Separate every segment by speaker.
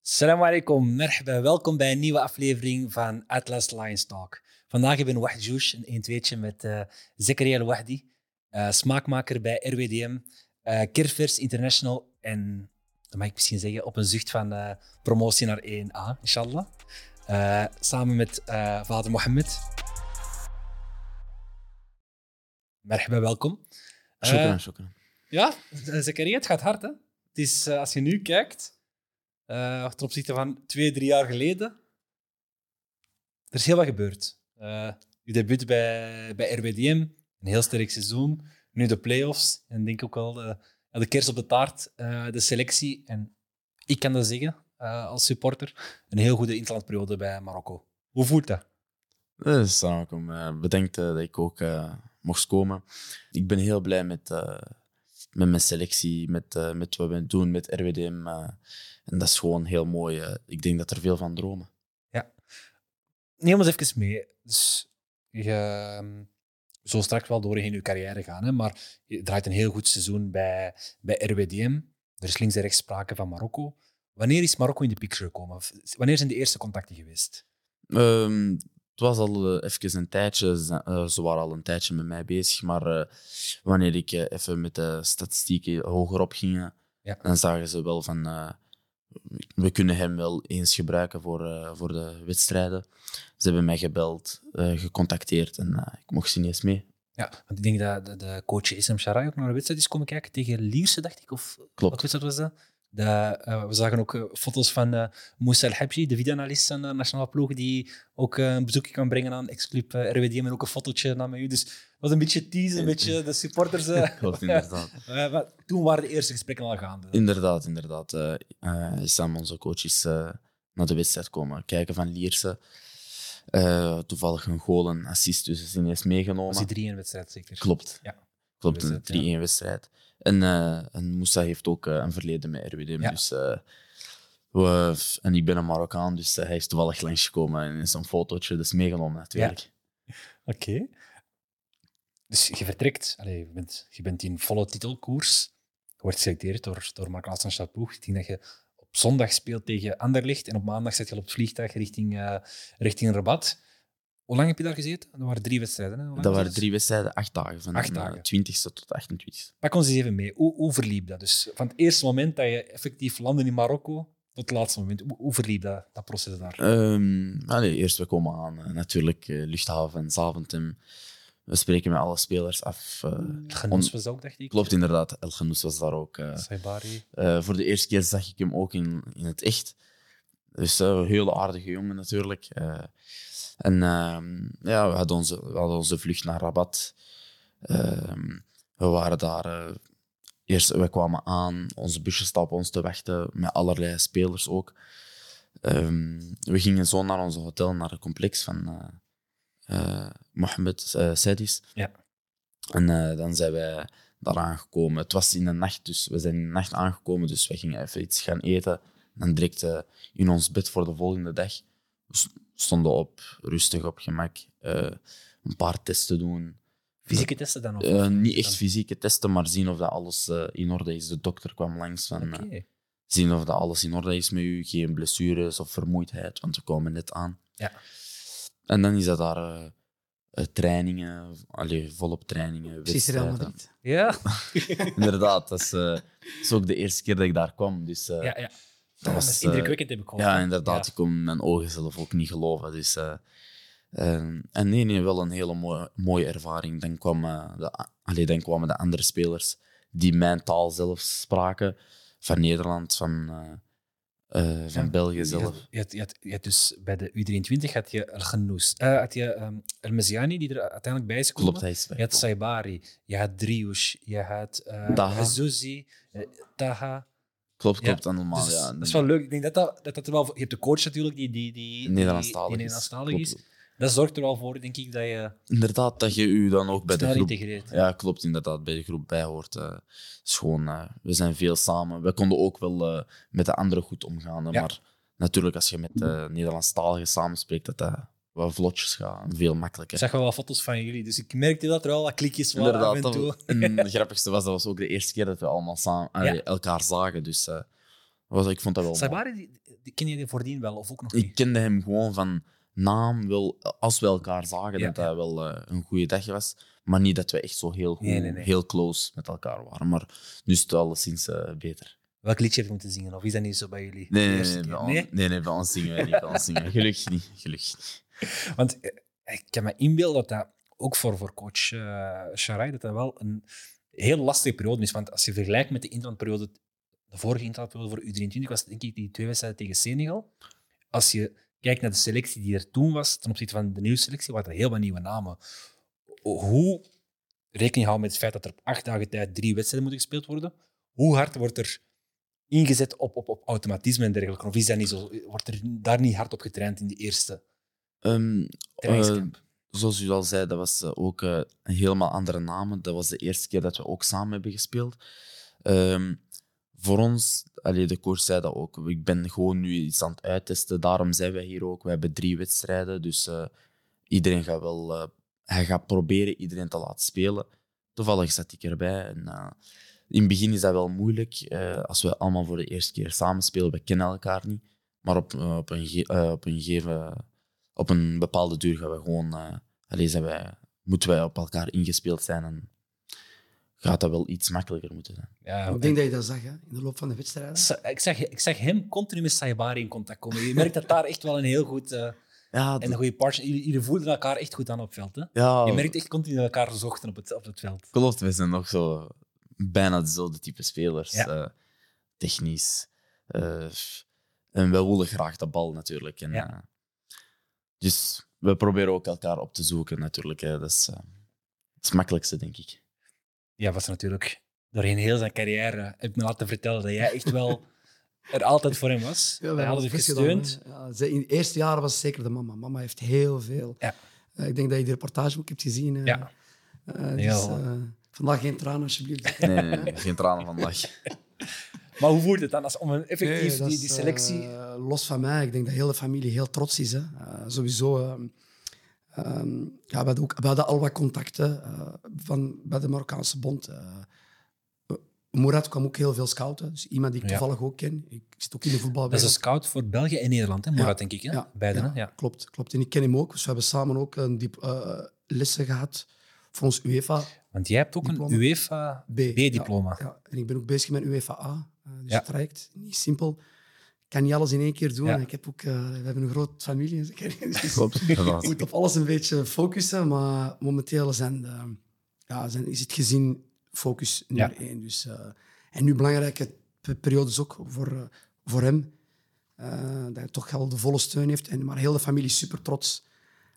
Speaker 1: Salam alaikum, merhaba. Welkom bij een nieuwe aflevering van Atlas Lions Talk. Vandaag hebben we Wahd Joush, een 1 met eh Zekaria Al-Wahdi, eh, smaakmaker bij RWDM, eh Kirvers International en, dat mag ik misschien zeggen, op een zucht van eh, promotie naar 1A, inshallah. Eh, samen met eh, vader Mohammed. Merhaba, welkom. Eh,
Speaker 2: Shukran, shukran.
Speaker 1: ja, Zakaria, het gaat hard, hè? Het is, eh, als je nu kijkt, eh, ten opzichte van twee, drie jaar geleden, er is heel wat gebeurd. Eh je debuut bij, bij RWDM, een heel sterk seizoen, nu de play-offs en denk ook wel de, de kers op de taart, eh, de selectie. En ik kan dat zeggen, eh, als supporter, een heel goede interlandperiode bij Marokko. Hoe voelt dat?
Speaker 2: Dus, salam alaikum. Eh, bedankt eh, dat ik ook eh, mocht komen. Ik ben heel blij met, eh, met mijn selectie, met, eh, met wat we doen, met RWDM. eh, en dat is gewoon heel mooi. eh. ik denk dat er veel van dromen.
Speaker 1: neem ons even mee. Dus je ehm, zal straks wel doorheen je carrière gaan, hè, maar je draait een heel goed seizoen bij, bij RWDM. Er is links en rechts sprake van Marokko. Wanneer is Marokko in de picture gekomen? Of Wanneer zijn de eerste contacten geweest?
Speaker 2: Ehm, het was al eh, even een tijdje, ze- eh, ze waren al een tijdje met mij bezig, maar eh, wanneer ik eh, even met de statistieken hoger op ging,
Speaker 1: Ja.
Speaker 2: dan zagen ze wel van eh, we kunnen hem wel eens gebruiken voor, eh, voor de wedstrijden. Ze hebben mij gebeld, eh, gecontacteerd en eh, ik mocht ze niet eens mee.
Speaker 1: Ja, want ik denk dat de, de coach Isam Sharai ook naar de wedstrijd is komen kijken tegen Lierse, dacht ik. Of
Speaker 2: Klopt.
Speaker 1: wat wedstrijd was dat? De, eh, we zagen ook eh, foto's van eh Moussa Al-Habji, de videoanalist van de nationale ploeg, die ook eh, een bezoekje kan brengen aan X-Club eh, RWDM en ook een fotootje nam met u. Dus het was een beetje teasen, een beetje de supporters. eh.
Speaker 2: Klopt, inderdaad.
Speaker 1: Eh, maar toen waren de eerste gesprekken al gaande.
Speaker 2: Inderdaad, inderdaad. Eh eh, Sam, onze coach, is eh, naar de wedstrijd komen kijken van Lierse. Eh, toevallig een goal, en assist, dus is ineens meegenomen.
Speaker 1: was die 3 in wedstrijd zeker.
Speaker 2: Klopt.
Speaker 1: Ja.
Speaker 2: Klopt, een
Speaker 1: Wedstrijd, ja.
Speaker 2: 3-1-wedstrijd. En, eh, en Moussa heeft ook eh, een verleden met RWDM.
Speaker 1: Ja.
Speaker 2: Dus, eh, we- en ik ben een Marokkaan, dus eh, hij is toevallig langsgekomen en is een fotootje dus meegenomen natuurlijk.
Speaker 1: Oké. Dus je vertrekt, Allee, je, bent, je bent in volle titelkoers. Je wordt geselecteerd door, door Mark Laatsen ploeg. Ik denk dat je op zondag speelt tegen Anderlecht en op maandag zit je al op het vliegtuig richting, eh, richting Rabat. Hoe lang heb je daar gezeten? Dat waren drie wedstrijden. Hè? Hoe lang
Speaker 2: Dat
Speaker 1: was
Speaker 2: waren drie wedstrijden, acht dagen. Van
Speaker 1: Acht
Speaker 2: de
Speaker 1: dagen.
Speaker 2: 20ste tot 28ste.
Speaker 1: Pak ons eens even mee. Hoe, hoe verliep dat? Dus van het eerste moment dat je effectief landde in Marokko tot het laatste moment. Hoe, hoe verliep dat, dat proces daar?
Speaker 2: Ehm, allee, eerst, we komen aan. eh, natuurlijk, eh, luchthaven, Zaventem. We spreken met alle spelers af. eh,
Speaker 1: Het Genoes was dat ook, dacht ik.
Speaker 2: klopt inderdaad, El Genoes was daar ook. eh,
Speaker 1: Saibari.
Speaker 2: Eh, voor de eerste keer zag ik hem ook in, in het echt. Dus eh, een hele aardige jongen natuurlijk. Eh, en ehm, ja, we hadden, onze, we hadden onze vlucht naar Rabat. Ehm, we waren daar. eh, eerst, we kwamen aan, onze busjes stappen ons te wachten, met allerlei spelers ook. Ehm, we gingen zo naar ons hotel, naar het complex van eh, eh, Mohammed eh, Sedis.
Speaker 1: Ja.
Speaker 2: En eh, dan zijn wij daar aangekomen. Het was in de nacht, dus we zijn in de nacht aangekomen. Dus we gingen even iets gaan eten. Dan direct eh, in ons bed voor de volgende dag. We s- stonden op, rustig op gemak. eh, een paar testen doen.
Speaker 1: Fysieke testen dan ook?
Speaker 2: Eh, niet echt fysieke testen, maar zien of dat alles eh, in orde is. De dokter kwam langs van... eh,
Speaker 1: Oké.
Speaker 2: zien of dat alles in orde is met u. Geen blessures of vermoeidheid, want we komen net aan.
Speaker 1: Ja.
Speaker 2: En dan is dat daar eh, eh, trainingen, allee, volop trainingen,
Speaker 3: Precies, Real
Speaker 2: wedstrijden.
Speaker 3: Madrid.
Speaker 1: Ja.
Speaker 2: Eh, Inderdaad, dat is, eh, dat is ook de eerste keer dat ik daar kwam. Dus, eh,
Speaker 1: ja, ja.
Speaker 2: dat was, eh,
Speaker 1: indrukwekkend, heb ik gehoord.
Speaker 2: ja, inderdaad. Ik kon mijn ogen zelf ook niet geloven. Dus, eh, ehm, en nee, nee, wel een hele mooie, mooie ervaring. Dan, kwam, eh, de, a- allee, dan kwamen de andere spelers die mijn taal zelf spraken. Van Nederland, van, eh, eh, van
Speaker 1: Ja,
Speaker 2: België
Speaker 1: Je
Speaker 2: zelf.
Speaker 1: had, je, had, je, had, je had dus bij de U23 had je El Genoes, eh, had je ehm El Messiani die er uiteindelijk bij is gekomen.
Speaker 2: Klopt, hij is weg.
Speaker 1: Je had Saibari, je had Driouche, je had eh
Speaker 2: Taha.
Speaker 1: Azouzi, eh, Taha.
Speaker 2: Klopt,
Speaker 1: Ja,
Speaker 2: klopt, allemaal.
Speaker 1: Dus
Speaker 2: ja,
Speaker 1: dat is wel leuk. Ik denk dat dat, dat, dat er wel voor- Je hebt de coach natuurlijk die, die, die, die,
Speaker 2: Nederlandstalig
Speaker 1: die
Speaker 2: is.
Speaker 1: Nederlandstalig
Speaker 2: Klopt.
Speaker 1: is. Dat zorgt er wel voor, denk ik, dat je
Speaker 2: Inderdaad, dat je u dan ook bij de
Speaker 1: snel
Speaker 2: groep
Speaker 1: integreert.
Speaker 2: Ja, klopt inderdaad. Bij de groep bij hoort. eh, is gewoon, eh, we zijn veel samen. We konden ook wel eh, met de anderen goed omgaan. hè,
Speaker 1: Ja.
Speaker 2: Maar natuurlijk, als je met eh Nederlandstaligen samenspreekt, dat dat wat vlotjes gaat. en Veel makkelijker.
Speaker 1: Ik zag wel wat foto's van jullie, dus ik merkte dat er wel wat klikjes waren af
Speaker 2: inderdaad.
Speaker 1: en toe.
Speaker 2: dat- en het grappigste was, dat was ook de eerste keer dat we allemaal samen,
Speaker 1: Ja.
Speaker 2: eh, elkaar zagen. Dus eh, Was, ik vond dat wel mooi.
Speaker 1: Saibari, die, die- ken je die voordien wel of ook nog
Speaker 2: Ik
Speaker 1: niet?
Speaker 2: kende hem gewoon van naam, wel, als we elkaar zagen,
Speaker 1: Ja.
Speaker 2: dat dat wel eh, een goede dag was. Maar niet dat we echt zo heel, goed,
Speaker 1: Nee, nee, nee.
Speaker 2: heel close met elkaar waren. Maar nu is het alleszins eh, beter.
Speaker 1: Welk liedje heb je moeten zingen? Of is dat niet zo bij jullie?
Speaker 2: Nee,
Speaker 1: De
Speaker 2: nee,
Speaker 1: eerste
Speaker 2: nee, bij
Speaker 1: keer?
Speaker 2: ons- nee? nee, bij ons zingen we niet. Bij ons zingen we. Gelukkig niet. Gelukkig niet.
Speaker 1: Want eh, ik kan me inbeelden dat dat ook voor, voor coach eh Sharai dat dat wel een heel lastige periode is. Want als je vergelijkt met de interlandperiode, de vorige interlandperiode voor U23 was denk ik die twee wedstrijden tegen Senegal. Als je kijkt naar de selectie die er toen was ten opzichte van de nieuwe selectie, waren er heel wat nieuwe namen. O- Hoe rekening houden met het feit dat er op acht dagen tijd drie wedstrijden moeten gespeeld worden? Hoe hard wordt er ingezet op, op, op automatisme en dergelijke? Of is dat niet zo? Wordt er daar niet hard op getraind in die eerste
Speaker 2: Ehm,
Speaker 1: trainingskamp?
Speaker 2: zoals u al zei, dat was eh, ook eh, een helemaal andere naam. Dat was de eerste keer dat we ook samen hebben gespeeld. Ehm, voor ons, allee, de coach zei dat ook, ik ben gewoon nu iets aan het uittesten. Daarom zijn wij hier ook. We hebben drie wedstrijden, dus eh, iedereen gaat wel... eh, hij gaat proberen iedereen te laten spelen. Toevallig zat ik erbij. En, eh, in het begin is dat wel moeilijk. eh, als we allemaal voor de eerste keer samen spelen, we kennen elkaar niet. Maar op, eh, op, een, ge- eh, op een gegeven op een bepaalde duur gaan we gewoon. eh allee, zijn wij, moeten wij op elkaar ingespeeld zijn en gaat dat wel iets makkelijker moeten zijn.
Speaker 1: Ja,
Speaker 3: Ik denk dat je dat zag hè, in de loop van de wedstrijden.
Speaker 1: Sa- Ik zag, ik zag hem continu met Saibari in contact komen. Je merkt dat daar echt wel een heel goed eh,
Speaker 2: Ja,
Speaker 1: en een goede partner. Jullie, jullie voelden elkaar echt goed aan op het veld. Hè?
Speaker 2: ja
Speaker 3: Oh.
Speaker 1: Je merkt echt continu dat elkaar zochten op het, op het veld.
Speaker 2: klopt. We zijn nog zo bijna dezelfde type spelers.
Speaker 1: Ja.
Speaker 2: eh, technisch. eh, en we willen graag de bal natuurlijk. En,
Speaker 1: Ja.
Speaker 2: eh, dus we proberen ook elkaar op te zoeken natuurlijk. hè. Dat is eh, dat is het makkelijkste, denk ik.
Speaker 1: Ja, was natuurlijk doorheen heel zijn carrière. Heb ik me laten vertellen dat jij echt wel er altijd voor hem was.
Speaker 3: Ja, wij
Speaker 1: hij had
Speaker 3: hadden
Speaker 1: het
Speaker 3: het gedaan,
Speaker 1: gesteund.
Speaker 3: hè. Ja, ze- in de eerste jaren was het zeker de mama. Mama heeft heel veel.
Speaker 1: Ja.
Speaker 3: Eh, ik denk dat je de reportage ook hebt gezien. eh.
Speaker 1: Ja.
Speaker 3: Eh, dus,
Speaker 1: Heel.
Speaker 3: eh, vandaag geen tranen, alsjeblieft.
Speaker 2: Nee, nee, nee, geen tranen van lach.
Speaker 1: Maar hoe voert het dan als, om een
Speaker 3: Nee,
Speaker 1: effectief
Speaker 3: dat
Speaker 1: die,
Speaker 3: is,
Speaker 1: die selectie...
Speaker 3: eh, los van mij, ik denk dat heel de familie heel trots is. Hè. Eh, sowieso. ehm, ehm, ja, we, hadden ook, we hadden al wat contacten eh, van, bij de Marokkaanse Bond. Eh Mourad kwam ook heel veel scouten. Dus iemand die ik
Speaker 1: Ja.
Speaker 3: toevallig ook ken. Ik zit ook in de
Speaker 1: dat is een
Speaker 3: voetbalwereld.
Speaker 1: scout voor België en Nederland, hè? Maar dat denk ik. Hè?
Speaker 3: Ja.
Speaker 1: Beide,
Speaker 3: Ja.
Speaker 1: hè? Ja.
Speaker 3: Klopt, klopt. En ik ken hem ook. Dus we hebben samen ook een diep, eh, lessen gehad voor ons UEFA
Speaker 1: Want jij hebt ook
Speaker 3: Diploma.
Speaker 1: een UEFA...
Speaker 3: B.
Speaker 1: B-diploma.
Speaker 3: Ja, ja. En ik ben ook bezig met UEFA A. eh, dus
Speaker 1: Ja.
Speaker 3: het traject, niet simpel. Ik kan niet alles in één keer doen.
Speaker 1: Ja.
Speaker 3: Ik heb ook, eh, we hebben een grote familie. dus ik-
Speaker 2: Klopt.
Speaker 3: je moet op alles een beetje focussen, maar momenteel zijn, de- ja, zijn, is het gezin focus nummer
Speaker 1: Ja.
Speaker 3: één. Dus, eh, en nu belangrijke pe- periodes ook voor, eh, voor hem. Eh, dat hij toch al de volle steun heeft. En, maar heel de familie is super trots.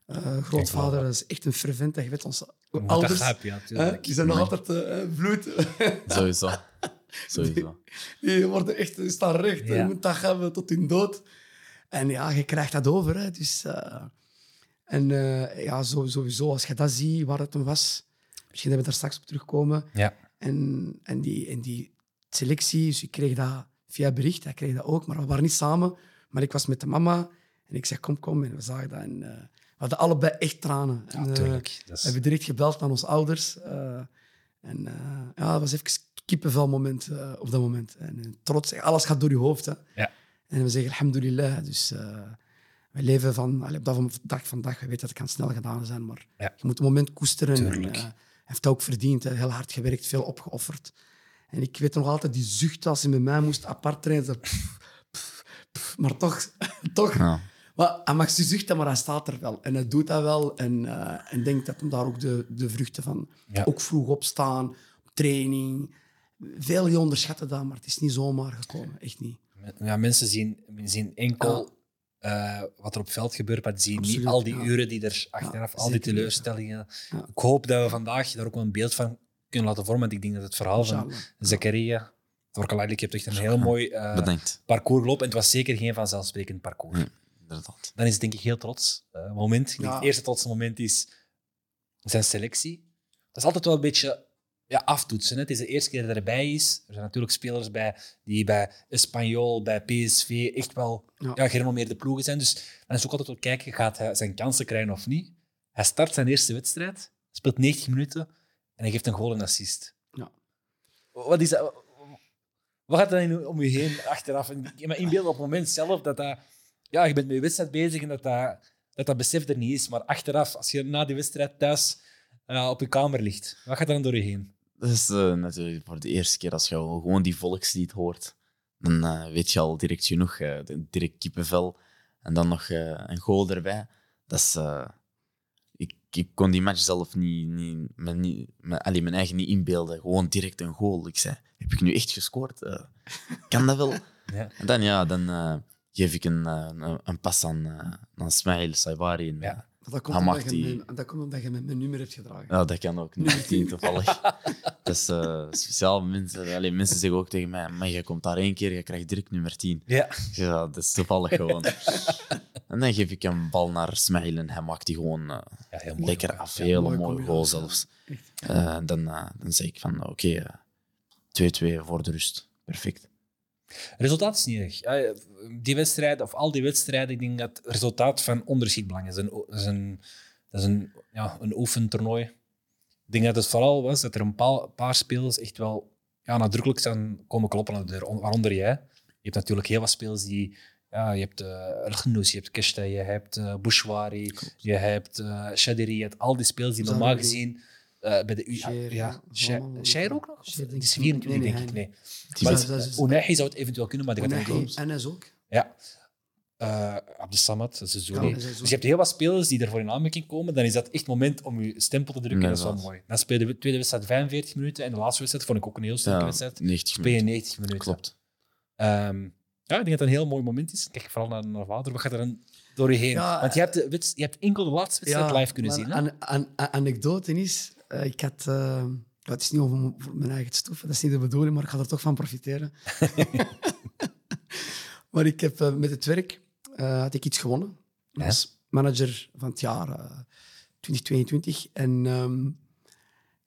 Speaker 3: Eh, grootvader
Speaker 1: geloven.
Speaker 3: is echt een fervent. Je weet, onze
Speaker 1: Moet dat
Speaker 3: ouders
Speaker 1: gaap, ja,
Speaker 3: hè,
Speaker 1: tuurlijk.
Speaker 3: die zijn nog
Speaker 2: Nee.
Speaker 3: altijd eh, vloed.
Speaker 2: Sowieso. Sowieso.
Speaker 3: Die worden echt, die staan recht.
Speaker 1: Ja.
Speaker 3: Je moet dat hebben tot hun dood. En ja, je krijgt dat over. Hè. Dus, eh, en eh, ja, zo- sowieso, als je dat ziet, waar het hem was. Misschien hebben we daar straks op terugkomen.
Speaker 1: Ja.
Speaker 3: En, en, die, en die selectie, dus ik kreeg dat via bericht, hij kreeg dat ook. Maar we waren niet samen. Maar ik was met de mama. En ik zei, kom, kom. En we zagen dat. En, eh, we hadden allebei echt tranen. En, eh,
Speaker 1: Natuurlijk. Dat is-
Speaker 3: we hebben direct gebeld aan onze ouders. eh, en eh, ja, dat was even een kippenvel moment eh, op dat moment. En eh, trots, alles gaat door je hoofd. Hè.
Speaker 1: Ja.
Speaker 3: En we zeggen alhamdulillah. Dus eh, we leven van, allee, op dat van- dag van dag. We weten dat het kan snel gedaan zijn, maar
Speaker 1: Ja.
Speaker 3: je moet het moment koesteren. En,
Speaker 1: Tuurlijk.
Speaker 3: eh, hij heeft dat ook verdiend. hè. heel hard gewerkt, veel opgeofferd. En ik weet nog altijd die zucht als hij met mij moest apart trainen. zo, pff, pff, pff, maar toch, toch
Speaker 2: Ja.
Speaker 3: maar hij mag ze zuchten, maar hij staat er wel. En hij doet dat wel. En, eh, en denkt dat hem daar ook de, de vruchten van.
Speaker 1: Ja.
Speaker 3: Ook vroeg opstaan, training. Veel die onderschatten dat, maar het is niet zomaar gekomen. Echt niet.
Speaker 1: Ja, mensen zien, zien enkel eh, wat er op veld gebeurt, maar die zien niet
Speaker 3: Ah. Absoluut,
Speaker 1: al die
Speaker 3: ja.
Speaker 1: uren die er achteraf,
Speaker 3: Ja,
Speaker 1: al die
Speaker 3: zeker weten.
Speaker 1: teleurstellingen.
Speaker 3: Ja.
Speaker 1: Ik hoop dat we vandaag daar ook wel een beeld van kunnen laten vormen. Want ik denk dat het verhaal van
Speaker 3: Inshallah.
Speaker 1: Zakaria, Torkalali, je hebt echt een heel mooi eh,
Speaker 2: Bedankt.
Speaker 1: parcours gelopen. En het was zeker geen vanzelfsprekend parcours.
Speaker 2: Nee. Inderdaad.
Speaker 1: Dan is het denk ik heel trots. eh, moment. Ik denk
Speaker 3: Ja.
Speaker 1: Het eerste trotse moment is zijn selectie. Dat is altijd wel een beetje ja, aftoetsen. Hè. Het is de eerste keer dat hij erbij is. Er zijn natuurlijk spelers bij die bij Espanyol, bij PSV echt wel ja.
Speaker 3: Ja.
Speaker 1: gerenommeerde ploegen zijn. Dus dan is ook altijd wel kijken, gaat hij zijn kansen krijgen of niet. Hij start zijn eerste wedstrijd, speelt 90 minuten en hij geeft een goal en assist.
Speaker 3: Ja.
Speaker 1: Wat is dat? Wat gaat er dan om je heen achteraf? En ik kan me inbeelden op het moment zelf dat dat... Ja, je bent met je wedstrijd bezig en dat dat, dat, dat besef er niet is. Maar achteraf, als je na die wedstrijd thuis eh, op je kamer ligt, wat gaat er dan door je heen?
Speaker 2: Dat is eh, natuurlijk voor de eerste keer als je al gewoon die volkslied hoort. Dan eh, weet je al direct genoeg, eh, direct kippenvel. En dan nog eh, een goal erbij. Dat is, eh, ik, ik kon die match zelf niet, niet, me niet me- allee, mijn eigen niet inbeelden. Gewoon direct een goal. Ik zei, heb ik nu echt gescoord? Eh, kan dat wel?
Speaker 1: Ja.
Speaker 2: En dan, ja, dan eh, geef ik een, eh, een, een pas aan, eh aan Smail Saibari. En,
Speaker 1: Ja.
Speaker 2: eh,
Speaker 3: Maar dat
Speaker 2: Hij
Speaker 3: komt, omdat
Speaker 2: mag
Speaker 3: je,
Speaker 2: die-
Speaker 3: mijn- dat komt omdat je mijn, mijn nummer hebt gedragen.
Speaker 2: Ja, Nou, dat kan ook. Nummer 10 toevallig. dat is eh, speciaal. Mensen, allee, mensen zeggen ook tegen mij: maar je komt daar één keer, je krijgt direct nummer 10.
Speaker 1: Ja.
Speaker 2: Ik zeg, Ja, dat is toevallig gewoon. en dan geef ik een bal naar Smail en hij maakt die gewoon eh,
Speaker 1: Ja, heel mooi.
Speaker 2: lekker af. Heel
Speaker 3: mooi
Speaker 2: mooi
Speaker 3: combinatie,
Speaker 2: goal
Speaker 3: ja.
Speaker 2: zelfs.
Speaker 3: Echt.
Speaker 2: Eh, dan, eh, dan zeg ik van: oké, eh, 2-2 voor de rust. Perfect.
Speaker 1: Resultaat is niet erg. Ah, Ja, Die wedstrijd, of al die wedstrijden, ik denk dat het resultaat van onderschiet belang is. Een o- is een- Dat is een, ja, een oefentoernooi. Ik denk dat het vooral was dat er een paar, paar spelers echt wel ja, nadrukkelijk zijn komen kloppen aan de deur, on- waaronder jij. Je hebt natuurlijk heel wat spelers die... Ja, je hebt eh Elgnous, je hebt Keshta, je hebt eh Bouchouari, je hebt eh Shadiri, je hebt al die spelers die
Speaker 3: Zou
Speaker 1: normaal
Speaker 3: ik doen?
Speaker 1: gezien eh, bij de U...
Speaker 3: Scheer,
Speaker 1: ja,
Speaker 3: ja.
Speaker 1: Scheer-
Speaker 3: Allemaal wel.
Speaker 1: Scheer ook nog? Of-
Speaker 3: Scheer
Speaker 1: Die
Speaker 3: denk
Speaker 1: is
Speaker 3: ik-
Speaker 1: 24,
Speaker 3: nee,
Speaker 1: denk ik.
Speaker 3: nee,
Speaker 1: Nee.
Speaker 2: Die
Speaker 1: Maar
Speaker 3: Dus dat
Speaker 2: was-
Speaker 3: is- dat is-
Speaker 1: Onahi Dus zou het eventueel kunnen, maar die gaat
Speaker 3: Onahi,
Speaker 1: niet komen.
Speaker 3: NS ook.
Speaker 1: Ja. eh Abdesamad, Sezuri.
Speaker 3: Ja, en Sezuri.
Speaker 1: dus je hebt heel wat spelers die ervoor in aanmerking komen. Dan is dat echt moment om je stempel te drukken. dat is wel
Speaker 2: Inderdaad.
Speaker 1: mooi. Dan speel je de tweede wedstrijd 45 minuten. En de laatste wedstrijd vond ik ook een heel sterke
Speaker 2: ja,
Speaker 1: wedstrijd.
Speaker 2: 90
Speaker 1: Speel je
Speaker 2: minuten.
Speaker 1: 90 minuten.
Speaker 2: Klopt.
Speaker 1: Ehm, ja, ik denk dat dat een heel mooi moment is. Kijk vooral naar, naar Wouter. Wat gaat er dan door je heen?
Speaker 3: Ja,
Speaker 1: Want je hebt, de wedst- je hebt enkel de laatste wedstrijd live kunnen zien. Hè?
Speaker 3: Een anekdote is, eh, ik had... eh, ja, het is niet over m- voor mijn eigen stoef, dat is niet de bedoeling, maar ik ga er toch van profiteren. maar ik heb eh, met het werk eh, had ik iets gewonnen.
Speaker 1: Ja.
Speaker 3: Als manager van het jaar eh, 2022. En ehm,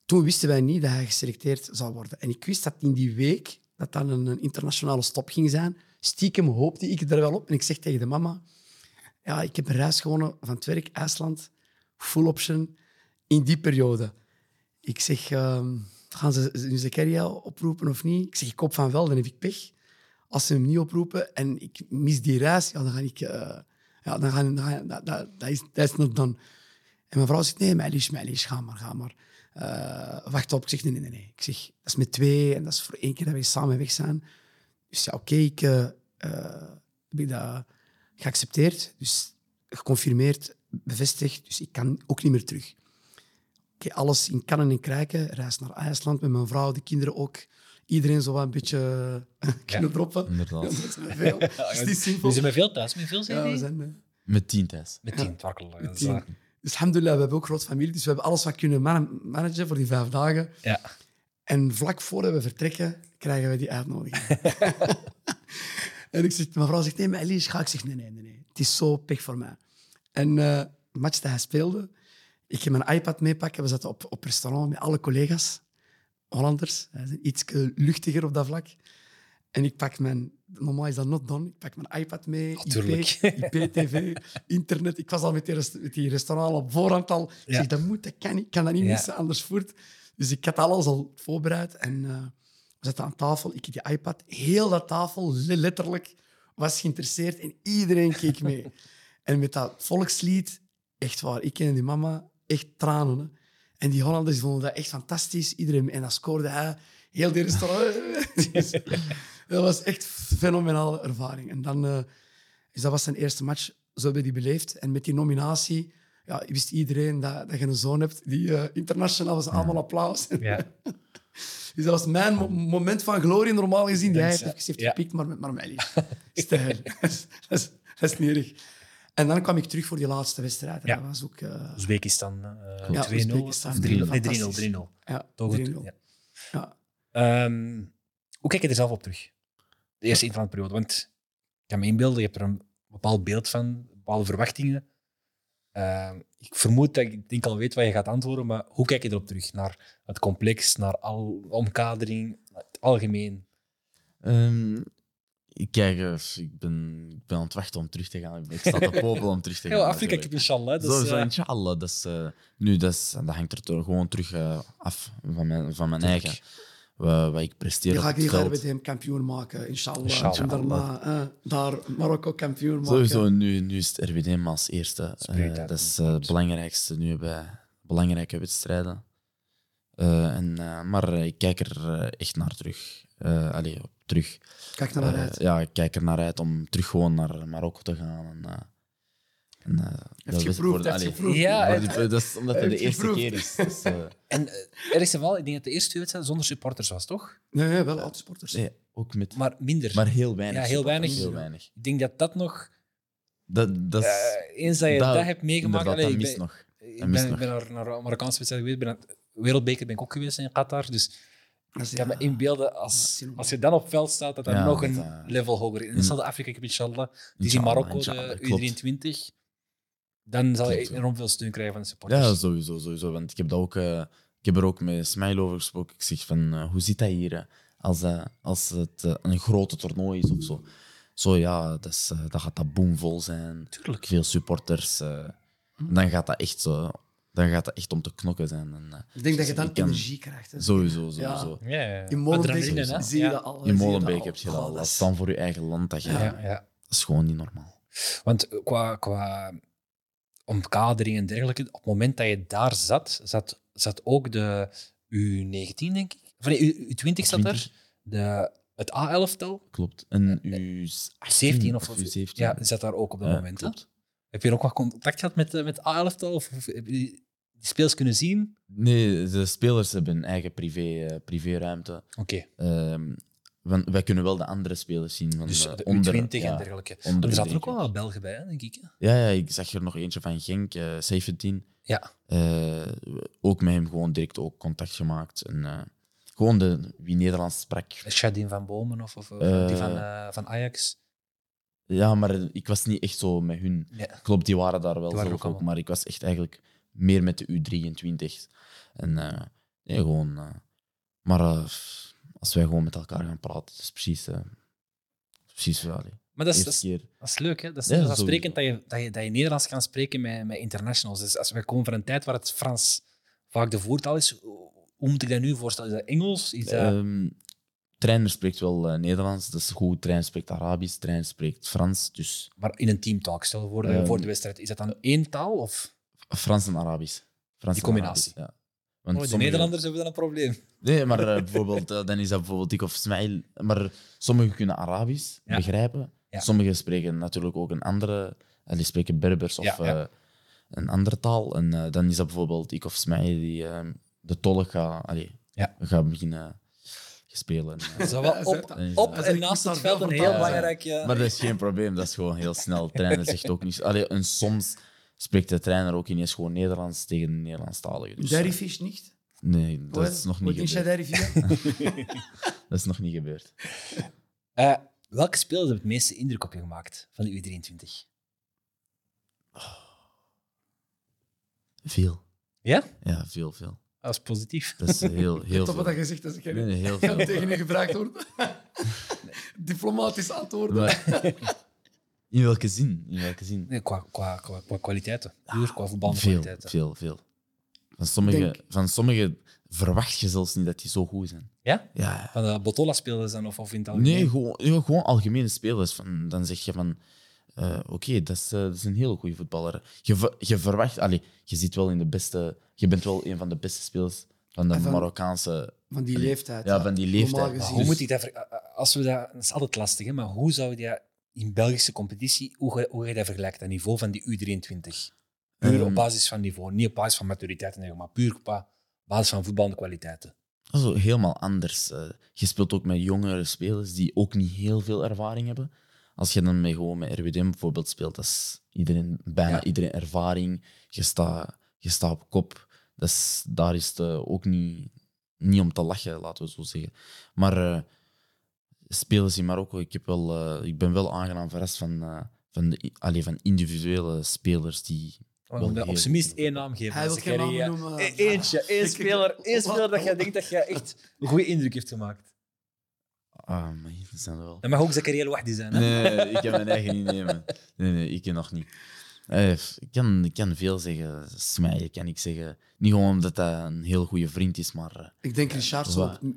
Speaker 3: toen wisten wij niet dat hij geselecteerd zou worden. En ik wist dat in die week dat dan een, een internationale stop ging zijn. Stiekem hoopte ik er wel op. En ik zeg tegen de mama, ja, ik heb een reis gewonnen van het werk, IJsland, full option, in die periode. Ik zeg, ehm, gaan ze nu Zakaria oproepen of niet? Ik zeg, ik hoop van wel, dan heb ik pech. Als ze hem niet oproepen en ik mis die reis, ja, dan ga ik... eh, ja, dan gaan, dan gaan- dat, dat, dat is, dat is not done. En mijn vrouw zegt, nee, meisjes, meisjes, ga maar, ga maar. Eh, wacht op. Ik zeg, nee, nee, nee, nee. Ik zeg, dat is met twee en dat is voor één keer dat we samen weg zijn. Dus ja, oké, ik eh, eh, heb ik dat geaccepteerd. Dus geconfirmeerd, bevestigd. Dus ik kan ook niet meer terug. Oké, alles in kannen en krijken. Reis naar IJsland met mijn vrouw, de kinderen ook. Iedereen zo wat een beetje eh, kunnen droppen. Ja,
Speaker 2: Inderdaad.
Speaker 3: dat is me veel. Dus het is simpel.
Speaker 1: We zijn met veel thuis, met veel
Speaker 3: Ja,
Speaker 1: zijn
Speaker 3: we zijn... eh,
Speaker 2: Met 10 thuis.
Speaker 1: Met tien twakkel. Ja, dat is
Speaker 3: tien.
Speaker 1: waar.
Speaker 3: Dus alhamdulillah, we hebben ook groot familie. Dus we hebben alles wat kunnen man- managen voor die vijf dagen.
Speaker 1: Ja.
Speaker 3: En vlak voordat we vertrekken, krijgen we die uitnodiging. en ik zeg, mijn vrouw zegt, nee, maar Elise, ga. Ik zeg, nee, nee, nee, nee. Het is zo pech voor mij. En eh de match dat hij speelde, ik ging mijn iPad meepakken. We zaten op, op restaurant met alle collega's, Hollanders. Hij is iets eh, luchtiger op dat vlak. En ik pak mijn... Normaal is dat not done. Ik pak mijn iPad mee,
Speaker 1: Tuurlijk.
Speaker 3: IP, IPTV, internet. Ik was al met die, rest- met die restaurant al op voorhand al. Ik
Speaker 1: Ja.
Speaker 3: zeg, dat moet, dat kan niet. Ik kan dat niet
Speaker 1: Ja.
Speaker 3: missen, anders voert. Dus ik had alles al voorbereid. En eh, we zaten aan tafel. Ik heb die iPad. Heel dat tafel, le- letterlijk, was geïnteresseerd. En iedereen keek mee. en met dat volkslied, echt waar. Ik en die mama, echt tranen. Hè. En die Hollanders die vonden dat echt fantastisch. Iedereen, en dat scoorde hij. Heel die restaurant. Dus dat was echt een fenomenale ervaring. En dan, eh, dus dat was zijn eerste match. Zo hebben we die beleefd. En met die nominatie ja, wist iedereen dat, dat je een zoon hebt. Die eh, internationaal was allemaal applaus.
Speaker 1: Ja.
Speaker 3: Dus dat was mijn mo- moment van glorie, normaal gezien. Die hij heeft
Speaker 1: Ja.
Speaker 3: even heeft
Speaker 1: Ja.
Speaker 3: gepikt, maar met Marmelli. Stijl. dat, is, dat, is, dat is niet erg. En dan kwam ik terug voor die laatste wedstrijd. En
Speaker 1: Ja.
Speaker 3: dat was ook... eh,
Speaker 1: Oezbekistan eh,
Speaker 2: Ja,
Speaker 1: 2-0.
Speaker 3: Oezbekistan.
Speaker 1: Of 3-0. Nee, 3-0.
Speaker 3: 3-0.
Speaker 1: 3-0.
Speaker 3: ja,
Speaker 1: Toch goed.
Speaker 3: 3-0.
Speaker 1: Ja.
Speaker 3: Ja.
Speaker 1: Ehm, hoe kijk je er zelf op terug? De eerste interlandperiode. Want ik kan me inbeelden, je hebt er een bepaald beeld van, bepaalde verwachtingen. Ehm, ik vermoed dat ik- ik denk al weet wat je gaat antwoorden, maar hoe kijk je erop terug? Naar het complex, naar al omkadering, naar het algemeen.
Speaker 2: Ehm, ik, kijk, eh, ik, ben, ik ben aan het wachten om terug te gaan. Ik sta te popelen om terug te gaan.
Speaker 1: Heel Afrika, ik heb
Speaker 2: natuurlijk.
Speaker 1: inshallah. Dus,
Speaker 2: Sowieso,
Speaker 1: eh,
Speaker 2: inshallah. Dat, is, eh, nu, dat, is, dat hangt er toch gewoon terug eh, af van mijn, van mijn eigen. wat, wat ik presteer
Speaker 3: Die
Speaker 2: op
Speaker 3: ga ik
Speaker 2: het
Speaker 3: niet
Speaker 2: veld.
Speaker 3: met hem kampioen maken, inshallah.
Speaker 1: Inshallah.
Speaker 3: En daarna eh, daar Marokko kampioen maken.
Speaker 2: Sowieso, nu, nu is het RWDM als eerste.
Speaker 1: Spreekt
Speaker 2: Eh,
Speaker 1: uit,
Speaker 2: dat is
Speaker 1: man.
Speaker 2: eh, het belangrijkste nu bij belangrijke wedstrijden. Eh, en, eh, maar ik kijk er eh, echt naar terug. Eh allee, op terug.
Speaker 3: Kijk naar
Speaker 2: Eh,
Speaker 3: uit.
Speaker 2: ja, ik kijk er naar uit om terug gewoon naar Marokko te gaan. En, eh, en, eh, dat is-
Speaker 3: geproefd,
Speaker 2: voor de-
Speaker 3: heeft
Speaker 2: allee,
Speaker 3: geproefd.
Speaker 1: Ja,
Speaker 2: voor
Speaker 1: het-
Speaker 2: die- dat is omdat het
Speaker 3: Heeft
Speaker 2: de eerste
Speaker 3: geproefd.
Speaker 2: keer is. Dus, eh,
Speaker 1: En eh, ergste geval, ik denk dat de eerste twee wedstrijden zonder supporters was, toch?
Speaker 3: Nee, nee, wel autosporters.
Speaker 2: nee, ook met,
Speaker 1: Maar minder.
Speaker 2: maar heel weinig.
Speaker 1: Ja, heel weinig.
Speaker 2: Heel weinig.
Speaker 1: ik denk dat dat nog,
Speaker 2: Dat, dat is
Speaker 1: eh, eens dat je dat,
Speaker 2: dat-
Speaker 1: hebt meegemaakt...
Speaker 2: inderdaad,
Speaker 1: allee, ik
Speaker 2: dat mist
Speaker 1: ben-
Speaker 2: nog.
Speaker 1: Ik
Speaker 2: Dat mist
Speaker 1: ben, ik
Speaker 2: nog.
Speaker 1: ben naar, naar een Marokkaanse wedstrijd geweest. Ik ben naar- wereldbeker ben ik ook geweest in Qatar. Dus
Speaker 3: Dat is-
Speaker 1: ik kan me inbeelden, als,
Speaker 3: Ja, dat is
Speaker 1: als je dan op het veld staat, dat dat
Speaker 2: Ja,
Speaker 1: nog
Speaker 2: dat,
Speaker 1: een
Speaker 2: eh,
Speaker 1: level hoger is. En
Speaker 2: in-
Speaker 1: hetzelfde Afrika Cup, inshallah. Die is Dus in
Speaker 2: Inshallah,
Speaker 1: Marokko,
Speaker 2: inshallah,
Speaker 1: de
Speaker 2: klopt.
Speaker 1: U23. Dan zal
Speaker 2: Klopt,
Speaker 1: je
Speaker 2: ja.
Speaker 1: enorm veel steun krijgen van de supporters.
Speaker 2: Ja, sowieso, sowieso. Want ik heb, dat ook, eh, ik heb er ook met Smile over gesproken. Ik zeg van, eh, hoe zit dat hier eh, als, eh, als het eh, een grote toernooi is of zo? Zo ja, dat, is, eh, dan gaat dat boomvol zijn.
Speaker 1: Tuurlijk.
Speaker 2: Veel supporters. eh,
Speaker 3: Hm.
Speaker 2: dan, gaat dat echt, zo- dan gaat dat echt om te knokken zijn. En, eh,
Speaker 3: Ik denk dat je dan
Speaker 2: Ik kan-
Speaker 3: energie krijgt. Hè.
Speaker 2: sowieso, sowieso.
Speaker 1: Ja, ja, ja.
Speaker 3: In
Speaker 1: Adrenaline, hè?
Speaker 3: Molenbeek zie je
Speaker 1: Ja.
Speaker 3: dat al.
Speaker 2: In
Speaker 3: zie je
Speaker 2: Molenbeek
Speaker 3: dat
Speaker 2: heb je
Speaker 3: al.
Speaker 2: dat
Speaker 3: Oh,
Speaker 2: al.
Speaker 3: dat is-
Speaker 2: Dan voor je eigen land. Dat, je,
Speaker 3: Ja.
Speaker 1: Ja, ja.
Speaker 2: dat is gewoon niet normaal.
Speaker 1: Want eh, qua, qua omkadering en dergelijke, op het moment dat je daar zat, zat, zat ook de U19, denk ik. Of nee, U, 20 zat er.
Speaker 2: 20,
Speaker 1: De, het A11-tal.
Speaker 2: Klopt. En u
Speaker 1: 17 Ah, of,
Speaker 2: u 17.
Speaker 1: Ja, zat daar ook op dat
Speaker 2: Hmm, Ja,
Speaker 1: moment. hè?
Speaker 2: klopt.
Speaker 1: Heb je ook wat contact gehad met, eh, met A11-tal? Of, of heb je die speels kunnen zien?
Speaker 2: Nee, de spelers hebben hun eigen privé, eh, privéruimte.
Speaker 1: Oké,
Speaker 2: Ehm, want wij kunnen wel de andere spelers zien. Van,
Speaker 1: dus
Speaker 2: eh,
Speaker 1: de
Speaker 2: onder-
Speaker 1: U20 en
Speaker 2: ja,
Speaker 1: dergelijke.
Speaker 2: onder
Speaker 1: er zaten
Speaker 2: de
Speaker 1: ook wel
Speaker 2: dertig.
Speaker 1: wat Belgen bij, hè, denk ik. hè?
Speaker 2: Ja, ja, ik zag er nog eentje van Genk, eh 17.
Speaker 1: Ja.
Speaker 2: Eh, ook met hem gewoon direct ook contact gemaakt. En, eh, gewoon de, wie Nederlands sprak.
Speaker 1: Shadin van Bomen of, of eh,
Speaker 2: Eh,
Speaker 1: die van, eh, van Ajax.
Speaker 2: Ja, maar ik was niet echt zo met hun.
Speaker 1: Ja.
Speaker 2: Klopt, die waren daar wel
Speaker 1: Die waren
Speaker 2: zelf
Speaker 1: ook
Speaker 2: ook,
Speaker 1: allemaal.
Speaker 2: maar ik was echt eigenlijk meer met de U23. En eh, nee, gewoon... eh, maar eh, als wij gewoon met elkaar gaan praten, dat is precies... eh, precies wel. hè.
Speaker 1: Maar dat is, dat
Speaker 2: Eerste
Speaker 1: is-
Speaker 2: keer.
Speaker 1: Dat is leuk, hè? Dat is
Speaker 2: Ja,
Speaker 1: net als
Speaker 2: sowieso.
Speaker 1: aansprekend dat je, dat, je, dat je Nederlands kan spreken met, met internationals. Dus als we komen van een tijd waar het Frans vaak de voertaal is, hoe hoe moet ik dat nu voorstellen? Is dat Engels? Is dat...
Speaker 2: Ehm, trainer spreekt wel eh, Nederlands, dat is goed. Trainer spreekt Arabisch, trainer spreekt Frans. Dus
Speaker 1: maar in een teamtalk, stel voor, dat je
Speaker 2: Ehm,
Speaker 1: voor de wedstrijd, is dat dan één taal? Of?
Speaker 2: Frans en Arabisch. Frans
Speaker 1: Die
Speaker 2: en
Speaker 1: combinatie.
Speaker 2: Arabisch, ja.
Speaker 1: Oh,
Speaker 2: Want
Speaker 1: de
Speaker 2: sommige-
Speaker 1: Nederlanders hebben dan een probleem.
Speaker 2: Nee, maar eh, bijvoorbeeld, eh, dan is dat bijvoorbeeld ik of Smail. Maar sommigen kunnen Arabisch
Speaker 1: Ja.
Speaker 2: begrijpen.
Speaker 1: Ja.
Speaker 2: Sommigen spreken natuurlijk ook een andere. eh, die spreken Berbers of
Speaker 1: Ja, ja.
Speaker 2: eh, een andere taal. En eh, dan is dat bijvoorbeeld ik of Smail die eh, de tolk gaat allee,
Speaker 1: Ja.
Speaker 2: gaat beginnen spelen.
Speaker 1: Dat
Speaker 2: Eh,
Speaker 1: is wel op,
Speaker 2: dan is
Speaker 1: op
Speaker 2: dat-
Speaker 1: en naast het veld een heel
Speaker 2: Ja,
Speaker 1: belangrijk... eh,
Speaker 2: Maar dat is geen probleem, dat is gewoon heel snel. Trainer zegt ook niet. Allee, en soms spreekt de trainer ook ineens gewoon Nederlands tegen de Nederlandstaligen. Dus, eh,
Speaker 3: Derivish niet?
Speaker 2: nee, dat is nog niet
Speaker 3: Wat
Speaker 2: gebeurd. Dat is nog niet gebeurd.
Speaker 1: eh, welke spelers hebben het meeste indruk op je gemaakt van de U23?
Speaker 2: Veel.
Speaker 1: Ja?
Speaker 2: Ja, veel, veel.
Speaker 1: Dat is positief.
Speaker 2: Dat is heel, heel
Speaker 3: Top
Speaker 2: veel.
Speaker 3: wat dat je zegt, dat is
Speaker 2: Nee,
Speaker 3: geen-
Speaker 2: nee, heel
Speaker 3: Ja,
Speaker 2: veel.
Speaker 3: tegen je gevraagd wordt. Diplomatisch antwoorden.
Speaker 2: Maar- in welke zin? In welke zin?
Speaker 1: Nee, qua, qua, qua, qua kwaliteiten. Puur qua
Speaker 2: Veel,
Speaker 1: voetbalkwaliteiten.
Speaker 2: veel, veel. Van sommigen
Speaker 3: Denk-
Speaker 2: van sommige verwacht je zelfs niet dat die zo goed zijn.
Speaker 1: Ja?
Speaker 2: Ja.
Speaker 1: Van de Botola-spelers dan? Of, of in het
Speaker 2: Nee,
Speaker 1: algemeen?
Speaker 2: gewoon, ja, gewoon algemene spelers. Van, dan zeg je van... eh, Oké, dat, is, eh, dat is een hele goede voetballer. Je, ver- je verwacht... Allee, je zit wel in de beste... Je bent wel een van de beste spelers van de
Speaker 3: En van-
Speaker 2: Marokkaanse...
Speaker 3: Van die
Speaker 2: Allee,
Speaker 3: leeftijd.
Speaker 2: ja, van die leeftijd.
Speaker 3: Normaal
Speaker 1: Maar
Speaker 3: gezien.
Speaker 1: hoe
Speaker 2: Dus-
Speaker 1: moet ik dat... ver- eh, eh, Als we dat, dat is altijd lastig, hè, maar hoe zou je dat in Belgische competitie, hoe, ga- hoe ga je dat vergelijken, dat niveau van die U23? Puur
Speaker 2: Ehm,
Speaker 1: op basis van niveau, niet op basis van maturiteit, en dergelijke, maar puur op ba- basis van voetballende kwaliteiten.
Speaker 2: Dat is ook helemaal anders. Eh, je speelt ook met jongere spelers die ook niet heel veel ervaring hebben. Als je dan met, gewoon met RWDM bijvoorbeeld speelt, dat is iedereen, bijna
Speaker 1: Ja.
Speaker 2: iedereen ervaring. Je staat je staat op kop. Dat is, daar is het eh, ook niet, niet om te lachen, laten we zo zeggen. Maar eh, spelers in Marokko, ik, heb wel, eh, ik ben wel aangenaam verrast van, eh, van, de, allee, van individuele spelers die...
Speaker 1: Maar
Speaker 2: Wel
Speaker 1: we moeten op
Speaker 2: heel-
Speaker 1: zijn minst één naam geven.
Speaker 3: Hij wil
Speaker 1: Dus
Speaker 3: geen
Speaker 1: ik
Speaker 3: namen
Speaker 1: ga die,
Speaker 3: noemen.
Speaker 1: eh, e- Eentje, één
Speaker 3: Ik-
Speaker 1: speler, één speler dat jij denkt dat jij echt een goede indruk heeft gemaakt.
Speaker 2: Ah, maar hier zijn er wel...
Speaker 1: Dat mag ook Zakaria Wahdi zijn. Hè?
Speaker 2: Nee, ik heb mijn eigen niet nemen. Nee, nee, ik nog niet. Eh, ik, kan, ik kan veel zeggen, smijten kan ik zeggen. Niet gewoon omdat dat een heel goede vriend is, maar eh,
Speaker 3: Ik denk Richardson
Speaker 2: Wa-
Speaker 3: op m-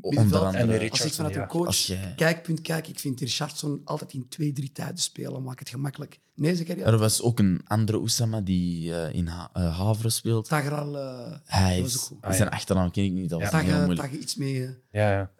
Speaker 2: onder
Speaker 3: middenveld.
Speaker 1: En
Speaker 2: andere...
Speaker 1: Richard-
Speaker 3: Als ik vanuit een
Speaker 1: ja.
Speaker 3: coach
Speaker 2: Als jij-
Speaker 3: kijkpunt kijk, ik vind Richardson altijd in twee, drie tijden spelen. Maak het gemakkelijk. Nee, zeker ja.
Speaker 2: Er was ook een andere Oussama die eh, in Ha- eh, Havre speelt.
Speaker 3: Tagral, eh
Speaker 2: Hij
Speaker 3: Dat is
Speaker 2: is,
Speaker 3: ook goed.
Speaker 1: Ah, ja.
Speaker 2: zijn achternaam ken ik niet, dat was
Speaker 3: Tag,
Speaker 2: heel
Speaker 3: eh,
Speaker 2: moeilijk.
Speaker 3: Tag iets mee. eh.
Speaker 1: Ja, ja.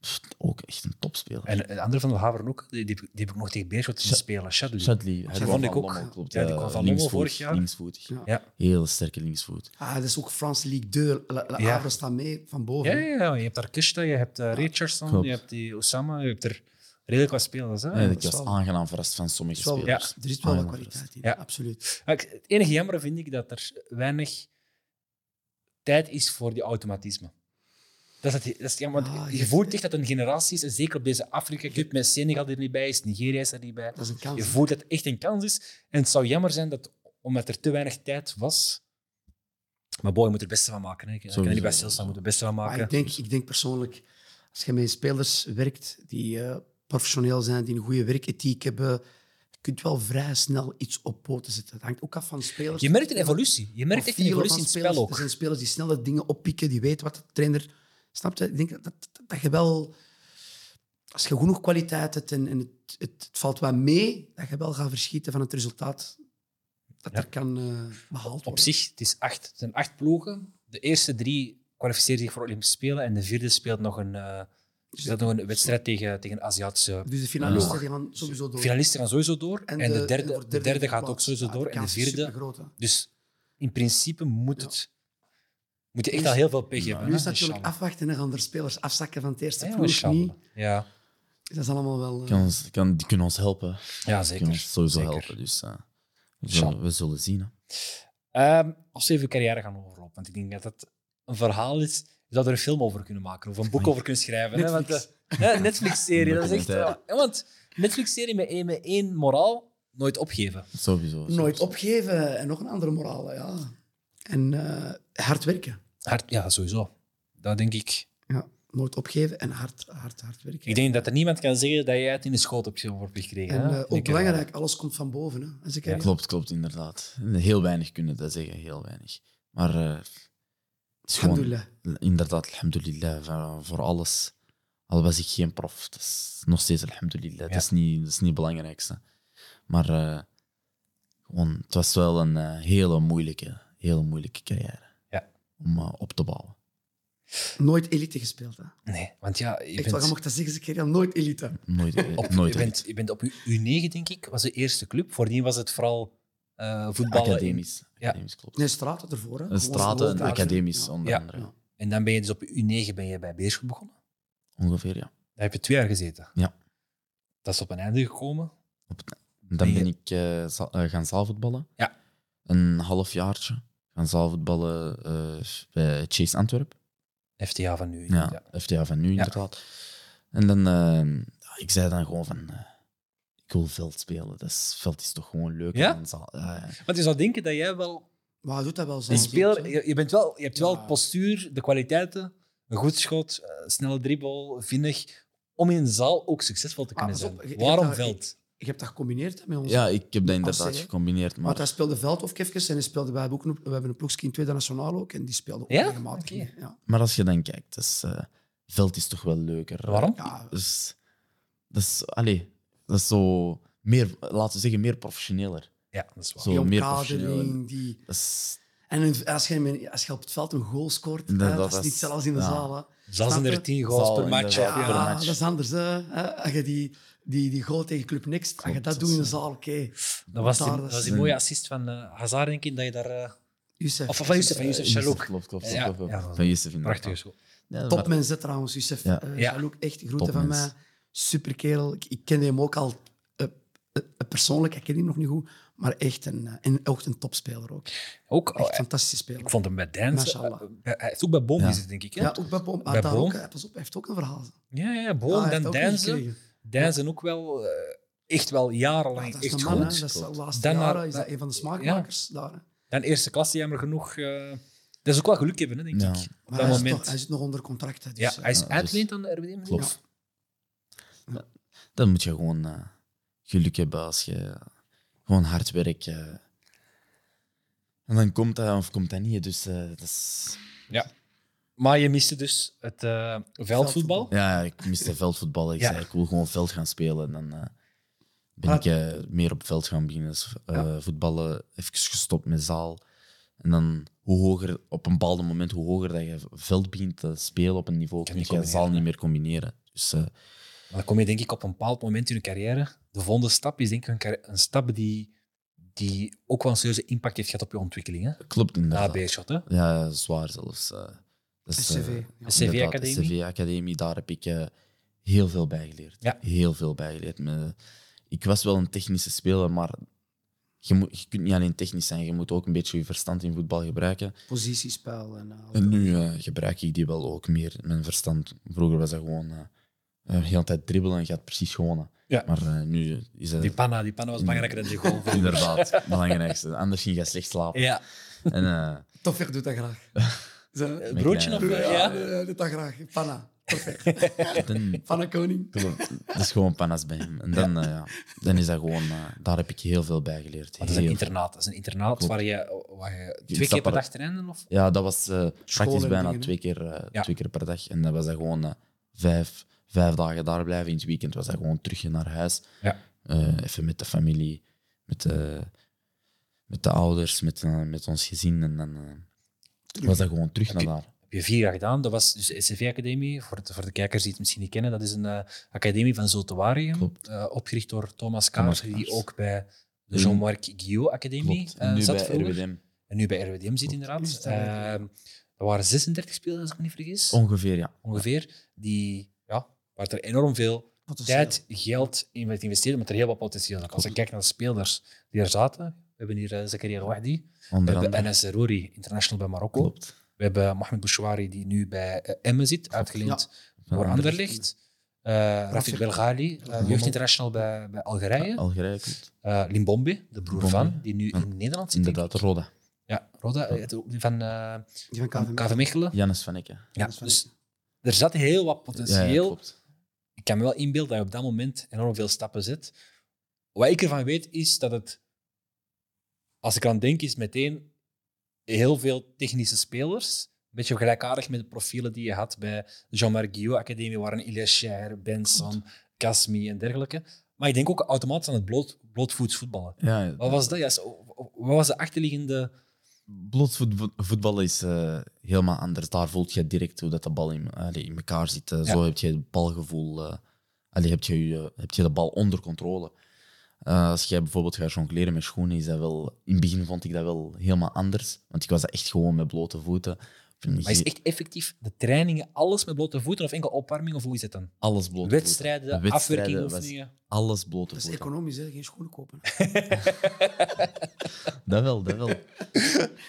Speaker 2: Pff, ook echt een topspeler.
Speaker 1: En een andere van de Haveren ook, die, die, die heb ik nog tegen Beerschot zien
Speaker 2: Sha-
Speaker 1: spelen. Shadley.
Speaker 2: Chadli, hij
Speaker 1: vond
Speaker 2: kwam
Speaker 1: ik
Speaker 2: van
Speaker 1: ook.
Speaker 2: Lommel, klopt.
Speaker 1: Ja, die kwam
Speaker 2: eh,
Speaker 1: van Lommel
Speaker 2: linksvoet,
Speaker 1: vorig jaar.
Speaker 2: Linksvoetig.
Speaker 3: Ja.
Speaker 1: Ja.
Speaker 2: Heel sterke linksvoet.
Speaker 3: Ah, dat is ook Franse League 2. La, La
Speaker 1: Ja.
Speaker 3: Havre staat mee van boven.
Speaker 1: Ja,
Speaker 3: hè.
Speaker 1: ja, ja, je hebt daar Kishta, je hebt eh, Richardson,
Speaker 2: Klopt.
Speaker 1: je hebt die Osama, je hebt er redelijk wat spelers. Hè?
Speaker 2: Nee, ik
Speaker 3: dat is
Speaker 2: Eh, was
Speaker 3: wel-
Speaker 2: aangenaam verrast van sommige
Speaker 3: Is Dus wel-
Speaker 2: spelers.
Speaker 3: Er is wel
Speaker 2: Ah,
Speaker 3: wat
Speaker 2: ja,
Speaker 3: kwaliteit in,
Speaker 1: Ja.
Speaker 3: absoluut.
Speaker 1: Maar ik- Het enige jammer vind ik dat er weinig tijd is voor die automatisme. Dat is het, dat is, ja, want
Speaker 3: Ah,
Speaker 1: je
Speaker 3: je-
Speaker 1: voelt echt dat een generatie is, en zeker op deze Afrika Cup, met Senegal die er niet bij is, Nigeria is er niet bij.
Speaker 3: Dat is een kans.
Speaker 1: Je
Speaker 3: hè.
Speaker 1: voelt dat het echt een kans is. En het zou jammer zijn dat, omdat er te weinig tijd was. Maar boy, je moet er het beste van maken. Hè. Ik kan er niet
Speaker 2: Sowieso.
Speaker 1: bij stilstaan, je moet er het beste van
Speaker 3: Maar
Speaker 1: maken.
Speaker 3: Ah, ik denk, ik denk persoonlijk, als je met spelers werkt die eh, professioneel zijn, die een goede werkethiek hebben, je kunt wel vrij snel iets op poten zetten. Het hangt ook af van spelers.
Speaker 1: Je merkt een evolutie. Je merkt echt een
Speaker 3: Profielen
Speaker 1: evolutie
Speaker 3: van
Speaker 1: in het
Speaker 3: spelers.
Speaker 1: spel ook.
Speaker 3: Er zijn spelers die snelle dingen oppikken, die weten wat de trainer... Snap je? Ik denk dat, dat, dat je wel... Als je genoeg kwaliteit hebt en, en het, het, het valt wat mee, dat je wel gaat verschieten van het resultaat dat
Speaker 1: Ja.
Speaker 3: er kan eh, behaald worden.
Speaker 1: Op zich, het, is acht, het zijn acht ploegen. De eerste drie kwalificeren zich voor Olympische Spelen en de vierde speelt nog een, eh, speelt nog een wedstrijd tegen, tegen een Aziatische...
Speaker 3: Dus de finalisten die gaan sowieso door.
Speaker 1: finalisten gaan sowieso door en, de, derde,
Speaker 3: wordt
Speaker 1: de derde gaat ook
Speaker 3: geplaatst.
Speaker 1: sowieso
Speaker 3: Ja,
Speaker 1: door en de
Speaker 3: kans is
Speaker 1: vierde...
Speaker 3: supergroot, hè.
Speaker 1: Dus in principe moet,
Speaker 3: Ja.
Speaker 1: het, moet je echt
Speaker 3: Nu
Speaker 1: al
Speaker 3: is-
Speaker 1: heel veel pech
Speaker 2: nu
Speaker 1: hebben.
Speaker 3: Nu
Speaker 1: hè,
Speaker 3: is natuurlijk
Speaker 1: inshallah.
Speaker 3: afwachten en gaan er spelers afzakken van het eerste
Speaker 1: Ja,
Speaker 3: ploeg of
Speaker 1: inshallah.
Speaker 3: niet.
Speaker 1: Ja,
Speaker 3: Dat is allemaal wel... eh,
Speaker 2: Kan ons, kan, die kunnen ons helpen. Die
Speaker 1: ja
Speaker 2: kunnen ons
Speaker 1: zeker.
Speaker 2: sowieso
Speaker 1: Zeker.
Speaker 2: helpen. Dus eh, we,
Speaker 1: Tja.
Speaker 2: zullen, we zullen zien. Hè.
Speaker 1: Ehm, als we even carrière gaan overlopen, want ik denk dat dat een verhaal is, je zou er een film over kunnen maken of een boek
Speaker 2: Amai.
Speaker 1: over kunnen schrijven. hè, want,
Speaker 3: Netflix.
Speaker 1: eh, Hè, Netflix-serie, dat is echt...
Speaker 2: Documentaire.
Speaker 1: ja, want Netflix-serie met één, met één moraal, nooit opgeven.
Speaker 2: Sowieso. sowieso.
Speaker 3: Nooit opgeven en nog een andere moraal, ja. En eh, hard werken.
Speaker 1: Hard, ja, sowieso. Dat denk ik.
Speaker 3: Ja, nooit opgeven en hard, hard, hard werken.
Speaker 1: Ik denk dat er niemand kan zeggen dat jij het in de schoot hebt ge- wordt gekregen.
Speaker 3: en
Speaker 1: hè.
Speaker 3: eh,
Speaker 1: Ik
Speaker 3: ook
Speaker 1: denk, eh,
Speaker 3: belangrijk, alles komt van boven. Hè. Als ik
Speaker 1: Ja,
Speaker 3: ja,
Speaker 2: Klopt, klopt, inderdaad. Heel weinig kunnen dat zeggen, heel weinig. Maar eh, het is gewoon
Speaker 3: Alhamdulillah.
Speaker 2: Inderdaad, alhamdulillah, voor, voor alles. Al was ik geen prof, dat is nog steeds alhamdulillah.
Speaker 1: Ja.
Speaker 2: Dat, is niet, dat is niet het belangrijkste. Maar eh, gewoon, het was wel een eh, hele moeilijke, hele moeilijke carrière
Speaker 1: Ja.
Speaker 2: om eh, op te bouwen.
Speaker 3: Nooit elite gespeeld. Hè. Echt
Speaker 1: Nee, want ja, je
Speaker 3: wel, je
Speaker 1: bent,
Speaker 3: mocht dat zeggen, ik heb nooit elite.
Speaker 2: Nooit, eh,
Speaker 1: op,
Speaker 2: nooit
Speaker 1: je bent, je bent op je U9, denk ik, was de eerste club. Voordien was het vooral eh voetballen.
Speaker 2: academisch.
Speaker 1: ja.
Speaker 2: academisch klopt.
Speaker 3: Nee, straten ervoor. Hè.
Speaker 2: Een
Speaker 3: Gewoon
Speaker 2: straten,
Speaker 3: gewoon
Speaker 2: een
Speaker 3: daar, hè.
Speaker 2: academisch
Speaker 3: Ja.
Speaker 2: onder
Speaker 1: Ja.
Speaker 2: andere.
Speaker 3: Ja.
Speaker 1: En dan ben je dus op je U9 ben je bij Beerschot begonnen.
Speaker 2: Ongeveer, ja.
Speaker 1: Daar heb je twee jaar gezeten.
Speaker 2: Ja.
Speaker 1: Dat is op een einde gekomen.
Speaker 2: Op het- dan
Speaker 1: Ben je-
Speaker 2: ben ik eh, za- eh, gaan zaalvoetballen.
Speaker 1: Ja.
Speaker 2: Een halfjaartje. Gaan zaalvoetballen eh, bij Chase Antwerp.
Speaker 1: FTA van nu.
Speaker 2: Ja, FTA van nu inderdaad. En dan, eh, ja, ik zei dan gewoon van, eh, ik wil veld spelen. Dat is, veld is toch gewoon leuk.
Speaker 1: Ja?
Speaker 2: dan zal- ja, ja.
Speaker 1: Want je zou denken dat jij wel
Speaker 3: Maar hij doet dat wel zo.
Speaker 1: een speler... Je, je bent wel, je hebt wel
Speaker 3: Ja.
Speaker 1: het postuur, de kwaliteiten, een goed schot, eh, snelle dribbel, vinnig, om in een zaal ook succesvol te
Speaker 3: Ah,
Speaker 1: kunnen
Speaker 3: pas
Speaker 1: zijn.
Speaker 3: op, je- je
Speaker 1: Waarom
Speaker 3: hebt daar-
Speaker 1: veld?
Speaker 3: Je hebt dat gecombineerd hè, met ons.
Speaker 2: ja, ik heb dat
Speaker 3: Als
Speaker 2: inderdaad
Speaker 3: ze-
Speaker 2: gecombineerd. Maar
Speaker 3: Want hij speelde Veldhofkefkes en hij speelde, wij, hebben ook een, wij hebben een ploegje in Tweede Nationaal ook. En die speelde ook
Speaker 1: Ja?
Speaker 3: regelmatig.
Speaker 1: Oké.
Speaker 3: mee, Ja.
Speaker 2: Maar als je dan kijkt, dus, veld is toch wel leuker.
Speaker 1: Waarom?
Speaker 3: Ja,
Speaker 2: Dus, dat is, allee, dat is zo meer, laten we zeggen, meer professioneler.
Speaker 1: Ja, dat is waar.
Speaker 2: Zo
Speaker 3: die
Speaker 2: meer
Speaker 3: omkadering,
Speaker 2: professioneel.
Speaker 3: die...
Speaker 2: Dat is,
Speaker 3: En een- als je, met- als je op het veld een goal scoort, hè,
Speaker 2: Inderdaad,
Speaker 3: dat is
Speaker 2: dat
Speaker 3: niet
Speaker 2: is-
Speaker 3: zelfs in de
Speaker 2: ja.
Speaker 3: zaal. hè.
Speaker 1: Zelfs
Speaker 3: Snap
Speaker 1: in
Speaker 3: je?
Speaker 1: 13 goals
Speaker 2: Zal
Speaker 1: per match.
Speaker 2: inderdaad.
Speaker 1: Ja,
Speaker 3: Ja,
Speaker 1: per match.
Speaker 3: dat is anders. Hè. Hè, Als je die, die, die goal tegen Club Next, als je
Speaker 2: Klopt,
Speaker 3: dat
Speaker 2: dat
Speaker 3: doet in de
Speaker 2: is-
Speaker 3: zaal, oké.
Speaker 1: Dat was die,
Speaker 3: Daar,
Speaker 1: dat was die
Speaker 2: is-
Speaker 1: mooie assist van eh, Hazard, denk ik, dat je daar... eh,
Speaker 3: Youssef.
Speaker 1: Of van Youssef, van Youssef
Speaker 2: eh,
Speaker 1: Chalouk.
Speaker 2: Klopt, klopt,
Speaker 1: Ja,
Speaker 2: klopt, klopt.
Speaker 1: ja, dat
Speaker 2: Van Youssef inderdaad.
Speaker 1: Prachtige school.
Speaker 2: Ja, maar-
Speaker 3: Topmens hè, eh, trouwens, Youssef.
Speaker 2: Ja.
Speaker 3: Eh,
Speaker 1: Ja.
Speaker 3: Jalouk, echt groeten van
Speaker 2: Topmens.
Speaker 3: mij. Super kerel. Ik, ik ken hem ook al eh, eh, persoonlijk, ik ken hem nog niet goed. Maar echt een, eh, en ook een topspeler ook.
Speaker 1: Ook,
Speaker 3: Echt
Speaker 1: eh,
Speaker 3: fantastische speler.
Speaker 1: ik vond hem bij Dance.
Speaker 3: Mashallah.
Speaker 1: eh, bij- Hij heeft ook bij Boom
Speaker 2: Ja.
Speaker 1: gezeten, denk ik. hè?
Speaker 3: Ja, ook bij Boom. Ah,
Speaker 1: Bij
Speaker 3: daar
Speaker 1: Boom.
Speaker 3: ook, hè. Pas op, hij heeft ook een verhaal.
Speaker 1: Ja, ja, ja,
Speaker 3: Ja,
Speaker 1: Boom,
Speaker 3: hij heeft
Speaker 1: dan
Speaker 3: ook niet
Speaker 1: Danzen.
Speaker 3: gekregen.
Speaker 1: Danzen ook wel eh, echt wel
Speaker 3: Ja,
Speaker 1: jarenlang
Speaker 3: dat is
Speaker 1: echt
Speaker 3: een man, hè.
Speaker 1: goed.
Speaker 3: Dat is de laatste
Speaker 1: Dan naar-
Speaker 3: jaren is dat een van de smaakmakers daar. hè.
Speaker 1: Dan eerste klasse, jammer genoeg. eh, dat is ook wel geluk hebben, hè, denk
Speaker 2: Ja.
Speaker 1: ik. Op
Speaker 3: Maar
Speaker 1: dat
Speaker 3: hij, is
Speaker 1: moment.
Speaker 3: toch- hij zit nog onder contract. hè, dus,
Speaker 1: ja,
Speaker 3: eh,
Speaker 1: hij is
Speaker 2: Ja, dus-
Speaker 1: uitleend aan de RWDM.
Speaker 2: Klopt.
Speaker 1: Ja.
Speaker 2: Dan moet je gewoon eh, geluk hebben als je gewoon hard werkt. eh, En dan komt dat of komt dat niet. Dus eh, dat is...
Speaker 1: Maar je miste dus het eh, veldvoetbal.
Speaker 2: Ja, ik miste veldvoetbal. Ik
Speaker 1: Ja.
Speaker 2: zei, ik wil gewoon veld gaan spelen. En dan eh, ben
Speaker 3: Ah.
Speaker 2: ik eh, meer op veld gaan beginnen. Dus, eh,
Speaker 3: Ja.
Speaker 2: Voetballen, even gestopt met zaal. En dan hoe hoger, op een bepaald moment, hoe hoger dat je veld begint te spelen op een niveau,
Speaker 1: Kan
Speaker 2: kun
Speaker 1: je
Speaker 2: je
Speaker 1: niet
Speaker 2: zaal
Speaker 1: combineren,
Speaker 2: niet meer combineren. Dus eh,
Speaker 1: Maar dan kom je denk ik op een bepaald moment in je carrière. De volgende stap is denk ik een, carri- een stap die, die ook wel een serieuze impact heeft gehad op je ontwikkeling. Hè?
Speaker 2: klopt
Speaker 1: Na
Speaker 2: inderdaad.
Speaker 1: Beerschot, hè?
Speaker 2: Ja, zwaar zelfs. eh. dat is, eh,
Speaker 3: CV. ja.
Speaker 1: CV
Speaker 2: inderdaad,
Speaker 1: Academie.
Speaker 2: de CV Academie, daar heb ik eh, heel veel bij geleerd.
Speaker 1: Ja.
Speaker 2: Heel veel bij geleerd. Me- Ik was wel een technische speler, maar je, moet, je kunt niet alleen technisch zijn, je moet ook een beetje je verstand in voetbal gebruiken.
Speaker 3: Positiespel. En, eh,
Speaker 2: En nu eh, gebruik ik die wel ook meer, mijn verstand. Vroeger was dat gewoon eh de hele tijd dribbelen en je had precies gewonnen.
Speaker 1: Ja.
Speaker 2: Maar eh, nu is dat
Speaker 1: Die panna, die panna was belangrijker dan die goal.
Speaker 2: inderdaad het belangrijkste. Anders ging je slecht slapen.
Speaker 1: Ja.
Speaker 2: En, eh,
Speaker 3: Toffer doet dat graag. Zo.
Speaker 1: Een broodje of...
Speaker 2: Ja,
Speaker 1: eh,
Speaker 3: Ja,
Speaker 1: Ja.
Speaker 3: dat doet dat graag. Panna. Toffer.
Speaker 2: dan-
Speaker 3: Panna Koning.
Speaker 2: Klopt. Dat is gewoon panas bij hem. En dan, eh, ja. dan is dat gewoon... eh, daar heb ik heel veel bij
Speaker 1: Maar
Speaker 2: geleerd.
Speaker 1: dat is een
Speaker 2: Heel
Speaker 1: internaat. Dat is een internaat
Speaker 2: Klopt.
Speaker 1: waar je, waar je
Speaker 2: Je
Speaker 1: twee keer per
Speaker 2: stapt
Speaker 1: dag trainen? Of?
Speaker 2: Ja, dat was eh, praktisch bijna
Speaker 3: en dingen, hè?
Speaker 2: twee, keer, eh,
Speaker 1: Ja.
Speaker 2: twee keer per dag. En dat was dat gewoon eh, vijf, vijf dagen daar blijven. In het weekend was dat gewoon terug naar huis.
Speaker 1: Ja.
Speaker 2: Eh, even met de familie, met de, met de ouders, met, eh, met ons gezin. En dan eh, was dat gewoon terug
Speaker 1: Heb
Speaker 2: naar daar.
Speaker 1: heb je vier jaar gedaan. Dat was dus de SCV Academie, voor de, voor de kijkers die het misschien niet kennen. Dat is een eh, academie van Zotowarium,
Speaker 2: Klopt.
Speaker 1: eh opgericht door Thomas
Speaker 2: Thomas
Speaker 1: Kaars, die
Speaker 2: Kaars.
Speaker 1: ook bij de
Speaker 2: Mm.
Speaker 1: Jean-Marc Guillot Academie
Speaker 2: Klopt.
Speaker 1: eh,
Speaker 2: En nu
Speaker 1: zat
Speaker 2: bij
Speaker 1: vroeger.
Speaker 2: RWDM.
Speaker 1: En nu bij RWDM zit
Speaker 2: Klopt.
Speaker 1: inderdaad.
Speaker 3: Is dat eigenlijk,
Speaker 1: Ehm, er waren 36 spelers, als ik me niet vergis,
Speaker 2: Ongeveer, ja.
Speaker 1: ongeveer. Die, ja, waar er enorm veel tijd, geld in werd investeren, maar er heel wat potentieel zat. Als ik kijk naar de spelers die er zaten, we hebben hier eh, Zakaria Rouahdi, we
Speaker 2: Onder
Speaker 1: hebben
Speaker 2: andere.
Speaker 1: Enes Rouri, international bij Marokko.
Speaker 2: Klopt.
Speaker 1: We hebben Mohamed Bouchouari, die nu bij eh, Emmen zit, uitgeleend door Anderlicht. Eh Rafik Belghali, eh, jeugdinternational bij, bij Algerije.
Speaker 2: Algerije, klopt.
Speaker 1: Eh, Limbombe, de broer
Speaker 2: Limbombe,
Speaker 1: van, die nu
Speaker 2: ja.
Speaker 1: in Nederland zit. denk ik.
Speaker 2: Inderdaad, Roda.
Speaker 1: Ja, Roda, eh, het- die van eh
Speaker 3: Die van KVM.
Speaker 1: KV Mechelen.
Speaker 2: Jannes van Ecke.
Speaker 1: Ja,
Speaker 3: Dat is wel-
Speaker 1: dus er zat heel wat
Speaker 2: Ja, ja,
Speaker 1: potentieel.
Speaker 2: klopt.
Speaker 1: ik kan me wel inbeelden dat je op dat moment enorm veel stappen zet. Wat ik ervan weet is dat het, als ik aan denk, is meteen heel veel technische spelers. Een beetje gelijkaardig met de profielen die je had bij de Jean-Marc Guillaume Academie, waar een Ilias Scheer, Benson, Casmi en dergelijke. Maar ik denk ook automatisch aan het bloot, blootvoets voetballen.
Speaker 2: Ja,
Speaker 1: Wat was dat? juist? wat was de achterliggende.
Speaker 2: voetbal is eh, helemaal anders. Daar voel je direct hoe dat de bal in, allee, in elkaar zit. Eh,
Speaker 1: Ja.
Speaker 2: Zo heb je het balgevoel. eh allee, heb, je, je- heb je de bal onder controle. Eh, als jij bijvoorbeeld gaat jongleren met schoenen, is dat wel... In het begin vond ik dat wel helemaal anders. Want ik was dat echt gewoon met blote voeten.
Speaker 1: Maar is echt effectief de trainingen, alles met blote voeten of enkel opwarming of hoe is het dan?
Speaker 2: Alles blote
Speaker 1: Wedstrijden,
Speaker 2: voeten.
Speaker 1: afwerking,
Speaker 2: was
Speaker 1: oefeningen.
Speaker 2: Alles blote
Speaker 3: Dat is
Speaker 2: voeten.
Speaker 3: economisch, hè? geen schoenen kopen.
Speaker 2: Dat wel, dat wel.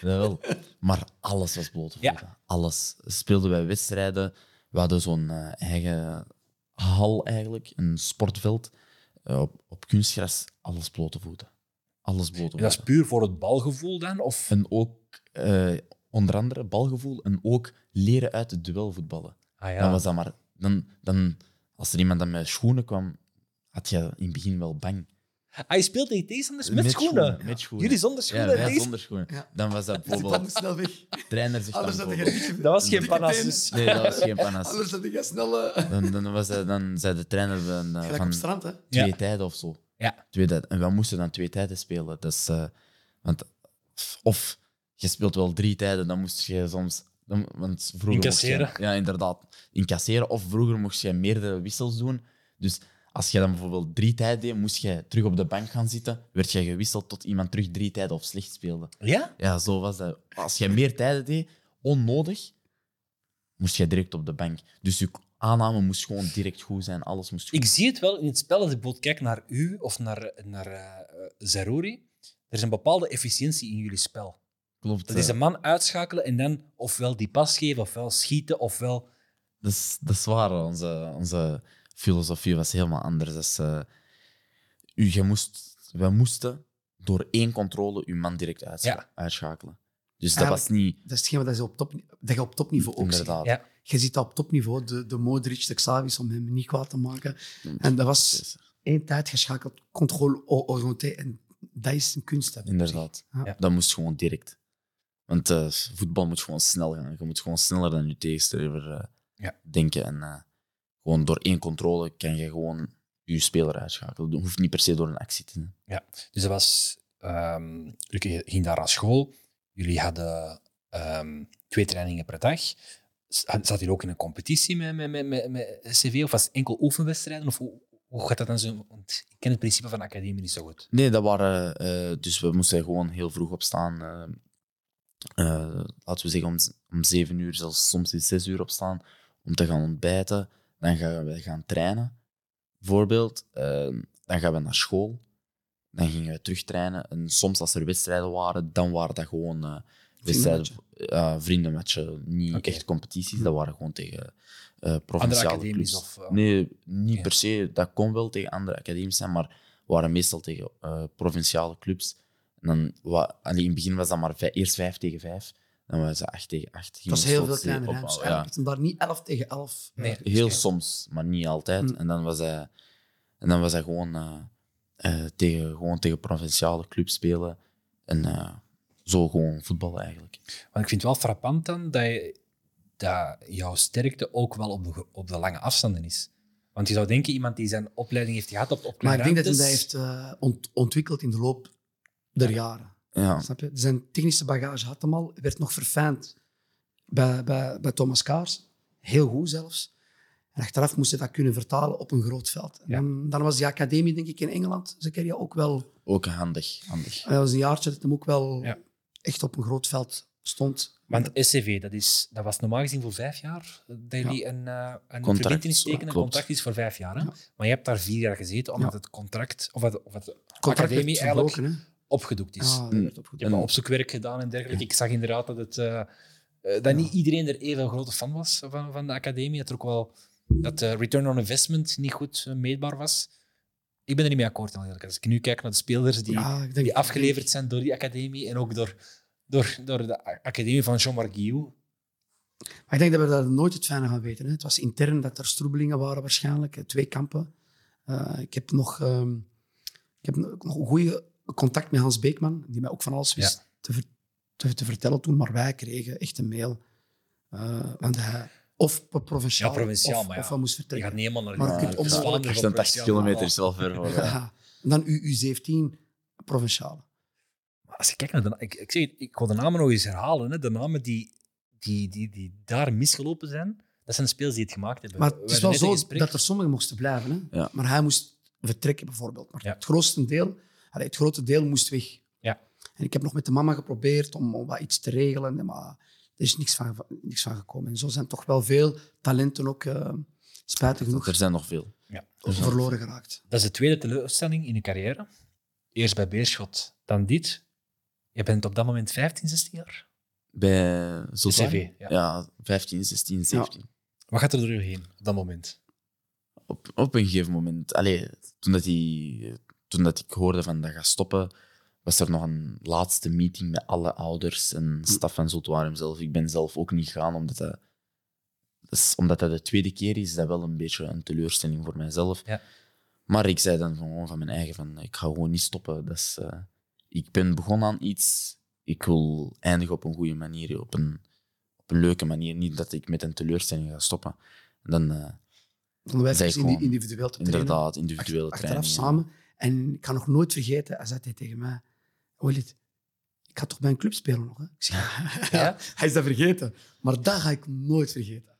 Speaker 2: dat wel. Maar alles was blote
Speaker 1: Ja.
Speaker 2: voeten. Alles. Speelden wij wedstrijden. We hadden zo'n eh, eigen hal eigenlijk, een sportveld. Eh, op, op kunstgras, alles blote voeten. Alles blote
Speaker 1: En dat is
Speaker 2: voeten.
Speaker 1: puur voor het balgevoel dan? Of...
Speaker 2: En ook, eh, onder andere, balgevoel en ook leren uit het duel voetballen.
Speaker 1: Ah
Speaker 2: Dan was dat maar... Dan, dan, als er iemand dan met schoenen kwam, had je in het begin wel bang.
Speaker 1: Hij Ah, speelt tegen tegenstanders met, schoenen.
Speaker 2: Met schoenen.
Speaker 1: Jullie zonder
Speaker 2: ja,
Speaker 1: schoenen.
Speaker 2: wij
Speaker 1: deze-
Speaker 2: zonder schoenen.
Speaker 3: Ja.
Speaker 2: Dan was dat
Speaker 3: Die
Speaker 2: bijvoorbeeld...
Speaker 3: moet snel weg.
Speaker 2: trainer zich
Speaker 3: Anders
Speaker 2: dan
Speaker 3: had je
Speaker 2: voor-
Speaker 3: niet gewinnen.
Speaker 1: Dat was geen
Speaker 3: Dikke
Speaker 1: panas.
Speaker 3: tenen.
Speaker 1: dus.
Speaker 2: Nee, dat was geen panas.
Speaker 3: Anders had ik snel... eh,
Speaker 2: Dan, dan, was hij, dan zei de trainer van, eh,
Speaker 3: Gelijk op
Speaker 2: van
Speaker 3: het strand, hè? Ja,
Speaker 1: Ja.
Speaker 2: twee tijden of zo.
Speaker 1: Ja.
Speaker 2: Twee tijden. En we moesten dan twee tijden spelen. Dus, eh, want, of je speelt wel drie tijden, dan moest je soms... dan- want vroeger mocht
Speaker 1: Incasseren.
Speaker 2: je- ja, inderdaad. Incasseren. Of vroeger mocht je meerdere wissels doen. Dus als je dan bijvoorbeeld drie tijden deed, moest je terug op de bank gaan zitten. Werd je gewisseld tot iemand terug drie tijden of slecht speelde.
Speaker 1: Ja?
Speaker 2: Ja, zo was dat. Als jij meer tijden deed, onnodig, moest jij direct op de bank. Dus je aanname moest gewoon direct goed zijn. Alles moest goed
Speaker 1: Ik zie het wel in het spel als ik bijvoorbeeld kijk naar u of naar, naar eh, Zaruri. Er is een bepaalde efficiëntie in jullie spel.
Speaker 2: Klopt.
Speaker 1: Dat
Speaker 2: eh,
Speaker 1: is een man uitschakelen en dan ofwel die pas geven, ofwel schieten, ofwel...
Speaker 2: dat, is, dat is waar. Onze, onze filosofie was helemaal anders. Dat is, eh, u, je moest, wij moesten door één controle uw man direct uitscha-
Speaker 1: Ja.
Speaker 2: uitschakelen. Dus dat
Speaker 3: Eigenlijk-
Speaker 2: was niet...
Speaker 3: Dat is hetgeen wat je op, top, dat je op topniveau ook ziet.
Speaker 2: Inderdaad.
Speaker 1: Ja.
Speaker 3: Je ziet dat op topniveau, de, de Modric, de Xavi's, om hem niet kwaad te maken. En dat was
Speaker 2: Dus,
Speaker 3: één tijd geschakeld, controle oriënté. En dat is een kunst. hè.
Speaker 2: Inderdaad.
Speaker 3: Ja.
Speaker 2: Dat moest gewoon direct. Want eh, voetbal moet gewoon snel gaan. Je moet gewoon sneller dan je tegenstander eh,
Speaker 1: Ja.
Speaker 2: denken. En eh, gewoon door één controle kan je gewoon je speler uitschakelen. Dat hoeft niet per se door een actie te zijn.
Speaker 1: Dus dat was, ehm jullie gingen daar aan school. Jullie hadden ehm, twee trainingen per dag. S- had- Zat hier ook in een competitie met, met, met, met, met CV of was het enkel oefenwedstrijden? Of hoe, hoe gaat dat dan zo? Want ik ken het principe van de academie niet zo goed.
Speaker 2: Nee, dat waren. eh, dus we moesten gewoon heel vroeg opstaan. eh, eh, laten we zeggen om, z- om zeven uur, zelfs soms in zes uur opstaan. Om te gaan ontbijten. Dan gaan we gaan trainen, bijvoorbeeld. Eh, dan gaan we naar school. Dan gingen we terug trainen. En soms als er wedstrijden waren, dan waren dat gewoon eh, wedstrijden. eh, vriendenmatchen, niet
Speaker 1: Oké.
Speaker 2: echt competities. Dat waren gewoon tegen eh
Speaker 1: Andere
Speaker 2: provinciale
Speaker 1: academies
Speaker 2: clubs.
Speaker 1: of... eh,
Speaker 2: Nee, niet
Speaker 1: Ja.
Speaker 2: per se. Dat kon wel tegen andere academies zijn, maar waren meestal tegen eh, provinciale clubs. En dan, wa- allee, in het begin was dat maar vij- eerst 5 tegen 5. Dan was het 8 tegen 8.
Speaker 3: Het was heel veel kleine ruimtes.
Speaker 2: Ja.
Speaker 3: Eigenlijk was het daar niet 11 tegen 11.
Speaker 1: Nee.
Speaker 3: eh,
Speaker 2: Heel soms, maar niet altijd.
Speaker 3: Mm.
Speaker 2: En dan was hij, en dan was hij gewoon, eh, eh, tegen, gewoon tegen provinciale clubs spelen. En eh, zo gewoon voetballen eigenlijk.
Speaker 1: Want ik vind het wel frappant dan dat, je, dat jouw sterkte ook wel op de, op de lange afstanden is. Want je zou denken, iemand die zijn opleiding heeft gehad op, op
Speaker 3: Maar
Speaker 1: kleine
Speaker 3: ik denk dat hij
Speaker 1: ruimtes,
Speaker 3: dat heeft eh, ont- ontwikkeld in de loop der jaren.
Speaker 2: Ja,
Speaker 3: Snap je? Zijn technische bagage had hem al, werd nog verfijnd bij, bij, bij Thomas Kaars. Heel goed zelfs. En achteraf moest hij dat kunnen vertalen op een groot veld. En
Speaker 1: Ja.
Speaker 3: dan, dan was die academie, denk ik, in Engeland, zijn carrière ook wel...
Speaker 2: ook handig. handig.
Speaker 3: Dat was een jaartje dat hem ook wel
Speaker 1: Ja.
Speaker 3: echt op een groot veld stond.
Speaker 1: Want SCV, dat, is, dat was normaal gezien voor vijf jaar. Dat jullie een, eh een
Speaker 2: Contract,
Speaker 1: verbintenis tekenen, een
Speaker 2: klopt.
Speaker 1: contract is voor vijf jaar. Hè?
Speaker 3: Ja.
Speaker 1: Maar je hebt daar vier jaar gezeten, omdat het contract, of, het, of het
Speaker 3: Contract werd
Speaker 1: academie eigenlijk
Speaker 3: verbroken, hè?
Speaker 1: opgedoekt is.
Speaker 3: Ja, dat werd opgedoekt.
Speaker 1: Je hebt een opzoekwerk gedaan en dergelijke. Ik zag inderdaad dat, het, eh, eh, dat niet iedereen er even een grote fan was van, van de academie. Dat er ook wel dat de return on investment niet goed eh, meetbaar was. Ik ben er niet mee akkoord, heel eerlijk. Als ik nu kijk naar de spelers die,
Speaker 3: Ja, ik denk-
Speaker 1: die afgeleverd zijn door die academie en ook door, door, door de a- academie van Jean-Marc Guillou.
Speaker 3: Maar ik denk dat we daar nooit het fijne gaan weten. Hè. Het was intern dat er stroebelingen waren waarschijnlijk, eh, twee kampen. Eh, ik heb nog, ehm, ik heb nog nog een goede contact met Hans Beekman, die mij ook van alles wist te, ver- te, te vertellen toen, maar wij kregen echt een mail. eh, want hij, of provinciaal,
Speaker 1: Ja, provinciaal,
Speaker 3: of,
Speaker 1: maar ja,
Speaker 3: of hij moest
Speaker 1: Je gaat
Speaker 3: vertrekken.
Speaker 1: niet helemaal naar
Speaker 3: Maar je
Speaker 1: naar-
Speaker 3: kunt
Speaker 1: naar
Speaker 3: om-
Speaker 1: Vlaanderen
Speaker 3: echt
Speaker 1: voor
Speaker 2: 80
Speaker 1: provinciaal.
Speaker 2: kilometer is wel ver. Voor, eh,
Speaker 3: Ja. En dan UU17, provinciale.
Speaker 1: Maar als je kijkt naar de, ik, ik, zeg, het, ik wil de namen nog eens herhalen. Hè. De namen die, die, die, die daar misgelopen zijn, dat zijn de spelers die het gemaakt hebben.
Speaker 3: Maar
Speaker 1: We
Speaker 3: het is
Speaker 1: waren
Speaker 3: wel
Speaker 1: net in
Speaker 3: zo
Speaker 1: gesprek.
Speaker 3: dat er sommigen moesten blijven. Hè?
Speaker 2: Ja.
Speaker 3: Maar hij moest vertrekken, bijvoorbeeld. Maar
Speaker 1: Ja.
Speaker 3: het, grootste deel, allee, het grote deel moest weg.
Speaker 1: Ja.
Speaker 3: En ik heb nog met de mama geprobeerd om, om wat iets te regelen, maar er is niks van, niks van gekomen. En zo zijn toch wel veel talenten ook, eh, spijtig genoeg,
Speaker 2: er zijn nog veel.
Speaker 3: verloren geraakt.
Speaker 1: Dat is de tweede teleurstelling in je carrière. Eerst bij Beerschot, dan dit. Je bent op dat moment 15, 16 jaar.
Speaker 2: Bij Zulfari?
Speaker 1: CV, ja.
Speaker 2: ja, 15, 16, 17.
Speaker 1: Wat gaat er door je heen op dat moment?
Speaker 2: Op, op een gegeven moment, allee, toen, dat die, toen dat ik hoorde van dat gaat stoppen, was er nog een laatste meeting met alle ouders en staf van Zultuarium zelf. Ik ben zelf ook niet gegaan, omdat dat, dat is- omdat dat de tweede keer is, is dat wel een beetje een teleurstelling voor mijzelf.
Speaker 1: Ja.
Speaker 2: Maar ik zei dan gewoon van mijn eigen, van, ik ga gewoon niet stoppen. Dat is, eh, ik ben begonnen aan iets, ik wil eindigen op een goede manier, op een, op een leuke manier. Niet dat ik met een teleurstelling ga stoppen. En dan... eh,
Speaker 3: Dan wij
Speaker 2: Zij
Speaker 3: dus indi-
Speaker 2: gewoon-
Speaker 3: individueel te trainen.
Speaker 2: Inderdaad, individuele
Speaker 3: Ach-
Speaker 2: trainingen.
Speaker 3: Achteraf samen. En ik kan nog nooit vergeten, hij zei hij tegen mij, Walid, ik ga toch bij een club spelen nog? Hè? Ik zeg, ja.
Speaker 1: Ja?
Speaker 3: Hij is dat vergeten. Maar dat ga ik nooit vergeten.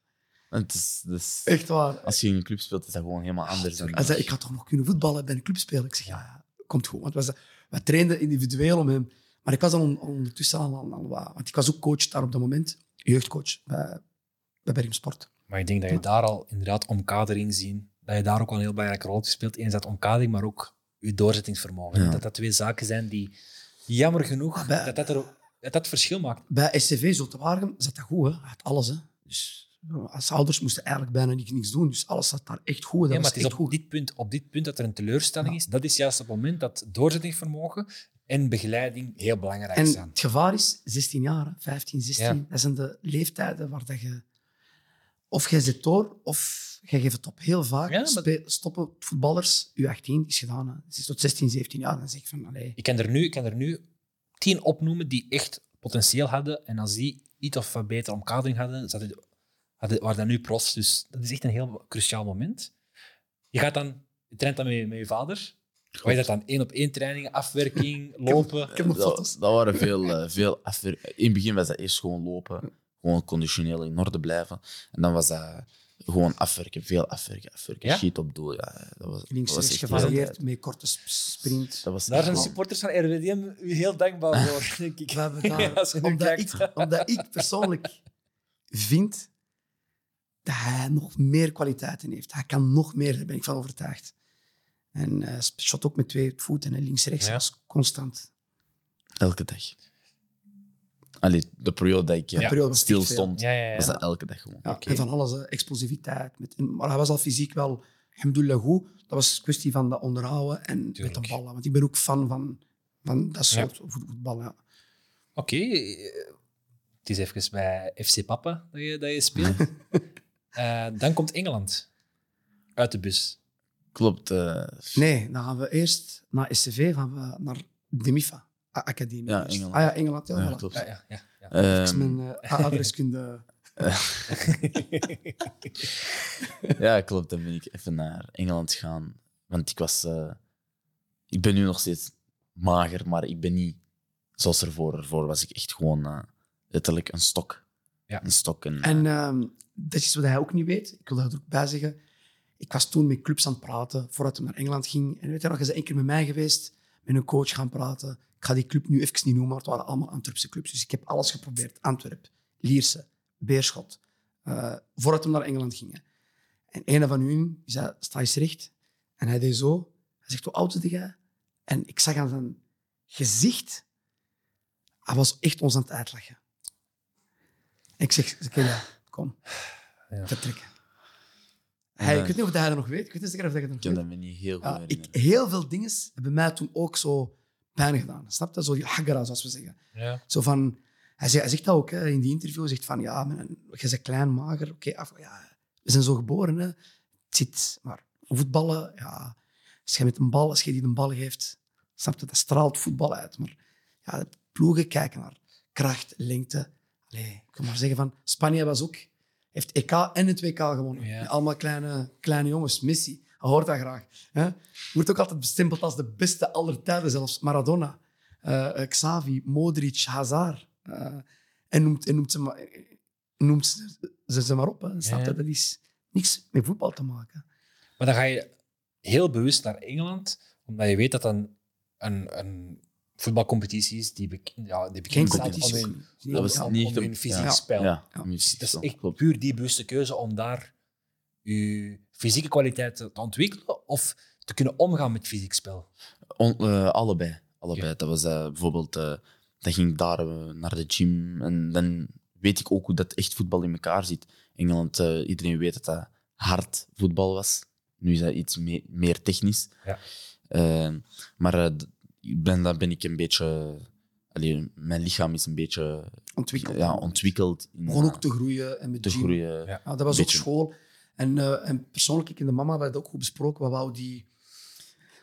Speaker 2: En Het is, dat is-
Speaker 3: Echt waar.
Speaker 2: Als je in een club speelt, is dat gewoon helemaal anders. dan
Speaker 3: Hij zei, ik had toch nog kunnen voetballen bij een club spelen? Ik zeg, ja, ja, komt goed. Want we, we trainden individueel om hem. Maar ik was al on- ondertussen al, al, al wat. Want ik was ook coach daar op dat moment. Jeugdcoach bij, bij Bergen Sport.
Speaker 1: Maar ik denk dat je daar al inderdaad omkadering zien. Dat je daar ook wel een heel belangrijke rol speelt. Eens dat omkadering, maar ook je doorzettingsvermogen.
Speaker 2: Ja.
Speaker 1: Dat dat twee zaken zijn die, jammer genoeg,
Speaker 3: Ah, bij-
Speaker 1: dat dat, er, dat dat verschil maakt.
Speaker 3: Bij SCV Zultewaargem zat dat goed. Hè? Hij had alles. Hè? Dus eh, als ouders moesten eigenlijk bijna niks, niks doen. Dus alles zat daar echt goed. Dat
Speaker 1: Ja, maar
Speaker 3: was
Speaker 1: het is
Speaker 3: echt
Speaker 1: op
Speaker 3: goed.
Speaker 1: dit, punt, op dit punt dat er een teleurstelling is. Dat is juist op het moment dat doorzettingsvermogen en begeleiding heel belangrijk
Speaker 3: En
Speaker 1: zijn.
Speaker 3: het gevaar is 16 jaar, hè, 15, 16.
Speaker 1: Ja.
Speaker 3: Dat zijn de leeftijden waar dat je. Of jij zit door, of jij geeft het op. Heel vaak
Speaker 1: Ja, maar-
Speaker 3: spe- stoppen voetballers, U18 is gedaan. Hè. Dus Het is tot 16, 17 jaar. Dan zeg ik van, allee.
Speaker 1: Ik kan er nu, ik kan er nu tien opnoemen die echt potentieel hadden. En als die iets of wat beter omkadering hadden, zaten, hadden, waren dat nu profs. Dus dat is echt een heel cruciaal moment. Je gaat dan, je traint dan met, met je vader. Waar je dat dan één op één trainingen, afwerking, lopen.
Speaker 3: Ik heb nog
Speaker 2: Dat,
Speaker 3: foto's.
Speaker 2: dat waren veel, eh, veel afwer- In het begin was dat eerst gewoon lopen, gewoon conditioneel in orde blijven. En dan was dat gewoon afwerken, veel afwerken, afwerken.
Speaker 1: Ja?
Speaker 2: Sheet op doel, ja. Dat was, dat
Speaker 3: Links
Speaker 2: was
Speaker 3: rechts
Speaker 2: echt
Speaker 3: gevarieerd
Speaker 2: heel-
Speaker 3: met korte sp- sprint.
Speaker 2: Dat was
Speaker 1: Daar zijn
Speaker 2: echt
Speaker 1: supporters van RWDM u heel dankbaar voor, denk ik.
Speaker 3: We hebben daar,
Speaker 1: Ja, als je nu
Speaker 3: omdat,
Speaker 1: kijkt.
Speaker 3: ik, omdat ik persoonlijk vind dat hij nog meer kwaliteiten heeft. Hij kan nog meer, daar ben ik van overtuigd. En eh shot ook met twee voeten, hè, links-rechts,
Speaker 1: Ja.
Speaker 3: dat is constant.
Speaker 2: elke dag. Allee, de periode dat ik eh,
Speaker 1: Ja.
Speaker 3: periode was
Speaker 2: stil
Speaker 3: echt veel.
Speaker 2: stond,
Speaker 1: Ja, ja, ja.
Speaker 2: was dat elke dag gewoon.
Speaker 3: Ja,
Speaker 1: Oké.
Speaker 3: En van alles, hè, explosiviteit. Met, en- maar hij was al fysiek wel, alhamdulillah, goed. Dat was een kwestie van dat onderhouden en met
Speaker 1: Tuurlijk.
Speaker 3: de ballen. Want ik ben ook fan van, van dat soort voet- voetbal. Ja.
Speaker 1: Oké, eh, het is even bij FC Papa dat je, dat je speelt. Eh, dan komt Engeland uit de bus.
Speaker 2: Klopt. eh,
Speaker 3: Nee, dan gaan we eerst naar SCV, gaan we naar de MIFA, A- Academie.
Speaker 2: Ja,
Speaker 3: eerst.
Speaker 2: Engeland.
Speaker 3: Ah ja, Engeland, ja.
Speaker 2: ja,
Speaker 3: voilà.
Speaker 2: klopt.
Speaker 1: Ja, ja, ja, ja.
Speaker 3: Dat is
Speaker 2: Ehm,
Speaker 3: mijn eh, adreskunde.
Speaker 2: Ja, klopt. Dan ben ik even naar Engeland gegaan. Want ik was. eh, ik ben nu nog steeds mager, maar ik ben niet zoals ervoor. Ervoor was ik echt gewoon eh, letterlijk een stok.
Speaker 1: Ja.
Speaker 2: Een stok. En,
Speaker 3: En ehm, dat is wat hij ook niet weet. Ik wil daar ook bij zeggen. Ik was toen met clubs aan het praten, voordat hij naar Engeland ging. En weet je nog, hij is één keer met mij geweest, met een coach gaan praten. Ik ga die club nu even niet noemen, maar het waren allemaal Antwerpse clubs. Dus ik heb alles geprobeerd. Antwerp, Lierse, Beerschot. eh, voordat we naar Engeland gingen. En een van hun zei, sta eens recht. En hij deed zo. Hij zegt, hoe oud is jij? En ik zag aan zijn gezicht, hij was echt ons aan het uitlachen. En ik zeg, oké, ja, kom,
Speaker 1: Ja.
Speaker 3: vertrekken.
Speaker 2: En
Speaker 3: Hij,
Speaker 2: dan-
Speaker 3: ik weet niet of hij dat nog weet. Ik weet niet zeker of hij dat nog
Speaker 2: ik kan
Speaker 3: weet.
Speaker 2: dat me niet heel goed
Speaker 3: Ja, Ah, ik,
Speaker 2: herinneren.
Speaker 3: heel veel dingen hebben mij toen ook zo pijn gedaan. Snap je? Zo die haggara, zoals we zeggen.
Speaker 1: ja.
Speaker 3: Zo van, hij, zegt, hij zegt dat ook hè, in die interview. Hij zegt van, ja, man, je bent klein, mager. Oké, af- ja, we zijn zo geboren. Hè. Het zit. Maar voetballen, ja. Als je met een bal, als je die een bal geeft, snap je, dat straalt voetbal uit. Maar ja, de ploegen kijken naar kracht, lengte. Allee, ik kan maar zeggen van, Spanje was ook, heeft EK en het WK gewonnen.
Speaker 1: Ja.
Speaker 3: Met Allemaal kleine, kleine jongens. Messi, hij hoort dat graag. Hè? Wordt ook altijd bestempeld als de beste aller tijden, zelfs Maradona eh eh, Xavi, Modric, Hazard. eh, en noemt, en noemt, ze, maar, noemt ze, ze- ze maar op. Hè. Snap je?
Speaker 1: Ja.
Speaker 3: Dat is niks met voetbal te maken.
Speaker 1: Maar dan ga je heel bewust naar Engeland, omdat je weet dat dat een, een, een voetbalcompetitie is die, bek- ja, die
Speaker 3: Geen
Speaker 1: bekend staat om
Speaker 3: competitie.
Speaker 1: hun,
Speaker 3: ook niet.
Speaker 2: dat was
Speaker 1: om,
Speaker 2: niet
Speaker 1: om
Speaker 2: de-
Speaker 1: hun fysiek
Speaker 3: ja.
Speaker 1: spel. Dus
Speaker 2: Ja,
Speaker 3: Ja. Dus
Speaker 2: muziek
Speaker 1: Dat is
Speaker 2: zo,
Speaker 1: echt
Speaker 2: klopt.
Speaker 1: puur die bewuste keuze om daar je fysieke kwaliteiten te ontwikkelen of te kunnen omgaan met fysiek spel.
Speaker 2: On- eh, allebei. allebei.
Speaker 1: Ja.
Speaker 2: Dat was eh, bijvoorbeeld, eh dan ging ik daar eh, naar de gym en dan weet ik ook hoe dat echt voetbal in elkaar zit. Engeland, eh, iedereen weet dat dat hard voetbal was. Nu is dat iets me- meer technisch.
Speaker 1: Ja.
Speaker 2: Eh, maar eh, d- ik ben, dan ben ik een beetje... allee, mijn lichaam is een beetje
Speaker 3: Ontwikkeld.
Speaker 2: ja, ontwikkeld. In,
Speaker 3: Begon
Speaker 2: eh,
Speaker 3: ook te groeien en met
Speaker 2: te
Speaker 3: gym.
Speaker 2: groeien.
Speaker 1: Ja.
Speaker 3: Ja, dat was ook
Speaker 2: Beetje.
Speaker 3: school. En, eh, en persoonlijk, ik en de mama hebben dat ook goed besproken. Wat wou die...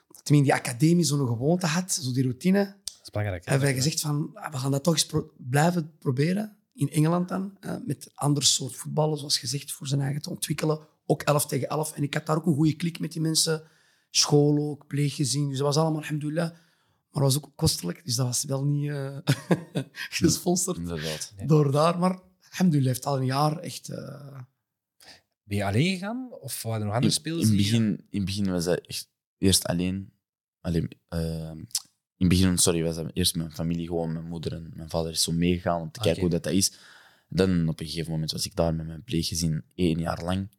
Speaker 3: Dat die in die academie zo'n gewoonte had, zo die routine.
Speaker 1: Dat is belangrijk. hè?
Speaker 3: hebben wij gezegd van, ah, we gaan dat toch eens pro- blijven proberen. In Engeland dan, eh, met ander soort voetballen, zoals gezegd, voor zijn eigen te ontwikkelen. Ook 11 tegen 11. En ik had daar ook een goede klik met die mensen. School ook, pleeggezin. Dus dat was allemaal, alhamdulillah. Maar dat was ook kostelijk, dus dat was wel niet eh, gesponsord
Speaker 2: Inderdaad.
Speaker 1: Nee.
Speaker 3: door daar. Maar alhamdulillah heeft al een jaar echt... eh,
Speaker 1: Ben je alleen gegaan of waren er nog andere
Speaker 2: In,
Speaker 1: spelers? die-
Speaker 2: in, begin, in het begin was dat echt eerst alleen. alleen eh, in het begin, sorry, was dat eerst mijn familie, gewoon mijn moeder en mijn vader is zo meegegaan om te
Speaker 1: Oké.
Speaker 2: kijken hoe dat, dat is. Dan op een gegeven moment was ik daar met mijn pleeggezin één jaar lang.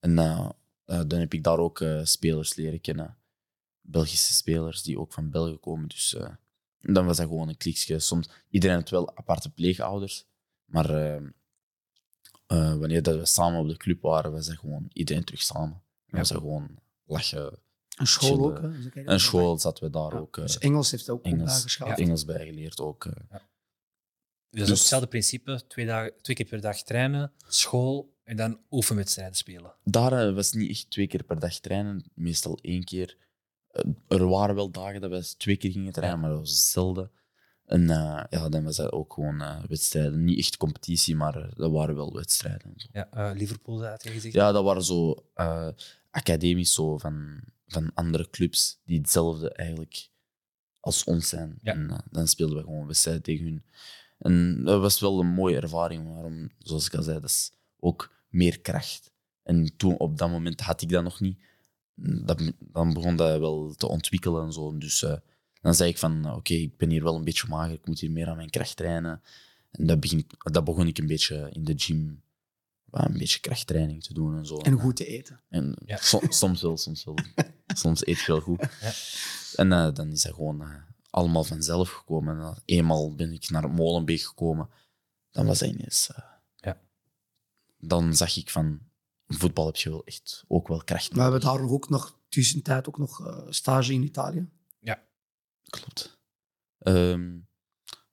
Speaker 2: En eh, eh, dan heb ik daar ook eh, spelers leren kennen. Belgische spelers die ook van België komen. Dus eh, dan was dat gewoon een kliksje. Soms, iedereen had wel aparte pleegouders. Maar eh, eh, wanneer dat we samen op de club waren, was dat gewoon iedereen terug samen. Dan was dat gewoon lachen.
Speaker 3: een school ook. hè. Dus dan krijg je
Speaker 2: En
Speaker 3: dat
Speaker 2: eh, school zaten we daar
Speaker 3: Ja,
Speaker 2: ook. eh,
Speaker 3: Dus Engels heeft ook goed
Speaker 2: Engels,
Speaker 3: bijgeschaafd.
Speaker 2: Engels bijgeleerd ook. eh.
Speaker 1: Dus dat is hetzelfde principe. Twee, dagen, twee keer per dag trainen, school en dan oefenwedstrijden spelen.
Speaker 2: daar eh, was niet echt twee keer per dag trainen, meestal één keer. Eh, Er waren wel dagen dat we eens twee keer gingen trainen, maar dat was zelden. En eh, ja, dan was dat ook gewoon eh, wedstrijden. Niet echt competitie, maar eh, dat waren wel wedstrijden. en Zo.
Speaker 1: Ja, eh, Liverpool, dat had je gezegd.
Speaker 2: Ja, dat waren zo eh, academisch zo van, van andere clubs die hetzelfde eigenlijk als ons zijn.
Speaker 1: Ja.
Speaker 2: En eh, dan speelden we gewoon wedstrijden tegen hun. En dat was wel een mooie ervaring, waarom, zoals ik al zei, dat is ook meer kracht. En toen, op dat moment had ik dat nog niet. Dat, dan begon dat wel te ontwikkelen en zo. Dus eh, dan zei ik van, oké, ik ben hier wel een beetje mager, ik moet hier meer aan mijn kracht trainen. En dat, begin, dat begon ik een beetje in de gym, wat, een beetje krachttraining te doen en zo.
Speaker 3: En goed te eten.
Speaker 2: En
Speaker 1: Ja.
Speaker 2: som- soms wel, soms wel. soms eet je wel goed.
Speaker 1: Ja.
Speaker 2: En eh, dan is dat gewoon eh, allemaal vanzelf gekomen. En dan eenmaal ben ik naar Molenbeek gekomen. Dan was dat ineens... eh,
Speaker 1: Ja.
Speaker 2: Dan zag ik van, voetbal heb je wel echt ook wel kracht.
Speaker 3: Maar we hebben daar ook nog tussentijd ook nog eh, stage in Italië.
Speaker 2: Klopt. Ehm,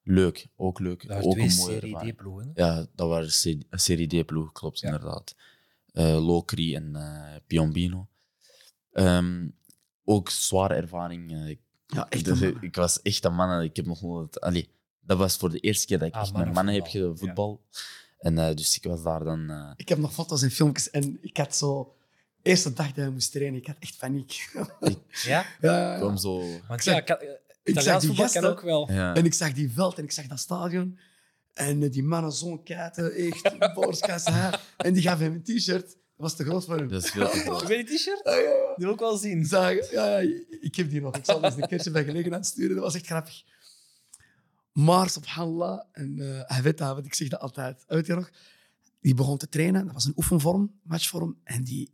Speaker 2: leuk, ook leuk.
Speaker 1: Daar
Speaker 2: ook
Speaker 1: twee
Speaker 2: een mooie
Speaker 1: serie
Speaker 2: ervaring.
Speaker 1: D-ploegen. hè.
Speaker 2: Ja, dat waren serie- Serie D-ploeg, klopt
Speaker 1: Ja.
Speaker 2: inderdaad. Eh Locri en eh Piombino. Ehm, ook zware ervaring. eh, ik-
Speaker 3: Ja, echt.
Speaker 2: dus
Speaker 3: een
Speaker 2: ik,
Speaker 3: man.
Speaker 2: ik was echt een man. en Ik heb nog nooit... Allee, dat was voor de eerste keer dat ik
Speaker 1: Ah,
Speaker 2: echt met mannen heb
Speaker 1: mannenvoetbal.
Speaker 2: gevoetbal. En eh, dus ik was daar dan... eh,
Speaker 3: Ik heb nog foto's en filmpjes en ik had zo... Eerste dag dat we moesten trainen, ik had echt paniek.
Speaker 1: Ja,
Speaker 3: Ja,
Speaker 2: kwam zo...
Speaker 1: want
Speaker 3: zeg-
Speaker 1: ja, kan, eh,
Speaker 3: zeg
Speaker 1: Italiaans
Speaker 3: die
Speaker 1: voetbal kan
Speaker 3: gasten-
Speaker 1: ook wel.
Speaker 2: Ja,
Speaker 3: En ik zag die veld en ik zag dat stadion. En eh, die mannen zo'n kuiten, echt, boorskast, haar. En die gaf hem een t-shirt. Dat was te groot voor hem.
Speaker 2: Dus dat is veel te groot.
Speaker 1: Ik weet die t-shirt?
Speaker 3: Ja, ja, ja.
Speaker 1: Die wil ik wel zien.
Speaker 3: Zag- ja, ja, ik heb die nog. Ik zal eens een keertje bij gelegenheid sturen. Dat was echt grappig. Maar, subhanallah, en, eh, hij weet dat, want ik zeg dat altijd. Uit je nog? Die begon te trainen. Dat was een oefenvorm, matchvorm. En die,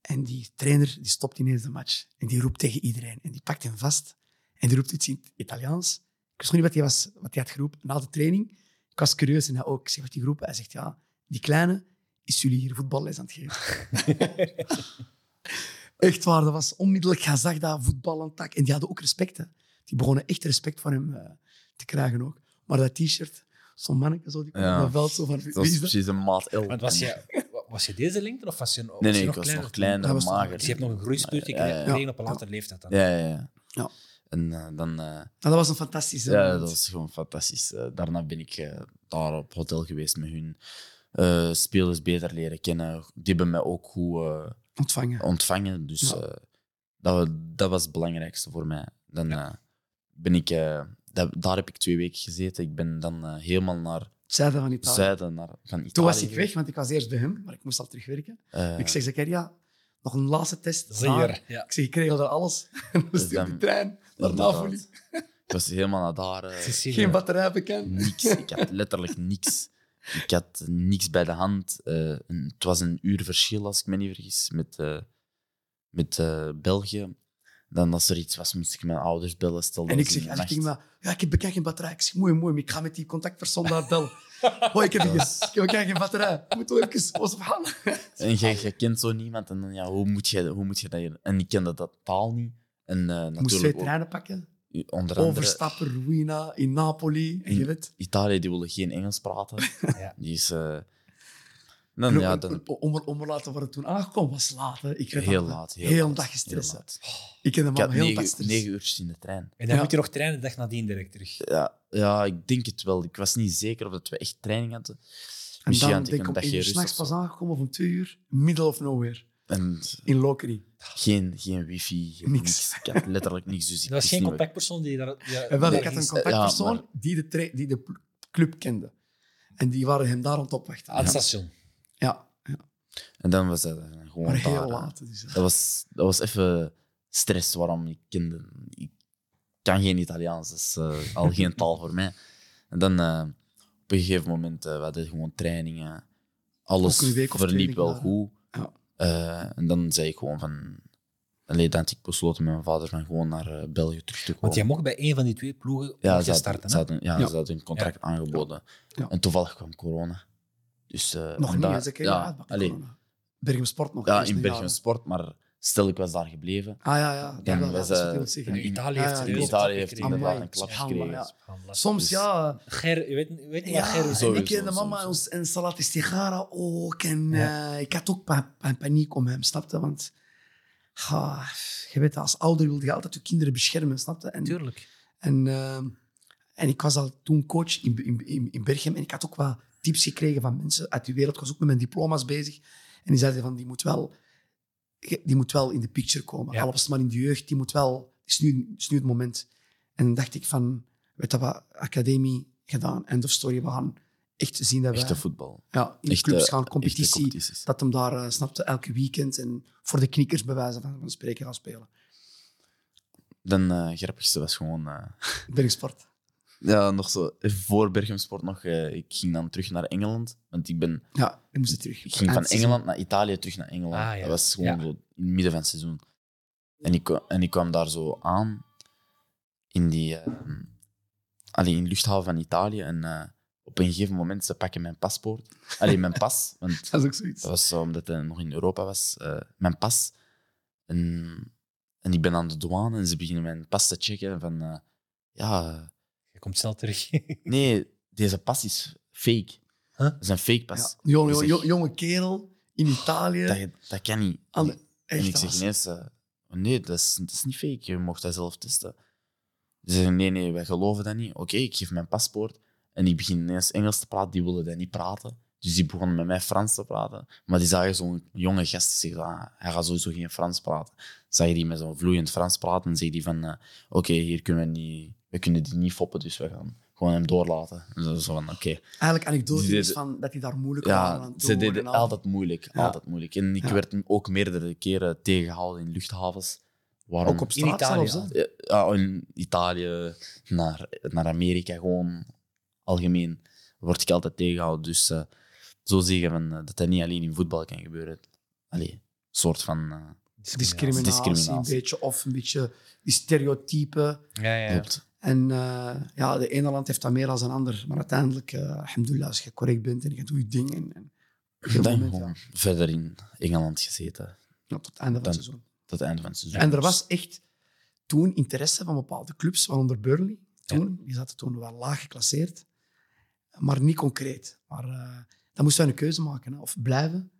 Speaker 3: en die trainer die stopt ineens de match. En die roept tegen iedereen. En die pakt hem vast. En die roept iets in het Italiaans. Ik wist nog niet wat hij, was, wat hij had geroepen. Na de training, ik was curieus en hij ook. Ik zeg, wat die groep? Hij zegt, ja, die kleine is jullie hier voetballes aan het geven. echt waar, dat was onmiddellijk. Hij zag dat voetbal aan tak. En die hadden ook respect. Hè. Die begonnen echt respect van hem eh, te krijgen ook. Maar dat t-shirt, zo'n manneke zo, die kwam
Speaker 2: Ja.
Speaker 3: op dat veld zo van, wie
Speaker 2: Dat was
Speaker 3: is dat?
Speaker 2: precies een maat 11.
Speaker 1: Want was je, wa- was je deze lengte of was je, was
Speaker 2: Nee,
Speaker 1: je
Speaker 2: nee, ik
Speaker 1: nog
Speaker 2: was
Speaker 1: kleiner?
Speaker 2: nog kleiner,
Speaker 3: Dat was-
Speaker 2: mager.
Speaker 1: Dus je hebt nog een groeispurt
Speaker 2: Ja, ja, ja.
Speaker 1: gekregen op een latere leeftijd dan.
Speaker 2: Ja, ja, ja.
Speaker 3: Ja.
Speaker 2: En eh, dan... eh,
Speaker 3: Nou, dat was een fantastische...
Speaker 2: ja,
Speaker 3: moment.
Speaker 2: dat was gewoon fantastisch. Eh, daarna ben ik eh, daar op hotel geweest met hun. eh, spelers beter leren kennen. Die hebben mij ook goed eh,
Speaker 3: Ontvangen.
Speaker 2: ontvangen. Dus
Speaker 3: Ja.
Speaker 2: eh, dat, wa- dat was het belangrijkste voor mij. Dan eh, ben ik... eh, da- daar heb ik twee weken gezeten. Ik ben dan eh, helemaal naar
Speaker 3: Het zuiden van
Speaker 2: het
Speaker 3: Italië.
Speaker 2: zuiden, naar, van Italië.
Speaker 3: Toen was ik weg,
Speaker 2: geweest.
Speaker 3: want ik was eerst bij hem, maar ik moest al terugwerken.
Speaker 2: Eh,
Speaker 3: Ik zeg, Zakaria, nog een laatste test. Zwaar.
Speaker 1: Zeer. Ja.
Speaker 3: Ik zeg, ik regel daar alles. En we
Speaker 2: Dus
Speaker 3: sturen de
Speaker 2: dan-
Speaker 3: trein naar
Speaker 2: inderdaad.
Speaker 3: Napoli.
Speaker 2: Ik was helemaal naar daar. eh,
Speaker 1: Sicilië.
Speaker 3: Geen batterij bekend.
Speaker 2: niks. Ik had letterlijk niks. Ik had niks bij de hand. Eh, een- het was een uur verschil, als ik me niet vergis, met, eh, met eh, België. Dan als er iets was, moest ik mijn ouders bellen. Stel dat
Speaker 3: En ik
Speaker 2: was in
Speaker 3: zeg,
Speaker 2: de
Speaker 3: en ik
Speaker 2: nacht.
Speaker 3: denk maar, ja, ik heb bekend geen batterij. Ik zeg, mooi, mooi, maar ik ga met die contactpersoon daar bellen. Hoi, ik heb
Speaker 2: Dat
Speaker 3: ges- ik heb bekend geen batterij. Ik moet toch even, was op handen.
Speaker 2: En
Speaker 3: ah,
Speaker 2: je, je kent zo niemand. En dan, ja, hoe, moet je, hoe moet je dat... hier- En ik kende dat taal niet. En eh,
Speaker 3: Ik moest twee
Speaker 2: natuurlijk ook,
Speaker 3: treinen pakken.
Speaker 2: onder andere...
Speaker 3: Overstappen, Ruina, in Napoli. En je weet,
Speaker 2: Italië, die willen geen Engels praten.
Speaker 1: Ja.
Speaker 2: Die is... eh, dan,
Speaker 3: en
Speaker 2: ja,
Speaker 3: om-
Speaker 2: dan,
Speaker 3: om- om, er- om er laten waar het toen aangekomen was, laat. hè. Ik weet
Speaker 2: heel
Speaker 3: nog,
Speaker 2: laat. Heel,
Speaker 3: Heel,
Speaker 2: laat,
Speaker 3: dag
Speaker 2: heel
Speaker 3: gestressen.
Speaker 2: laat.
Speaker 3: Ik ken hem
Speaker 2: Ik
Speaker 3: al
Speaker 2: had
Speaker 3: heel dag
Speaker 2: negen,
Speaker 3: gestressen.
Speaker 2: negen uurtjes in de trein.
Speaker 1: En dan
Speaker 3: Ja.
Speaker 1: moet je nog trainen de dag nadien direct terug.
Speaker 2: Ja, ja, ik denk het wel. Ik was niet zeker of dat we echt training hadden.
Speaker 3: En
Speaker 2: Misschien
Speaker 3: dan
Speaker 2: had ik
Speaker 3: denk ik
Speaker 2: een
Speaker 3: om
Speaker 2: dagje
Speaker 3: één uur
Speaker 2: rust
Speaker 3: s'nachts
Speaker 2: of zo.
Speaker 3: pas aangekomen of om twee uur. Middle of nowhere.
Speaker 2: En
Speaker 3: In Lokeren.
Speaker 2: geen, geen wifi, geen
Speaker 3: Niks.
Speaker 2: niks. Ik had letterlijk niks. Dus ik
Speaker 1: Er was
Speaker 2: wist
Speaker 1: geen
Speaker 2: niet
Speaker 1: contactpersoon die daar... die-
Speaker 3: En wel,
Speaker 1: die
Speaker 3: ik had
Speaker 1: daar
Speaker 3: een
Speaker 1: ging-
Speaker 2: maar-
Speaker 3: contactpersoon die, de tra- die de pl- club kende. En die waren hem daar aan het opwachten.
Speaker 1: Aan het station.
Speaker 3: Ja,
Speaker 2: wat- En dan was dat eh, gewoon
Speaker 3: maar heel
Speaker 2: daar, eh.
Speaker 3: laat. Dus, eh.
Speaker 2: Dat was, dat was even stress waarom ik kende. Ik kan geen Italiaans, dat is eh, al geen taal voor mij. En dan eh, op een gegeven moment, eh we hadden gewoon trainingen. Alles
Speaker 3: Ook een week of
Speaker 2: verliep
Speaker 3: training
Speaker 2: wel
Speaker 3: daar, hè?
Speaker 2: goed.
Speaker 3: Ja.
Speaker 2: Eh, en dan zei ik gewoon van... Allee, dan had ik besloten met mijn vader van gewoon naar eh, België terug te komen.
Speaker 1: Want jij mocht bij één van die twee ploegen
Speaker 2: ja,
Speaker 1: mocht
Speaker 2: ze
Speaker 1: je
Speaker 2: hadden,
Speaker 1: starten.
Speaker 2: ze
Speaker 1: hè?
Speaker 2: hadden, ja,
Speaker 3: Ja.
Speaker 2: ze hadden een contract aangeboden.
Speaker 3: Ja.
Speaker 2: En toevallig kwam corona. Dus, eh,
Speaker 3: nog
Speaker 2: en
Speaker 3: niet,
Speaker 2: daar-
Speaker 3: hè, ah, ze kennen
Speaker 2: ja,
Speaker 3: ja,
Speaker 2: allee,
Speaker 3: Bergen Sport nog.
Speaker 2: ja,
Speaker 3: eerst
Speaker 2: in
Speaker 3: een
Speaker 2: België
Speaker 3: jaar.
Speaker 2: Sport, maar stel ik was daar gebleven.
Speaker 3: Ah ja, ja.
Speaker 2: Dan
Speaker 3: ja, ja,
Speaker 2: was,
Speaker 3: dat is wat
Speaker 2: eh,
Speaker 3: je wilt
Speaker 1: En
Speaker 3: zeggen.
Speaker 1: Italië
Speaker 3: Ja,
Speaker 1: heeft
Speaker 3: ja,
Speaker 1: serieus
Speaker 2: Italië
Speaker 1: een klap
Speaker 2: heeft
Speaker 1: gekregen.
Speaker 2: inderdaad
Speaker 3: Amai,
Speaker 2: een klap
Speaker 3: subhanallah,
Speaker 2: gekregen.
Speaker 3: ja. Soms,
Speaker 2: Dus-
Speaker 3: ja.
Speaker 1: Ger, je weet, je weet niet wat
Speaker 3: Ja,
Speaker 1: Ger is.
Speaker 3: en
Speaker 2: Sowieso,
Speaker 3: ik kende mama
Speaker 2: sowieso.
Speaker 3: ons en Salat Istigara ook. En
Speaker 1: Ja.
Speaker 3: eh, ik had ook pa- pa- paniek om hem, snapte? Want ah, je weet, als ouder wilde je altijd je kinderen beschermen, snapte? En,
Speaker 1: Tuurlijk.
Speaker 3: en eh, En ik was al toen coach in, in, in, in Berchem en ik had ook wat tips gekregen van mensen uit die wereld. Ik was ook met mijn diploma's bezig. En die zeiden van, die moet wel, die moet wel in de picture komen.
Speaker 1: Ja.
Speaker 3: Al was het maar in de jeugd, die moet wel... Het is nu, is nu het moment. En dan dacht ik van, weet je wat, academie gedaan, end of story. We gaan echt zien dat we
Speaker 2: Echte voetbal.
Speaker 3: ja, in
Speaker 2: Echte-
Speaker 3: clubs gaan,
Speaker 2: echte
Speaker 3: competitie
Speaker 2: competities.
Speaker 3: dat hem daar, eh, snapte, elke weekend en voor de knikkers bij wijze van, van spreken gaan spelen.
Speaker 2: De eh, grappigste was gewoon... eh,
Speaker 3: Bergsport.
Speaker 2: ja, nog zo, voor Berchem Sport nog, eh, ik ging dan terug naar Engeland. Want ik, ben,
Speaker 3: Ja, ik moest het terug.
Speaker 2: ik ging
Speaker 3: Aan
Speaker 2: van
Speaker 3: Ah, het seizoen.
Speaker 2: Engeland naar Italië, terug naar Engeland.
Speaker 1: Ah, ja.
Speaker 2: Dat was gewoon
Speaker 1: Ja.
Speaker 2: zo in het midden van het seizoen. En ik, kwa- en ik kwam daar zo aan, in die... eh, allee, in de luchthaven van Italië. En eh, op een gegeven moment, ze pakken mijn paspoort. Alleen mijn pas, want
Speaker 3: Dat is ook zoiets.
Speaker 2: Dat was zo omdat hij nog in Europa was. eh, mijn pas. En, en ik ben aan de douane en ze beginnen mijn pas te checken. Van, eh, ja, eh,
Speaker 1: Je komt snel terug.
Speaker 2: nee, deze pas is fake.
Speaker 1: Huh?
Speaker 2: Dat is een fake pas.
Speaker 3: Ja, een jonge,
Speaker 2: Ik zeg,
Speaker 3: jonge, jonge kerel in Italië.
Speaker 2: Dat, dat kan niet.
Speaker 3: aan de-
Speaker 2: en
Speaker 3: echt,
Speaker 2: ik
Speaker 3: dat
Speaker 2: zeg
Speaker 3: was-
Speaker 2: ineens, eh, nee, dat is, dat is niet fake. Je mocht dat zelf testen. Ze zeggen, nee, nee, wij geloven dat niet. Oké, ik geef mijn paspoort. En ik begin ineens Engels te praten. Die wilden dat niet praten. Dus die begonnen met mij Frans te praten. Maar die zagen zo'n jonge gast die zegt, ah, hij gaat sowieso geen Frans praten. Zagen die met zo'n vloeiend Frans praten en zei die van, eh, oké, hier kunnen we niet, we kunnen die niet foppen, dus we gaan gewoon hem doorlaten. En zo, zo van, oké.
Speaker 3: Eigenlijk anekdotisch
Speaker 2: Die
Speaker 3: is
Speaker 2: deden-
Speaker 3: van dat hij daar moeilijk waren aan
Speaker 2: Ja,
Speaker 3: het
Speaker 2: ze
Speaker 3: doen
Speaker 2: deden
Speaker 3: en al.
Speaker 2: altijd moeilijk,
Speaker 3: Ja.
Speaker 2: altijd moeilijk. En ik
Speaker 3: Ja.
Speaker 2: werd ook meerdere keren tegengehouden in luchthavens. Waarom?
Speaker 3: Ook op
Speaker 1: In
Speaker 3: straat
Speaker 1: Italië
Speaker 3: zelfs. hè?
Speaker 2: Ja, ja, in Italië, naar, naar Amerika, gewoon algemeen word ik altijd tegengehouden. Dus eh, zo zeggen van, eh, dat dat niet alleen in voetbal kan gebeuren. Allee, een soort van... eh,
Speaker 1: Discriminatie.
Speaker 3: Discriminatie, een
Speaker 2: Discriminatie.
Speaker 3: beetje. Of een beetje die stereotypen.
Speaker 1: Ja, ja. ja.
Speaker 2: klopt.
Speaker 3: En eh, ja, de ene land heeft dat meer dan een ander. Maar uiteindelijk, eh alhamdulillah, als je correct bent en je doet je ding. En, en op een
Speaker 2: Dan
Speaker 3: moment,
Speaker 2: gewoon
Speaker 3: ja,
Speaker 2: verder in Engeland gezeten,
Speaker 3: ja, tot het einde van
Speaker 2: Dan-
Speaker 3: het seizoen.
Speaker 2: tot het einde van het seizoen.
Speaker 3: En er was echt toen interesse van bepaalde clubs, waaronder Burnley. Toen, Die zaten toen wel laag geclasseerd, maar niet concreet. Maar eh, dan moesten we een keuze maken. Hè. Of blijven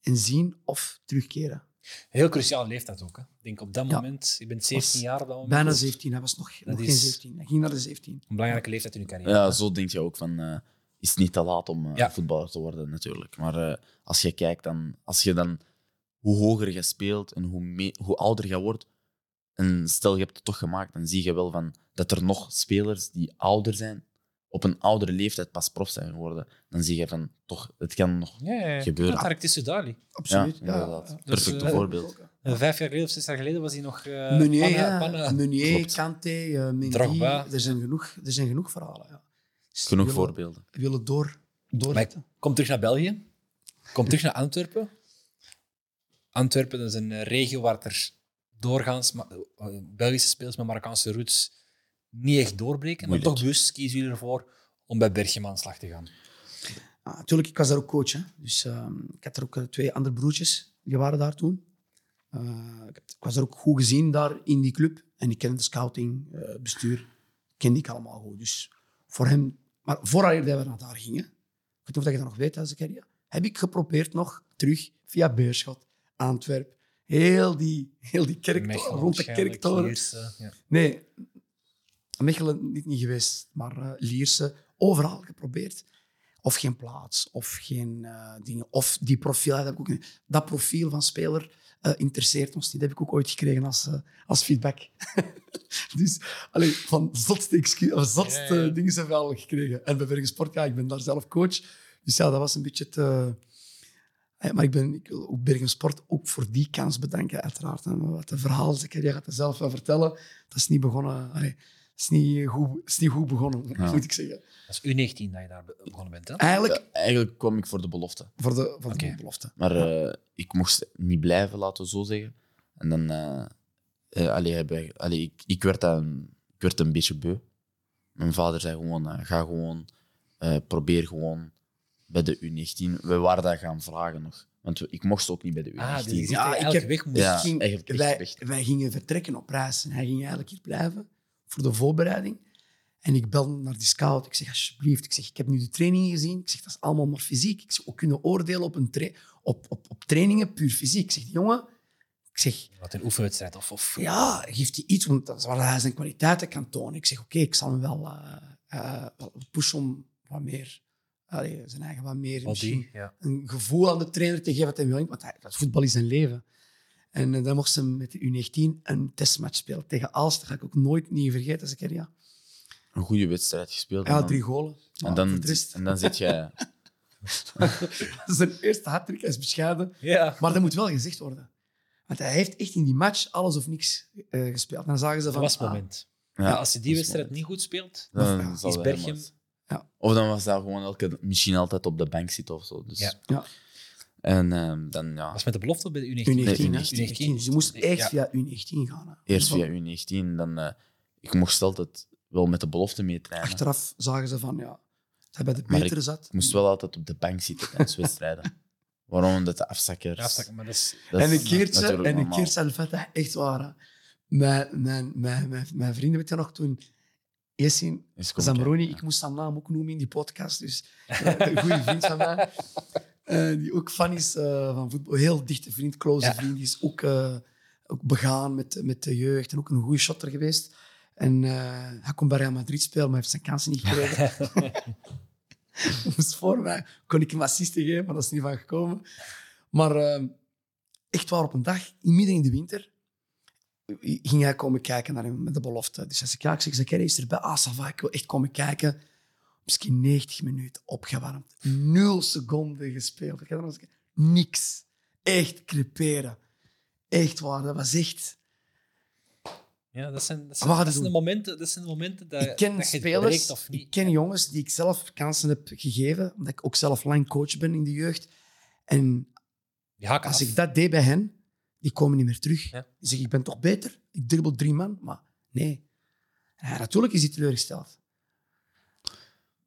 Speaker 3: en zien of terugkeren.
Speaker 1: Heel cruciale leeftijd ook. Hè. Ik denk op dat
Speaker 3: Ja.
Speaker 1: moment, je bent 17
Speaker 3: Was
Speaker 1: jaar op dat moment.
Speaker 3: Bijna 17, hij was nog, nog
Speaker 1: is-
Speaker 3: geen 17. Hij ging naar de 17.
Speaker 1: Een belangrijke leeftijd in je carrière.
Speaker 2: Ja, zo denk je ook van, eh, is het niet te laat om eh,
Speaker 1: Ja.
Speaker 2: voetballer te worden natuurlijk. Maar eh, als je kijkt dan, als je dan, hoe hoger je speelt en hoe, me- hoe ouder je wordt, en stel je hebt het toch gemaakt, dan zie je wel van, dat er nog spelers die ouder zijn, op een oudere leeftijd pas prof zijn geworden. Dan zie je van, toch, het kan nog
Speaker 1: Ja, ja, ja.
Speaker 2: gebeuren.
Speaker 1: Tarek Tussendali.
Speaker 3: Absoluut.
Speaker 2: ja, inderdaad.
Speaker 3: ja.
Speaker 1: Dus,
Speaker 2: Perfect
Speaker 1: eh,
Speaker 2: voorbeeld.
Speaker 1: Eh, Vijf jaar geleden of zes jaar geleden was hij nog... eh
Speaker 3: Meunier,
Speaker 1: Panna-
Speaker 3: ja.
Speaker 1: Panna.
Speaker 3: Meunier,
Speaker 2: Klopt.
Speaker 3: Kanté, eh, Mendy.
Speaker 1: Drogba.
Speaker 3: Er zijn genoeg, er zijn genoeg verhalen. Ja. Dus
Speaker 2: Genoeg
Speaker 3: willen-
Speaker 2: voorbeelden.
Speaker 3: willen door, doorzetten.
Speaker 1: Kom terug naar België. Kom terug naar Antwerpen. Antwerpen dat is een eh, regio waar er doorgaans Ma- eh, Belgische spelers met Marokkaanse roots niet echt doorbreken.
Speaker 2: Moeilijk.
Speaker 1: Maar toch bewust kiezen jullie ervoor om bij Berchem aan de slag te gaan.
Speaker 3: Ah, natuurlijk, ik was daar ook coach. Hè. Dus ehm, ik had er ook eh, twee andere broertjes, die waren daar toen. Eh, ik, heb- ik was er ook goed gezien daar in die club. En ik kende de scouting, eh, bestuur, kende ik allemaal goed. Dus voor hem, maar vooraleer dat we naar daar gingen, ik weet niet of dat je dat nog weet, hè, Zakaria, heb ik geprobeerd nog terug via Beerschot, Antwerpen, heel die, heel die kerktoren,
Speaker 1: Mechelen
Speaker 3: rond de
Speaker 1: waarschijnlijk,
Speaker 3: kerktoren.
Speaker 1: Lierse, ja.
Speaker 3: Nee, Mechelen niet, niet geweest, maar eh, Lierse, overal geprobeerd. Of geen plaats, of geen eh, dingen. Of die profiel, dat, heb ik ook niet. dat profiel van speler eh, interesseert ons niet. Dat heb ik ook ooit gekregen als, eh, als feedback. dus allee, van zotste, excu- of zotste
Speaker 1: Ja, ja.
Speaker 3: dingen zijn we al gekregen. En bij Bergen Sport, ja, ik ben daar zelf coach. Dus ja, dat was een beetje te... Eh, Maar ik, ben, ik wil ook Bergen Sport ook voor die kans bedanken, uiteraard. hè. Maar Wat de verhaal, ik, jij gaat het zelf wel vertellen. Dat is niet begonnen... Allee, dat is niet goed, dat is niet goed begonnen,
Speaker 2: Ja.
Speaker 3: moet ik zeggen.
Speaker 1: Dat is U19 dat je daar be- begonnen bent. Hè?
Speaker 3: Eigenlijk
Speaker 2: Ja, eigenlijk kwam ik voor de belofte.
Speaker 3: voor de, voor
Speaker 1: Oké.
Speaker 3: de belofte.
Speaker 2: Maar eh, ik mocht niet blijven, laten we zo zeggen. En dan... eh, eh, allee, hebben wij- allee, ik, ik, werd dan, ik werd een beetje beu. Mijn vader zei gewoon, eh, ga gewoon, eh, probeer gewoon bij de U19. We waren dat gaan vragen nog. Want we- ik mocht ook niet bij de U19.
Speaker 1: Ah, dus je zegt
Speaker 3: Ja,
Speaker 1: dat je
Speaker 3: ik
Speaker 1: elke
Speaker 3: heb-
Speaker 1: weg moet.
Speaker 3: Dus
Speaker 2: Ja,
Speaker 3: ik ging-
Speaker 2: echt- echt
Speaker 3: wij,
Speaker 2: echt.
Speaker 3: wij gingen vertrekken op reis. En hij ging eigenlijk hier blijven voor de voorbereiding. En ik bel naar die scout. Ik zeg, alsjeblieft. Ik zeg, ik heb nu de trainingen gezien. Ik zeg, dat is allemaal maar fysiek. Ik zeg, we kunnen oordelen op, een tra- op, op, op trainingen puur fysiek. Ik zeg, jongen, ik zeg,
Speaker 1: Wat een oefenwedstrijd. Of, of...
Speaker 3: ja, geeft hij iets want dat is waar hij zijn kwaliteiten kan tonen. Ik zeg, oké, ik zal hem wel... eh, eh Pouchon wat meer, allee, zijn eigen wat meer
Speaker 1: Al
Speaker 3: misschien
Speaker 1: die, ja.
Speaker 3: een gevoel aan de trainer te geven dat hij wil. Want hij- dat voetbal is zijn leven. En eh, dan mocht ze met de U19 een testmatch spelen tegen Aalst. Dat ga ik ook nooit niet vergeten. Als ik er, ja,
Speaker 2: Een goede wedstrijd gespeeld.
Speaker 3: ja,
Speaker 2: en dan,
Speaker 3: drie Ah, golen. Ja,
Speaker 2: en dan,
Speaker 3: voor de rest.
Speaker 2: en dan zit jij...
Speaker 3: dat is zijn eerste hat Hij is bescheiden.
Speaker 1: Ja.
Speaker 3: Maar dat moet wel gezegd worden. Want hij heeft echt in die match alles of niks eh, gespeeld. Dan zagen ze
Speaker 1: Dat
Speaker 3: van...
Speaker 1: was het
Speaker 3: ah,
Speaker 1: moment.
Speaker 2: Ja,
Speaker 1: Ja, als je die
Speaker 2: dat is
Speaker 1: wedstrijd niet goed speelt,
Speaker 2: Dan
Speaker 3: Ja,
Speaker 2: zal
Speaker 1: is
Speaker 2: hij
Speaker 1: Berchem-
Speaker 2: helemaal-
Speaker 3: Ja.
Speaker 2: Of dan was dat gewoon elke, misschien altijd op de bank zitten of zo. Dus.
Speaker 1: Ja.
Speaker 3: Ja.
Speaker 2: En ehm, dan ja,
Speaker 1: was met de belofte bij de U19.
Speaker 3: U19,
Speaker 2: Nee,
Speaker 3: ah, hè.
Speaker 1: U19.
Speaker 3: U19. Dus je moest echt
Speaker 1: Ja.
Speaker 3: via U19 gaan. hè.
Speaker 2: eerst
Speaker 3: Dus
Speaker 2: via U19. Dan, eh, ik mocht altijd wel met de belofte meetrainen.
Speaker 3: Achteraf zagen ze van, ja, dat hij bij de
Speaker 2: Maar
Speaker 3: betere zat.
Speaker 2: Ik moest wel altijd op de bank zitten tijdens wedstrijden. Waarom? Omdat de afzakkers...
Speaker 1: Ja, stak, maar dat is...
Speaker 2: dat
Speaker 3: en
Speaker 2: is
Speaker 3: een keertje,
Speaker 2: natuurlijk
Speaker 3: en een
Speaker 2: normaal.
Speaker 3: keertje Al-Fatah, echt waar. hè. Mijn, mijn, mijn, mijn, mijn vrienden, weet je nog, toen Yassin
Speaker 2: Is kom
Speaker 3: Zamroni,
Speaker 2: kijken,
Speaker 3: ik moest zijn naam ook noemen in die podcast, dus eh, een goede vriend van mij, eh, die ook fan is eh, van voetbal, heel dichte vriend, close
Speaker 1: Ja.
Speaker 3: vriend, die is ook, eh, ook begaan met, met de jeugd en ook een goede shotter geweest. En eh, hij kon bij Real Madrid spelen, maar hij heeft zijn kansen niet gekregen. moest voor mij. Kon ik hem assisten geven, maar dat is niet van gekomen. Maar eh, echt waar, op een dag, midden in de winter, ging hij komen kijken naar hem met de belofte. Dus hij zei, ja, ik zeg, Zakaria is erbij. Ah, ça va, ik wil echt komen kijken. Misschien 90 minuten opgewarmd. Nul seconden gespeeld. Ik had nog eens gekeken. Niks. Echt creperen. Echt waar, dat was echt...
Speaker 1: Ja, dat zijn, dat
Speaker 2: Ah,
Speaker 3: Maar
Speaker 1: zijn,
Speaker 3: we
Speaker 1: dat
Speaker 3: gaan het
Speaker 1: zijn de
Speaker 3: doen.
Speaker 1: momenten, dat zijn de momenten dat,
Speaker 3: ik ken
Speaker 1: Eh, dat je het breekt
Speaker 3: spelers,
Speaker 1: of
Speaker 3: ik
Speaker 1: niet.
Speaker 3: ken jongens die ik zelf kansen heb gegeven, omdat ik ook zelf lang coach ben in de jeugd. En
Speaker 1: Die haken
Speaker 3: als
Speaker 1: af.
Speaker 3: ik dat deed bij hen, die komen niet meer terug.
Speaker 1: Ja.
Speaker 3: Die zeggen, ik ben toch beter? Ik dribbel drie man, maar nee. Ja, natuurlijk is hij teleurgesteld.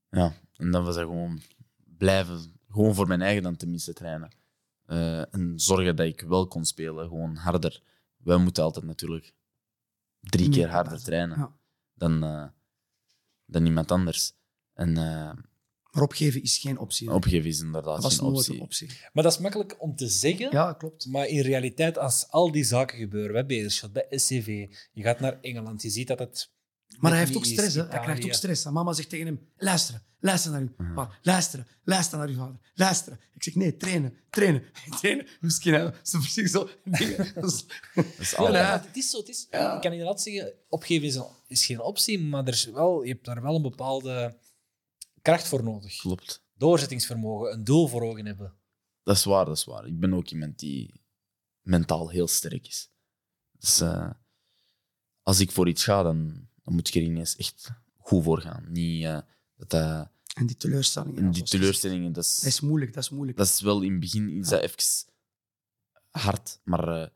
Speaker 2: Ja, en dan was dat gewoon blijven, gewoon voor mijn eigen dan tenminste trainen. Eh, en zorgen dat ik wel kon spelen, gewoon harder. Wij moeten altijd natuurlijk drie
Speaker 3: Meer
Speaker 2: keer
Speaker 3: kapot.
Speaker 2: harder trainen
Speaker 3: Ja.
Speaker 2: dan, eh, dan iemand anders. En eh,
Speaker 3: Maar opgeven is geen optie.
Speaker 2: opgeven is inderdaad
Speaker 3: dat was
Speaker 2: geen
Speaker 3: nooit
Speaker 2: optie.
Speaker 3: een optie.
Speaker 1: Maar dat is makkelijk om te zeggen.
Speaker 3: Ja, klopt.
Speaker 1: Maar in realiteit, als al die zaken gebeuren, bij Beerschot, bij SCV, je gaat naar Engeland, je ziet dat het...
Speaker 3: Maar
Speaker 1: net
Speaker 3: hij heeft ook
Speaker 1: niet is,
Speaker 3: stress. Hè. Hij
Speaker 1: Italië.
Speaker 3: krijgt ook stress. En mama zegt tegen hem, luisteren, luister naar u.
Speaker 2: Ja.
Speaker 3: Maar luisteren, luister naar uw vader. Luisteren. Ik zeg, nee, trainen, trainen, trainen. Misschien hè, zo precies zo. dingen. Dat is-
Speaker 2: Dat is
Speaker 1: Ja,
Speaker 2: altijd-
Speaker 1: maar het is zo. Het is,
Speaker 3: Ja.
Speaker 1: Ik kan inderdaad zeggen, opgeven is, een- is geen optie, maar er is wel, je hebt daar wel een bepaalde kracht voor nodig.
Speaker 2: Klopt.
Speaker 1: Doorzettingsvermogen, een doel voor ogen hebben.
Speaker 2: Dat is waar, dat is waar. Ik ben ook iemand die mentaal heel sterk is. Dus eh, als ik voor iets ga, dan, dan moet ik er ineens echt goed voor gaan. Niet eh, dat dat
Speaker 3: En die teleurstellingen.
Speaker 2: En die
Speaker 3: dat is-
Speaker 2: teleurstellingen, dat
Speaker 3: Dat is
Speaker 2: is,
Speaker 3: moeilijk, dat is moeilijk.
Speaker 2: dat is wel in het begin iets dat even hard, maar eh,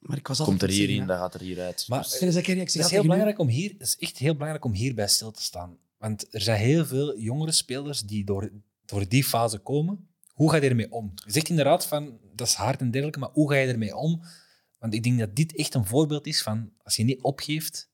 Speaker 3: maar ik was altijd
Speaker 2: komt er
Speaker 3: zeggen,
Speaker 2: hierin,
Speaker 3: hè. eh,
Speaker 2: dan gaat er hieruit.
Speaker 1: Maar-
Speaker 2: Dus-
Speaker 3: En dan zeg ik, ik
Speaker 1: Het
Speaker 3: zeg,
Speaker 1: is,
Speaker 3: ja,
Speaker 1: heel
Speaker 3: tegen u,
Speaker 1: belangrijk om hier, het is echt heel belangrijk om hierbij stil te staan. Want er zijn heel veel jongere spelers die door, door die fase komen. Hoe ga je ermee om? Je zegt inderdaad van, dat is hard en dergelijke, maar hoe ga je ermee om? Want ik denk dat dit echt een voorbeeld is van, als je niet opgeeft,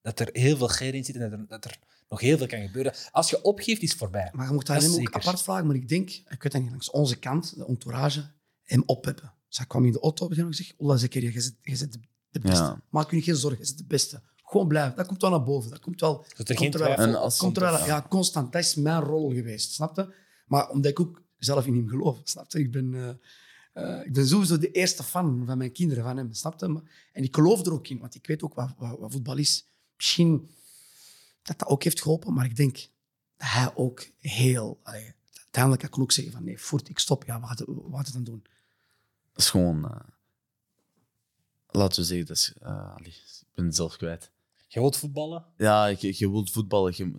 Speaker 1: dat er heel veel geer in zit en dat er, dat er nog heel veel kan gebeuren. Als je opgeeft, is het voorbij. Dus
Speaker 3: Maar je moet daar
Speaker 1: Dat is
Speaker 3: hem ook
Speaker 1: zeker.
Speaker 3: apart vragen. Maar ik denk, ik weet dat niet, langs onze kant, de entourage, hem opheppen. Dus hij kwam in de auto en ik zeg, Ola Zakaria, jij zit, jij zit de, de beste.
Speaker 2: Ja.
Speaker 3: Maak je niet geen zorgen, jij zit de beste. Gewoon blijven, dat komt wel naar boven. Dat komt wel...
Speaker 1: Dat er geen
Speaker 3: komt er wel-
Speaker 1: twijfel
Speaker 2: En als-
Speaker 3: Komt er wel,
Speaker 2: Ja.
Speaker 3: ja, constant. Dat is mijn rol geweest, snapte? Maar omdat ik ook zelf in hem geloof, snapte? Ik ben, eh, eh, ik ben sowieso de eerste fan van mijn kinderen, van hem, snapte? Maar- En ik geloof er ook in, want ik weet ook wat, wat, wat voetbal is. Misschien dat dat ook heeft geholpen, maar ik denk dat hij ook heel... allee, uiteindelijk kan ik ook zeggen van, nee, voort, ik stop. Ja, wat, wat dan doen?
Speaker 2: Dat is gewoon, eh, laten we zeggen, dat is, eh, allee, ik ben het zelf kwijt.
Speaker 1: Je wilt voetballen,
Speaker 2: Ja, je, je wilt voetballen. Je,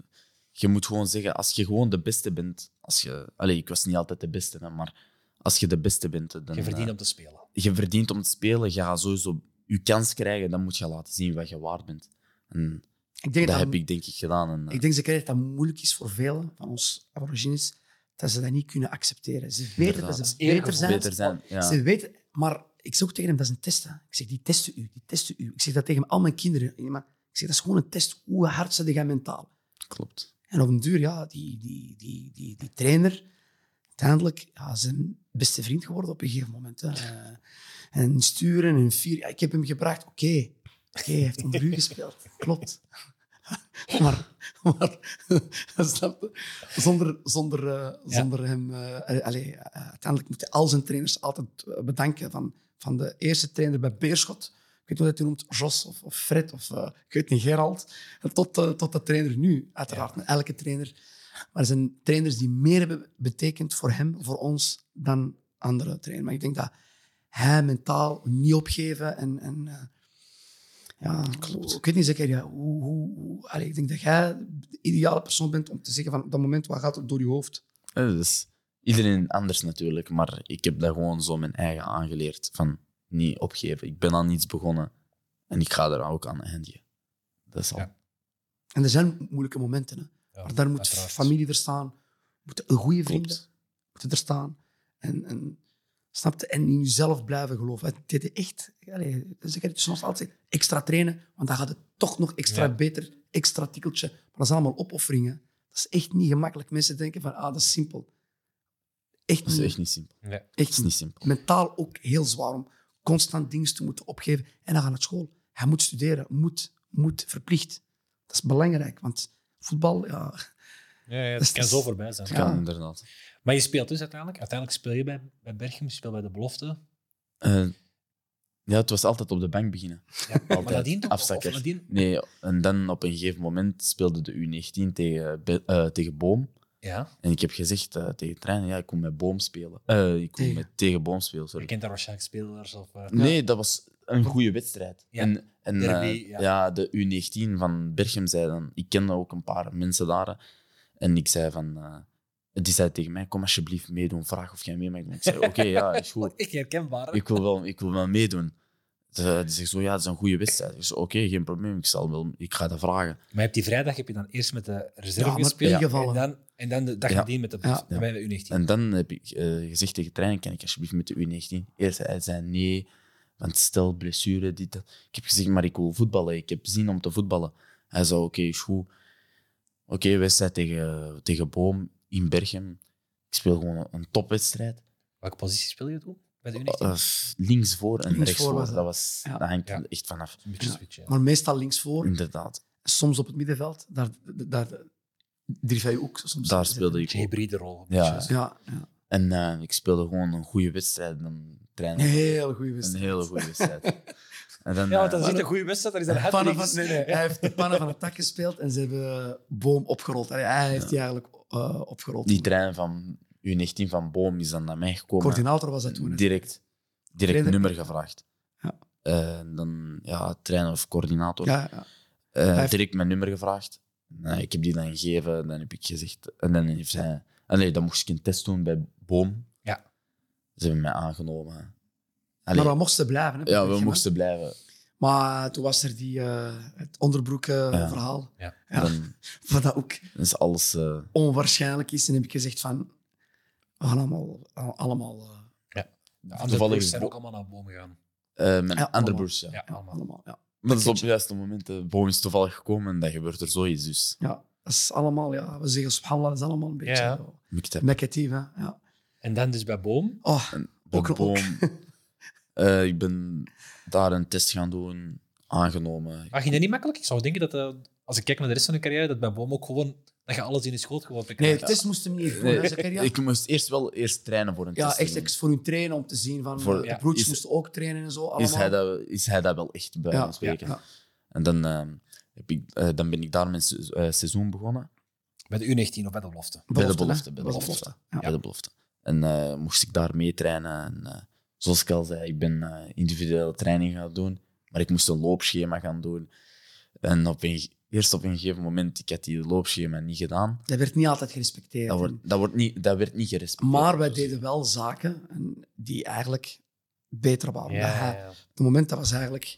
Speaker 2: je moet gewoon zeggen, als je gewoon de beste bent, als je, allee, ik was niet altijd de beste, hè, maar als je de beste bent, dan,
Speaker 1: je verdient
Speaker 2: eh,
Speaker 1: om te spelen.
Speaker 2: je verdient om te spelen, je gaat sowieso je kans krijgen, dan moet je laten zien wat je waard bent. En
Speaker 3: Ik
Speaker 2: dat,
Speaker 3: denk dat,
Speaker 2: heb ik denk ik gedaan. En, eh,
Speaker 3: Ik denk zeker dat dat moeilijk is voor velen van ons aborigines, dat ze dat niet kunnen accepteren. Ze weten dat
Speaker 2: Inderdaad.
Speaker 3: ze
Speaker 1: Dat is
Speaker 3: beter
Speaker 1: eergevoel.
Speaker 3: zijn.
Speaker 2: beter zijn. Ja.
Speaker 3: Ze weten, maar ik zeg ook tegen hem, dat is een test. Hè. Ik zeg, die testen u, die testen u. Ik zeg dat tegen al mijn kinderen. Ja, Maar ik zeg, dat is gewoon een test. Hoe hard ze gaan mentaal.
Speaker 2: Klopt.
Speaker 3: En op een duur, ja, die, die, die, die, die trainer, uiteindelijk, ja, zijn beste vriend geworden op een gegeven moment. Hè. Eh, En sturen en vier. Ja, ik heb hem gebracht. Oké, oké, hij heeft onder u gespeeld. Klopt. Maar Maar, snap je? Zonder, zonder, eh, zonder hem... eh, eh, allee, eh, uiteindelijk moet hij al zijn trainers altijd eh, bedanken. Van, van de eerste trainer bij Beerschot, ik weet niet hoe hij toen noemt, Jos of, of Fred of eh, ik weet niet, Gerald, tot, eh, tot de trainer nu, uiteraard. En Elke trainer. Maar er zijn trainers die meer hebben betekend voor hem, voor ons, dan andere trainers. Maar ik denk dat hij mentaal niet opgeven en... en eh, ja, ik weet niet zeker. Ja, hoe, hoe, hoe- allee, ik denk dat jij de ideale persoon bent om te zeggen van op dat moment, wat gaat er door je hoofd?
Speaker 2: Ja, dat is Eh, dus iedereen anders natuurlijk, maar ik heb dat gewoon zo mijn eigen aangeleerd. Van niet opgeven. Ik ben aan iets begonnen en ik ga er ook aan eindigen. Dat is al.
Speaker 1: Ja.
Speaker 3: En er zijn moeilijke momenten. Hè.
Speaker 1: Ja,
Speaker 3: maar daar moet
Speaker 1: uiteraard.
Speaker 3: familie er staan, moeten goede vrienden
Speaker 2: Klopt.
Speaker 3: moeten er staan. En, en, snap je? en in jezelf blijven geloven. Het deed echt, allee, dat is zeker tussen ons altijd zeggen, extra trainen, want dan gaat het toch nog extra
Speaker 1: Ja.
Speaker 3: beter, extra tikkeltje. Maar dat zijn allemaal opofferingen. Dat is echt niet gemakkelijk. Mensen denken van, ah, dat is simpel. Echt
Speaker 2: Dat is
Speaker 3: niet.
Speaker 2: echt niet simpel.
Speaker 1: Nee.
Speaker 2: Dat
Speaker 3: Echt
Speaker 2: is
Speaker 3: niet.
Speaker 2: niet simpel.
Speaker 3: Mentaal ook heel zwaar om constant dingen te moeten opgeven. En dan gaan naar school. Hij moet studeren. Moet, moet, verplicht. Dat is belangrijk, want voetbal, ja,
Speaker 1: Ja, ja,
Speaker 3: Dus
Speaker 1: het kan
Speaker 3: dat
Speaker 1: zo
Speaker 3: is-
Speaker 1: voorbij zijn.
Speaker 2: Dat
Speaker 3: Ja.
Speaker 2: kan inderdaad.
Speaker 1: Maar je speelt dus uiteindelijk. Uiteindelijk speel je bij, bij Berchem, je speelt bij de belofte.
Speaker 2: Eh, ja, het was altijd op de bank beginnen.
Speaker 1: Ja, maar
Speaker 2: Altijd.
Speaker 1: nadien toch? Of- of
Speaker 2: Afzakker.
Speaker 1: nadien-
Speaker 2: Nee, en dan op een gegeven moment speelde de U19 tegen, Be- eh, tegen Boom.
Speaker 1: Ja,
Speaker 2: En ik heb gezegd eh, tegen de trainer, ja, ik kom met Boom spelen. Eh, ik kom
Speaker 3: Tegen.
Speaker 2: met tegen Boom spelen, sorry.
Speaker 1: je kent daar waarschijnlijk spelers. Of, eh,
Speaker 2: Nee, dat was een goede wedstrijd.
Speaker 1: Ja,
Speaker 2: En, en
Speaker 1: derby,
Speaker 2: eh,
Speaker 1: ja.
Speaker 2: ja. de U19 van Berchem zei dan... Ik kende ook een paar mensen daar. hè. En ik zei van... eh, die zei tegen mij, kom alsjeblieft meedoen. Vraag of jij mee mag doen. Ik zei, oké, ja, is goed.
Speaker 1: Ik herkenbaar.
Speaker 2: Ik wil wel, ik wil wel meedoen. Ze die zegt zo, ja, het is een goede wedstrijd. Ik zei, oké, geen probleem. Ik, zal wel, ik ga dat vragen.
Speaker 1: Maar je hebt die vrijdag heb je dan eerst met de reserve
Speaker 3: Ja, maar
Speaker 1: gespeeld.
Speaker 3: ingevallen.
Speaker 1: En dan, en dan de dag
Speaker 2: Ja.
Speaker 1: nadien met de
Speaker 3: Ja.
Speaker 1: bij de U19.
Speaker 2: En dan heb ik eh, gezegd tegen de trainer, kan ik alsjeblieft met de U19? Eerst hij zei nee, want stel, blessure, dit, dat. Ik heb gezegd, maar ik wil voetballen. Ik heb zin om te voetballen. Hij zei, oké, is goed. Oké, wedstrijd tegen, tegen Boom in Berchem. Ik speel gewoon een topwedstrijd.
Speaker 1: Welke positie speel je toen? Bij de U19?
Speaker 2: Eh, links voor en
Speaker 3: Linksvoor
Speaker 2: rechts voor.
Speaker 3: was dat.
Speaker 2: Dat, was,
Speaker 3: Ja.
Speaker 2: dat hangt
Speaker 1: Ja.
Speaker 2: er echt vanaf.
Speaker 1: Een beetje switchen, ja.
Speaker 3: maar meestal linksvoor.
Speaker 2: Inderdaad,
Speaker 3: Soms op het middenveld. Daar, daar, daar je ook soms.
Speaker 2: daar speelde ik
Speaker 1: Een
Speaker 2: ook.
Speaker 1: hybride rol. een
Speaker 2: Ja.
Speaker 1: beetje.
Speaker 3: Ja, ja.
Speaker 2: En eh, ik speelde gewoon een goede wedstrijd. Dan
Speaker 3: Een
Speaker 2: trainen
Speaker 3: hele goede
Speaker 2: een
Speaker 3: wedstrijd.
Speaker 2: hele goede wedstrijd. en dan,
Speaker 1: Ja, want dat
Speaker 2: eh,
Speaker 1: is niet een goede wedstrijd. Dat is
Speaker 3: De
Speaker 1: dat
Speaker 3: pannen
Speaker 1: hat-trick.
Speaker 3: van- Hij heeft de pannen van het tak gespeeld en ze hebben boom opgerold. Allee, hij heeft die eigenlijk eh, opgerold.
Speaker 2: die trainer van U19 van Boom is dan naar mij gekomen.
Speaker 3: Coördinator was dat toen. hè?
Speaker 2: direct direct
Speaker 3: Trainer.
Speaker 2: nummer gevraagd.
Speaker 3: Ja.
Speaker 2: Eh, dan ja, trainer of coördinator.
Speaker 3: Ja, ja.
Speaker 2: Eh,
Speaker 3: heeft-
Speaker 2: Direct mijn nummer gevraagd. Nou, ik heb die dan gegeven. Dan heb ik gezegd... En dan heeft hij... Allee, dan moest ik een test doen bij Boom.
Speaker 1: Ja.
Speaker 2: Ze hebben mij aangenomen. Allee,
Speaker 3: Maar we mochten blijven. Hè,
Speaker 2: ja,
Speaker 3: Berchem,
Speaker 2: we
Speaker 3: hè.
Speaker 2: moesten blijven.
Speaker 3: Maar toen was er die, eh, het onderbroekenverhaal. verhaal
Speaker 1: Ja.
Speaker 3: Ja.
Speaker 2: Dan
Speaker 3: Wat dat ook
Speaker 2: is alles... eh,
Speaker 3: onwaarschijnlijk is. En heb ik gezegd van, we gaan allemaal... allemaal eh,
Speaker 1: De andere
Speaker 2: Toevallig
Speaker 1: broers
Speaker 2: is
Speaker 1: zijn
Speaker 2: Bo-
Speaker 1: ook allemaal naar bomen gaan.
Speaker 2: eh, mijn
Speaker 3: Ja,
Speaker 2: andere
Speaker 3: allemaal.
Speaker 2: broers, ja.
Speaker 1: Ja, allemaal.
Speaker 3: allemaal ja.
Speaker 2: Maar dat is op het juiste moment. eh, Boom is toevallig gekomen en dan gebeurt er zoiets. Dus
Speaker 3: ja, dat is allemaal... Ja, we zeggen subhanallah, dat is allemaal een beetje...
Speaker 1: Ja.
Speaker 3: zo.
Speaker 2: moet ik dat
Speaker 3: Negatief, hè? Ja.
Speaker 1: En dan dus bij boom.
Speaker 3: Oh,
Speaker 2: De
Speaker 3: Ook- ook.
Speaker 2: boom. Eh, ik ben daar een test gaan doen, aangenomen.
Speaker 1: Maar ging dat niet makkelijk? Ik zou denken dat, eh, als ik kijk naar de rest van je carrière, dat bij boom ook gewoon, dat je alles in je schoot geworpen
Speaker 3: nee,
Speaker 1: krijgt.
Speaker 3: het test moest hem niet even doen,
Speaker 2: Nee,
Speaker 3: hè, Zakaria.
Speaker 2: Ik moest eerst wel eerst trainen voor een
Speaker 3: Ja,
Speaker 2: test.
Speaker 3: echt ex- voor hun trainen om te zien van eh,
Speaker 2: Voor-
Speaker 3: de
Speaker 1: ja,
Speaker 3: broertjes
Speaker 2: is-
Speaker 3: moesten ook trainen en zo. Allemaal.
Speaker 2: is, hij dat, is hij dat wel echt bij
Speaker 3: Ja,
Speaker 2: ons spreken?
Speaker 3: ja, ja.
Speaker 2: En dan, eh, heb ik, eh, dan ben ik daar mijn se- eh, seizoen begonnen.
Speaker 1: Bij de U19 of bij de belofte.
Speaker 2: bij de
Speaker 3: hè?
Speaker 2: belofte. Bij de
Speaker 3: Belofte,
Speaker 2: belofte.
Speaker 3: ja.
Speaker 2: Bij de belofte. En eh, moest ik daar mee trainen. En, eh, zoals ik al zei, ik ben eh, individuele training gaan doen. Maar ik moest een loopschema gaan doen. En op een, ge- eerst op een gegeven moment, ik had die loopschema niet gedaan.
Speaker 3: Dat werd niet altijd gerespecteerd.
Speaker 2: Dat, wordt, dat, wordt niet, dat werd niet gerespecteerd.
Speaker 3: Maar wij
Speaker 2: Dus
Speaker 3: deden wel zaken en die eigenlijk beter waren. Omdat
Speaker 1: Ja,
Speaker 3: hij-
Speaker 1: ja.
Speaker 3: Op het moment dat was eigenlijk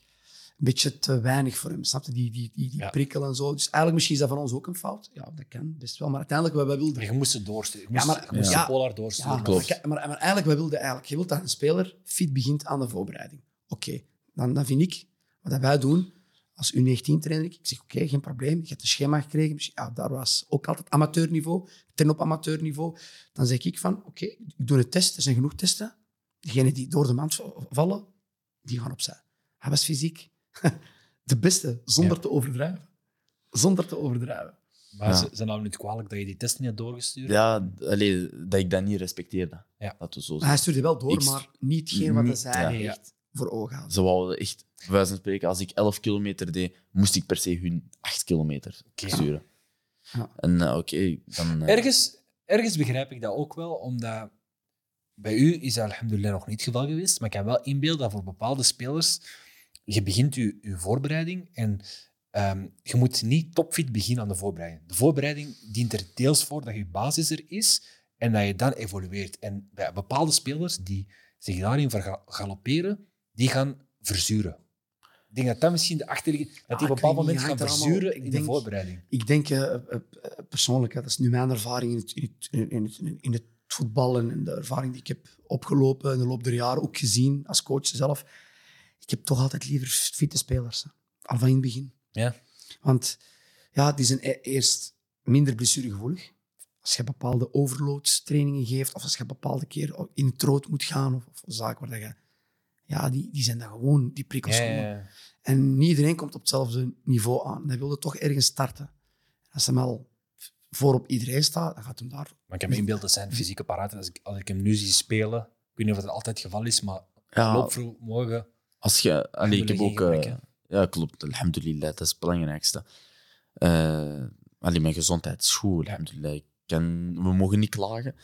Speaker 3: een beetje te weinig voor hem. Snap je? Die, die, die, die
Speaker 1: Ja.
Speaker 3: prikkel en zo. Dus eigenlijk misschien is dat van ons ook een fout. Ja, dat kan best wel. Maar uiteindelijk, wij, wij wilden...
Speaker 1: Maar je moest ze doorsturen. Je moest,
Speaker 3: maar-
Speaker 1: je moest
Speaker 3: ja.
Speaker 1: de Polar
Speaker 3: Ja,
Speaker 1: doorsturen.
Speaker 3: maar,
Speaker 2: klopt.
Speaker 3: maar, maar eigenlijk, wij wilden eigenlijk, je wilt dat een speler fit begint aan de voorbereiding. Oké, dan, dan vind ik, wat dat wij doen, als U19-trainer, ik zeg oké, geen probleem, je hebt een schema gekregen, misschien- ja, daar was ook altijd amateurniveau, ten op amateurniveau. Dan zeg ik van, oké, ik doe een test, er zijn genoeg testen. Degenen die door de mand v- vallen, die gaan opzij. Hij was fysiek de beste, zonder te overdrijven. Zonder te overdrijven.
Speaker 1: Maar
Speaker 2: Ja.
Speaker 1: ze ze namen het kwalijk dat je die test niet had doorgestuurd.
Speaker 2: Ja, d- allee, dat ik dat niet respecteerde.
Speaker 1: Ja.
Speaker 2: Dat we zo
Speaker 3: Maar hij stuurde wel door,
Speaker 2: Ik-
Speaker 3: maar niet geen wat hij
Speaker 2: Niet-
Speaker 3: zei
Speaker 1: ja.
Speaker 3: echt voor ogen had.
Speaker 2: Ze wouden echt, bij wijze van spreken, als ik 11 kilometer deed, moest ik per se hun 8 kilometer
Speaker 1: Oké.
Speaker 2: sturen.
Speaker 3: Ja.
Speaker 2: En eh, oké, dan... eh,
Speaker 1: Ergens, ergens begrijp ik dat ook wel, omdat bij u is dat alhamdulillah nog niet het geval geweest, maar ik kan wel inbeelden dat voor bepaalde spelers, je begint je, je voorbereiding en ehm, je moet niet topfit beginnen aan de voorbereiding. De voorbereiding dient er deels voor dat je basis er is en dat je dan evolueert. En bij bepaalde spelers die zich daarin verga- galopperen, die gaan verzuren. Ik denk dat dat misschien de achterliggende... Dat die
Speaker 3: Ah,
Speaker 1: op een
Speaker 3: ik weet
Speaker 1: bepaald moment
Speaker 3: niet,
Speaker 1: gaan
Speaker 3: hangt er allemaal-
Speaker 1: verzuren
Speaker 3: ik
Speaker 1: in de
Speaker 3: denk-
Speaker 1: voorbereiding.
Speaker 3: Ik denk eh, eh, eh, persoonlijk, hè, dat is nu mijn ervaring in het, in het, in het, in het voetbal en in de ervaring die ik heb opgelopen in de loop der jaren, ook gezien als coach zelf. Ik heb toch altijd liever fitte spelers, hè. al van in het begin.
Speaker 1: Ja.
Speaker 3: Want ja, die zijn e- eerst minder blessuregevoelig. Als je bepaalde overloads trainingen geeft, of als je bepaalde keer in het rood moet gaan, of, of zaken waar dat je... Ja, die, die zijn dan gewoon, die prikkels
Speaker 1: Ja,
Speaker 3: gewoon.
Speaker 1: ja, ja.
Speaker 3: En niet iedereen komt op hetzelfde niveau aan. Hij wilde toch ergens starten. Als hem al voor op iedereen staat, dan gaat hem daar.
Speaker 1: Maar ik heb me inbeeld dat zijn fysieke paraatheid. Als ik, als ik hem nu zie spelen, ik weet niet of dat altijd het geval is, maar
Speaker 2: ja,
Speaker 1: loopvermogen.
Speaker 2: Als je, Ah. allee, ik heb ook.
Speaker 1: Alhamdulillah,
Speaker 2: eh,
Speaker 1: geen
Speaker 2: ja, klopt. Alhamdulillah, dat is het belangrijkste. Eh allee, mijn gezondheid is goed. Alhamdulillah. Ik kan, we mogen niet klagen.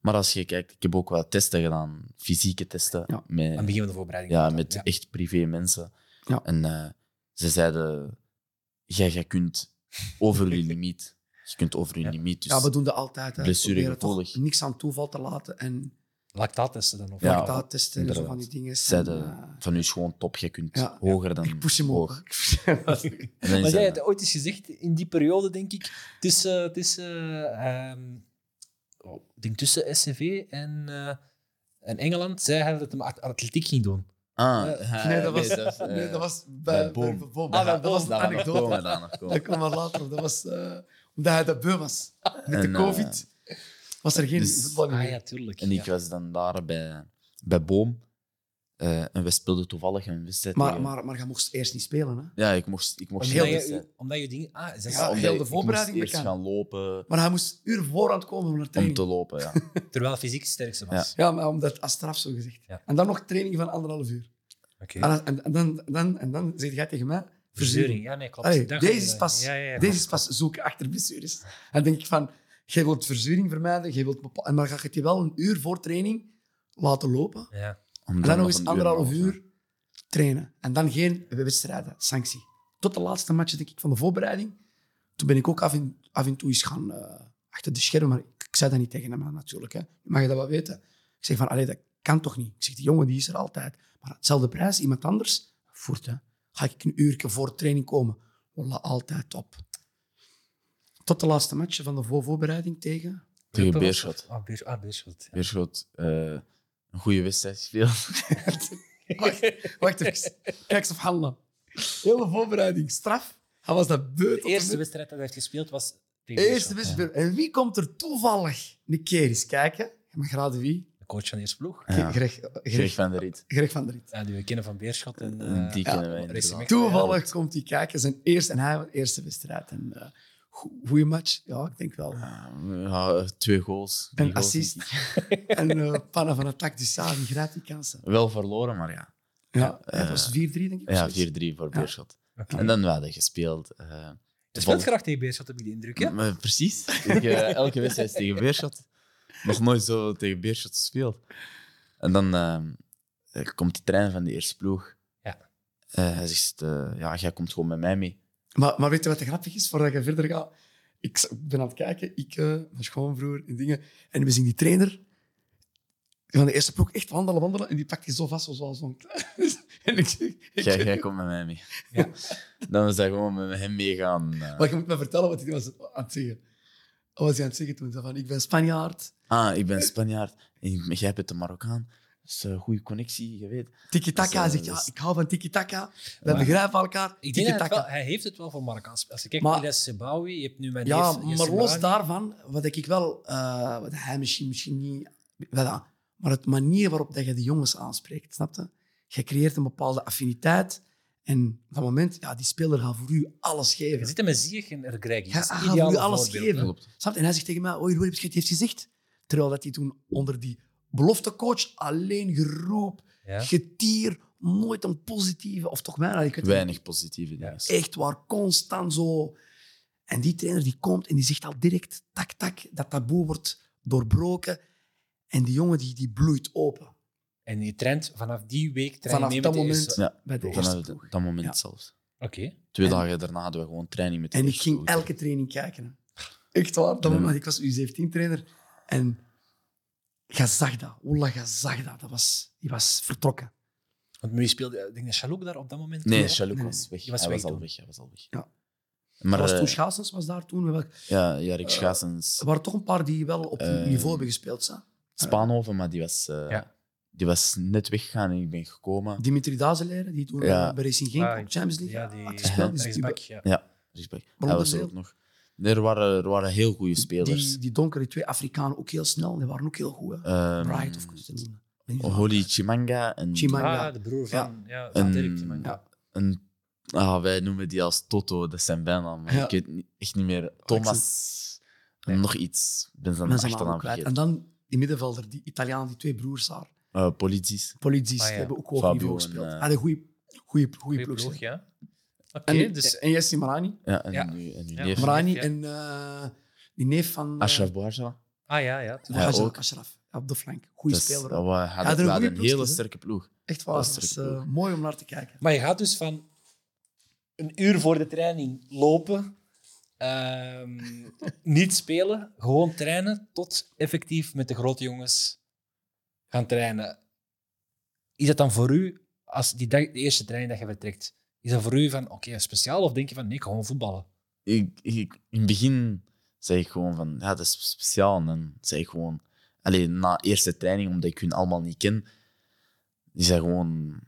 Speaker 2: Maar als je kijkt, ik heb ook wel testen gedaan, fysieke testen.
Speaker 3: Ja.
Speaker 1: Aan het
Speaker 2: Met,
Speaker 1: begin van de voorbereiding.
Speaker 2: ja, met
Speaker 1: Ja.
Speaker 2: echt privé mensen.
Speaker 3: Ja.
Speaker 2: En eh, ze zeiden: jij, jij kunt over je limiet. Je kunt over je
Speaker 1: Ja.
Speaker 2: limiet. Dus,
Speaker 3: ja, we doen dat altijd. hè. We proberen
Speaker 2: Blessuregevoelig.
Speaker 3: toch niks aan toeval te laten en
Speaker 1: Lactaattesten dan. Of
Speaker 2: Ja.
Speaker 1: lactaat-
Speaker 3: lactaattesten en zo van die
Speaker 2: inderdaad.
Speaker 3: dingen.
Speaker 2: zeiden:
Speaker 3: En, eh,
Speaker 2: van nu is gewoon top. Je kunt
Speaker 3: Ja.
Speaker 2: hoger dan.
Speaker 3: ik push hem
Speaker 2: hoog.
Speaker 3: op. Ik push hem op.
Speaker 2: En dan
Speaker 1: Maar
Speaker 2: is
Speaker 1: jij
Speaker 2: dat-
Speaker 1: hebt ooit eens gezegd, in die periode denk ik, tussen, tussen, ehm, oh, ik denk tussen SCV en, eh, en Engeland, zei hij dat hij maar at- atletiek ging doen.
Speaker 2: Ah,
Speaker 1: Eh,
Speaker 3: nee, dat was,
Speaker 2: nee, dat is,
Speaker 3: nee,
Speaker 2: eh,
Speaker 3: dat was bij,
Speaker 2: bij Boom.
Speaker 3: bij Boom.
Speaker 1: Ah, bij
Speaker 3: dat was een
Speaker 2: Daar gaan we nog
Speaker 3: anekdote.
Speaker 2: komen, daar nog komen.
Speaker 3: Dat kwam maar later. op. Dat was eh, omdat hij dat beu was. Met
Speaker 2: En,
Speaker 3: de
Speaker 2: eh,
Speaker 3: COVID was er geen
Speaker 2: dus-
Speaker 3: voetbal meer.
Speaker 1: Ah ja, tuurlijk.
Speaker 2: En ik
Speaker 1: ja.
Speaker 2: was dan daar bij, bij Boom. eh, en we speelden toevallig een wedstrijd.
Speaker 3: maar,
Speaker 2: tegen-
Speaker 3: maar, maar je moest eerst niet spelen. Hè?
Speaker 2: Ja, ik mocht, ik mocht
Speaker 1: omdat,
Speaker 2: geen
Speaker 1: je,
Speaker 2: wedstrijd.
Speaker 1: u- omdat je dingen... Ah, zeg,
Speaker 3: Ja,
Speaker 2: Omdat
Speaker 3: heel de
Speaker 2: ik- ik moest
Speaker 3: voorbereiding
Speaker 2: eerst
Speaker 3: bekend.
Speaker 2: gaan lopen
Speaker 3: Maar hij moest uur voorhand komen om naar
Speaker 2: om
Speaker 3: training.
Speaker 2: te lopen, ja.
Speaker 1: Terwijl fysiek het sterkste was.
Speaker 3: Ja, maar omdat als straf zo gezegd.
Speaker 1: Ja.
Speaker 3: En dan nog training van anderhalf uur.
Speaker 1: Oké.
Speaker 2: Ah,
Speaker 3: En, en, en dan, dan, en dan zeg jij tegen mij:
Speaker 1: Verzuring,
Speaker 3: verzuring.
Speaker 1: ja, nee, klopt.
Speaker 3: Allee,
Speaker 1: Daar
Speaker 3: deze
Speaker 1: ga je
Speaker 3: is
Speaker 1: dan.
Speaker 3: pas-
Speaker 1: Ja, ja, ja,
Speaker 3: Deze is pas zoeken achter blessures. Dan denk ik van: jij wilt verzuring vermijden, jij wilt bepa- en dan ga je het je wel een uur voor training laten lopen.
Speaker 1: klopt. Ja.
Speaker 2: Om
Speaker 3: En
Speaker 2: dan
Speaker 3: dan nog eens
Speaker 2: een
Speaker 3: anderhalf
Speaker 2: en een half,
Speaker 3: uur trainen. En dan geen wedstrijden, sanctie. Tot de laatste match denk ik, van de voorbereiding. Toen ben ik ook af en, af en toe eens gaan eh, achter de schermen. Maar ik, ik zei dat niet tegen hem natuurlijk. Hè. Mag je dat wel weten? Ik zeg van, allee, dat kan toch niet? Ik zeg, die jongen die is er altijd. Maar hetzelfde prijs, iemand anders, voert hè. Ga ik een uurtje voor training komen? Wallah, altijd op. Tot de laatste match van de voor- voorbereiding tegen.
Speaker 2: Tegen
Speaker 1: Ruppen was-
Speaker 2: Beerschot.
Speaker 1: Ah, Beerschot, ah, Beerschot, ja.
Speaker 2: Beerschot, eh, een goede wedstrijd gespeeld.
Speaker 3: Wacht, wacht even. Kijk, subhanallah. Hele voorbereiding, straf. Hij was dat beut.
Speaker 1: De eerste wedstrijd dat hij heeft gespeeld was tegen
Speaker 3: Eerste
Speaker 1: Beerschot.
Speaker 3: wedstrijd. En wie komt er toevallig een keer eens kijken? Je mag raden wie?
Speaker 1: De coach van de eerste ploeg.
Speaker 2: Ja.
Speaker 3: Greg, eh,
Speaker 2: Greg
Speaker 3: Greg,
Speaker 2: van der Riet.
Speaker 3: Greg van der Riet.
Speaker 1: Ja, die we kennen van Beerschot. En,
Speaker 2: En
Speaker 1: eh,
Speaker 2: Die
Speaker 1: ja,
Speaker 2: kennen
Speaker 1: Racing
Speaker 2: wij inderdaad.
Speaker 1: Mechelen,
Speaker 3: Toevallig komt hij kijken. Zijn eerste, en hij was eerste wedstrijd. En, eh go- goeie match. Ja, ik denk wel.
Speaker 2: Eh, Ja, twee goals. drie
Speaker 3: Een
Speaker 2: goals,
Speaker 3: assist.
Speaker 2: denk ik.
Speaker 3: En eh pannen van attack, dus ja, die grijpt die kansen.
Speaker 2: Wel verloren, maar ja.
Speaker 3: Ja, het
Speaker 2: eh,
Speaker 3: was 4-3, denk ik. of
Speaker 2: Ja,
Speaker 3: zoiets.
Speaker 2: 4-3 voor
Speaker 3: Ja.
Speaker 2: Beerschot.
Speaker 1: Oké.
Speaker 2: En dan we hadden gespeeld. eh,
Speaker 1: Je speelt graag tegen Beerschot, heb ik de indruk.
Speaker 3: Mm.
Speaker 1: Hè?
Speaker 2: Maar precies. Ik, eh, elke wedstrijd is tegen Beerschot. Nog nooit zo tegen Beerschot gespeeld. En dan eh, eh, komt die trein van de eerste ploeg.
Speaker 1: Ja.
Speaker 2: Eh, hij zegt, eh, ja, jij komt gewoon met mij mee.
Speaker 3: Maar, maar weet je wat de grappig is, voordat je verder gaat? Ik z- ben aan het kijken, ik, eh, mijn schoonvroer en dingen. En we zien die trainer van de eerste ploeg echt wandelen, wandelen. En die pakt je zo vast zoals zo'n... en ik zeg... Ik,
Speaker 2: Jij, jij komt met mij mee.
Speaker 1: Ja.
Speaker 2: Dan is hij gewoon met hem meegaan. eh.
Speaker 3: maar je moet me vertellen wat hij was aan het zeggen. Wat was hij aan het zeggen toen? Hij zei van, ik ben Spanjaard,
Speaker 2: Ah, ik ben Spanjaard. En jij bent een Marokkaan. Dus eh, goede connectie, je weet.
Speaker 3: tiki-taka. Hij
Speaker 2: Dus,
Speaker 3: zegt,
Speaker 2: eh,
Speaker 3: ja,
Speaker 2: dus-
Speaker 3: ik hou van tiki-taka. We
Speaker 1: Maar-
Speaker 3: begrijpen elkaar.
Speaker 1: Ik denk dat hij, het wel-
Speaker 3: Tiki-taka.
Speaker 1: hij heeft het wel voor Marokkaans. Als je kijkt
Speaker 3: Maar-
Speaker 1: naar Ilyas Sebawi, je hebt nu mijn
Speaker 3: Ja,
Speaker 1: neef, Jesse
Speaker 3: maar los
Speaker 1: Morani.
Speaker 3: daarvan, wat ik wel... eh, wat hij misschien, misschien niet... wel, Maar het manier waarop dat je de jongens aanspreekt, snap je? Je creëert een bepaalde affiniteit En op dat moment, ja, die speler gaat voor u alles
Speaker 1: Je
Speaker 3: geven.
Speaker 1: zit hem met Ziyech en Ergrijk.
Speaker 3: Hij
Speaker 1: Dat is
Speaker 3: gaat
Speaker 1: het
Speaker 3: voor
Speaker 1: ideale
Speaker 3: u ah, alles
Speaker 1: voorbeeld.
Speaker 3: geven.
Speaker 2: Klopt.
Speaker 3: Snap je? En hij zegt tegen mij, oei, Roy, heb je het heeft gezegd? Terwijl dat hij toen onder die beloftecoach alleen geroep,
Speaker 1: Ja.
Speaker 3: getier, nooit een positieve, of toch bijna, ik weet het
Speaker 2: Weinig positieve dingen.
Speaker 3: niet. echt waar, constant zo. En die trainer die komt en die zegt al direct, tak, tak, dat taboe wordt doorbroken. En die jongen die, die bloeit open.
Speaker 1: En je traint vanaf die week train je
Speaker 3: Vanaf
Speaker 1: mee
Speaker 3: dat
Speaker 1: met de
Speaker 3: moment
Speaker 1: eerste-
Speaker 2: Ja,
Speaker 3: bij de
Speaker 2: Vanaf
Speaker 3: eerste
Speaker 2: dat,
Speaker 3: ploeg.
Speaker 2: dat moment
Speaker 3: Ja.
Speaker 2: zelfs.
Speaker 1: Oké.
Speaker 2: Twee
Speaker 3: En-
Speaker 2: dagen daarna hadden we gewoon training met de
Speaker 3: En ik
Speaker 2: eerste
Speaker 3: ging
Speaker 2: ploeg.
Speaker 3: elke training kijken. hè. Echt waar. Dat
Speaker 2: Ja.
Speaker 3: moment, ik was U17-trainer. En je zag dat. Ola, je zag dat. dat was, die was vertrokken.
Speaker 1: Want nu speelde, ik denk dat Chalouk daar op dat moment.
Speaker 2: Nee,
Speaker 1: toen ook-
Speaker 2: Chaluk
Speaker 3: Nee,
Speaker 2: was weg.
Speaker 1: die was
Speaker 2: hij,
Speaker 1: weg
Speaker 2: was al
Speaker 1: toen.
Speaker 2: weg hij was al weg.
Speaker 3: Ja.
Speaker 2: Maar
Speaker 3: was toen
Speaker 2: eh,
Speaker 3: Schaatsens was daar toen. Wel-
Speaker 2: ja, ja,
Speaker 1: Eh,
Speaker 2: Rick eh, Schaatsens,
Speaker 3: Er waren toch een paar die wel op
Speaker 2: Eh,
Speaker 3: niveau hebben gespeeld. Zo.
Speaker 2: Spaanhoven, maar die was, eh,
Speaker 1: eh. Ja.
Speaker 2: die was net weggegaan en ik ben gekomen.
Speaker 3: Dimitri Dazeleren, die toen
Speaker 2: Ja.
Speaker 3: bij Racing ging,
Speaker 1: Ah,
Speaker 3: op Champions League
Speaker 1: Ja, die
Speaker 3: had gespeeld. Dus die,
Speaker 1: rechtsback. Ja.
Speaker 2: Respect. Hij
Speaker 3: Waarom
Speaker 2: was
Speaker 3: dat
Speaker 2: er ook
Speaker 3: deel?
Speaker 2: nog. Er waren, er waren heel goede spelers.
Speaker 3: die, die donkere twee Afrikanen ook heel snel. Die waren ook heel goed. Hè.
Speaker 2: Ehm,
Speaker 3: Bright of Christen.
Speaker 2: Holly Chimanga en,
Speaker 3: Chima-
Speaker 1: Ah,
Speaker 3: Ja.
Speaker 1: de broer
Speaker 3: Ja.
Speaker 1: van. Ja, van
Speaker 2: en,
Speaker 1: Dirk, die man.
Speaker 3: Ja.
Speaker 2: en- ah, wij noemen die als Toto, dat is zijn bijnaam. maar
Speaker 3: Ja.
Speaker 2: Ik weet niet- echt niet meer. Thomas,
Speaker 1: Nee.
Speaker 2: nog iets. Ik ben zijn
Speaker 3: Mensen waren
Speaker 2: achternaam
Speaker 3: ook kwijt.
Speaker 2: vergeten.
Speaker 3: En dan die middenvelder, die Italiaan, die twee broers daar.
Speaker 2: Eh, polities.
Speaker 3: Polities
Speaker 1: Ah, ja.
Speaker 3: die hebben ook hoog
Speaker 2: Fabio
Speaker 3: niveau
Speaker 2: en,
Speaker 3: gespeeld.
Speaker 2: eh,
Speaker 3: Hadden goede goede goede
Speaker 1: Goeie
Speaker 3: ploeg.
Speaker 1: ploeg,
Speaker 3: zeg.
Speaker 1: ja. Oké,
Speaker 3: En,
Speaker 1: dus.
Speaker 3: en Yassin Marani.
Speaker 2: Ja, en
Speaker 1: Ja.
Speaker 2: nu, en nu
Speaker 1: Ja.
Speaker 2: neef.
Speaker 1: Maar-
Speaker 3: Marani
Speaker 1: ja.
Speaker 3: en eh, die neef van eh,
Speaker 2: Ashraf Bouhajra.
Speaker 1: Ah ja, ja.
Speaker 3: van
Speaker 2: Ja,
Speaker 3: Ashraf,
Speaker 2: ook.
Speaker 3: Ashraf, ja, op de flank. Goede
Speaker 2: Dus,
Speaker 3: speler.
Speaker 2: eh,
Speaker 3: ook.
Speaker 2: we hadden,
Speaker 3: hadden
Speaker 2: we
Speaker 3: een
Speaker 2: hadden een
Speaker 3: goeie
Speaker 2: hele
Speaker 3: ploegjes, hè?
Speaker 2: sterke ploeg.
Speaker 3: Echt waar,
Speaker 2: dat is
Speaker 3: dat is
Speaker 2: terug,
Speaker 3: eh,
Speaker 2: ook.
Speaker 3: mooi om naar te kijken.
Speaker 1: Maar je gaat dus van een uur voor de training lopen, ehm, niet spelen, gewoon trainen, tot effectief met de grote jongens gaan trainen. Is dat dan voor u, als die dag, de eerste training dat je vertrekt, is dat voor u van oké, speciaal of denk je van nee, gewoon voetballen?
Speaker 2: ik, ik, in het begin zei ik gewoon van, ja, dat is speciaal. En dan zei ik gewoon, alleen na eerste training, omdat ik hun allemaal niet ken, die zei gewoon,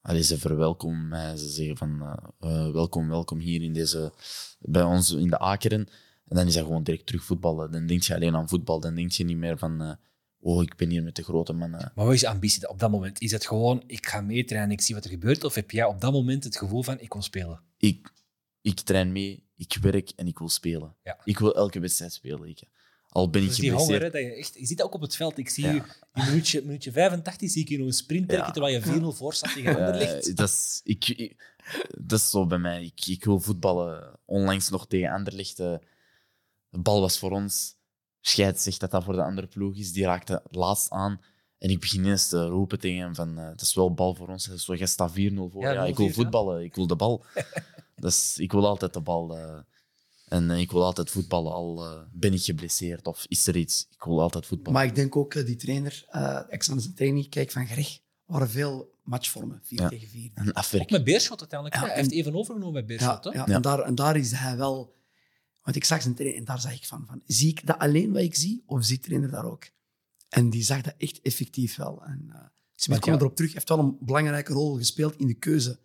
Speaker 2: allee, ze verwelkomen mij. Ze zeggen van, eh, eh, welkom, welkom hier in deze, bij ons in de Akeren. En dan is dat gewoon direct terug voetballen. Dan denk je alleen aan voetbal. Dan denk je niet meer van, eh, oh, ik ben hier met de grote mannen.
Speaker 1: Maar wat is je ambitie op dat moment? Is het gewoon ik ga meetrainen, ik zie wat er gebeurt? Of heb jij op dat moment het gevoel van ik wil spelen?
Speaker 2: ik, ik train mee, ik werk en ik wil spelen.
Speaker 1: Ja.
Speaker 2: Ik wil elke wedstrijd spelen. Ik, al ben ik
Speaker 1: Dus die honger, hè,
Speaker 2: geblesseerd.
Speaker 1: dat je, echt, je ziet dat ook op het veld. Ik zie
Speaker 2: Ja.
Speaker 1: je in minuutje, minuutje 85 zie ik je nog een sprint trekken
Speaker 2: Ja.
Speaker 1: terwijl je 4-0 voor staat tegen Anderlecht.
Speaker 2: Eh, dat, is, ik, ik- dat is zo bij mij. Ik, ik wil voetballen. Onlangs nog tegen Anderlecht. eh, de bal was voor ons. Scheid zegt dat dat voor de andere ploeg is. Die raakte laatst aan. En ik begin eens te roepen tegen hem van... eh, het is wel bal voor ons. Het is wel, jij staat 4-0 voor.
Speaker 1: Ja,
Speaker 2: Ja, ik wil
Speaker 1: 0-4, ja.
Speaker 2: voetballen. Ik wil de bal. dus ik wil altijd de bal. eh, en eh, ik wil altijd voetballen. Al eh, ben ik geblesseerd of is er iets. Ik wil altijd voetballen.
Speaker 3: Maar ik denk ook eh, die trainer, eh ex aan zijn training, kijk van Greg, waren veel matchvormen. 4
Speaker 2: Ja.
Speaker 3: tegen 4.
Speaker 2: En
Speaker 1: Ook
Speaker 2: afwerken.
Speaker 1: met Beerschot uiteindelijk.
Speaker 3: Ja,
Speaker 1: hè. Hij
Speaker 3: en-
Speaker 1: heeft even overgenomen met
Speaker 3: Ja,
Speaker 1: Beerschot. hè?
Speaker 3: ja,
Speaker 2: Ja.
Speaker 3: En, daar, en daar is hij wel. Want ik zag zijn trainer en daar zag ik van, van: zie ik dat alleen wat ik zie, of ziet trainer daar ook? En die zag dat echt effectief wel. En eh Smit
Speaker 1: Want
Speaker 3: kwam
Speaker 1: ja.
Speaker 3: erop terug, heeft wel een belangrijke rol gespeeld in de keuze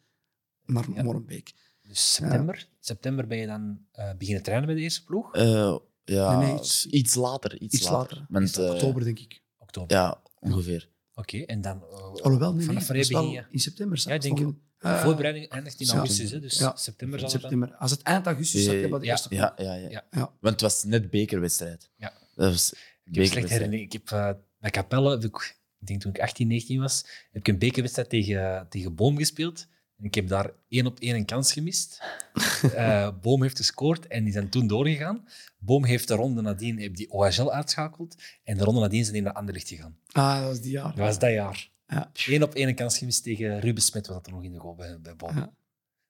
Speaker 3: naar
Speaker 1: Ja.
Speaker 3: Morenbeek.
Speaker 1: Dus september, september ben je dan eh, beginnen trainen bij de eerste ploeg.
Speaker 2: Eh, ja,
Speaker 3: Nee, nee, iets-
Speaker 2: iets later. Iets,
Speaker 3: Iets later.
Speaker 2: later. Want, eh,
Speaker 3: Oktober, denk ik.
Speaker 1: Oktober.
Speaker 2: Ja, ongeveer.
Speaker 1: Oké, en dan... eh,
Speaker 3: Alhoewel, nee, nee,
Speaker 1: vanaf
Speaker 3: dat
Speaker 1: wanneer
Speaker 3: was
Speaker 1: begin
Speaker 3: wel
Speaker 1: je?
Speaker 3: in september.
Speaker 1: Ja, ik denk
Speaker 3: volgende-
Speaker 1: De
Speaker 3: eh,
Speaker 1: voorbereiding eindigt in
Speaker 3: ja.
Speaker 1: augustus, hè, dus
Speaker 3: Ja.
Speaker 1: september
Speaker 3: in
Speaker 1: zal het dan...
Speaker 3: september. Als het eind augustus zat,
Speaker 2: Eh,
Speaker 3: je wel de
Speaker 1: ja.
Speaker 3: eerste ploeg.
Speaker 2: Ja, ja, ja,
Speaker 1: Ja.
Speaker 3: Ja.
Speaker 2: Want het was net bekerwedstrijd.
Speaker 1: Ja.
Speaker 2: Dat was
Speaker 1: Ik heb slecht herinnering. Ik heb eh, bij Capelle, heb ik, ik denk toen ik 18, 19 was, heb ik een bekerwedstrijd tegen, tegen Boom gespeeld. En ik heb daar één op één een kans gemist. Eh, Boom heeft gescoord en die zijn toen doorgegaan. Boom heeft de ronde nadien heb die OHL uitschakeld. En de ronde nadien zijn die naar Anderlecht gegaan.
Speaker 3: Ah, dat was die jaar.
Speaker 1: Dat was dat jaar.
Speaker 3: Ja.
Speaker 1: Eén op één een kans gemist tegen Ruben Smit, was dat er nog in de goal bij, bij Boom.
Speaker 3: Ja.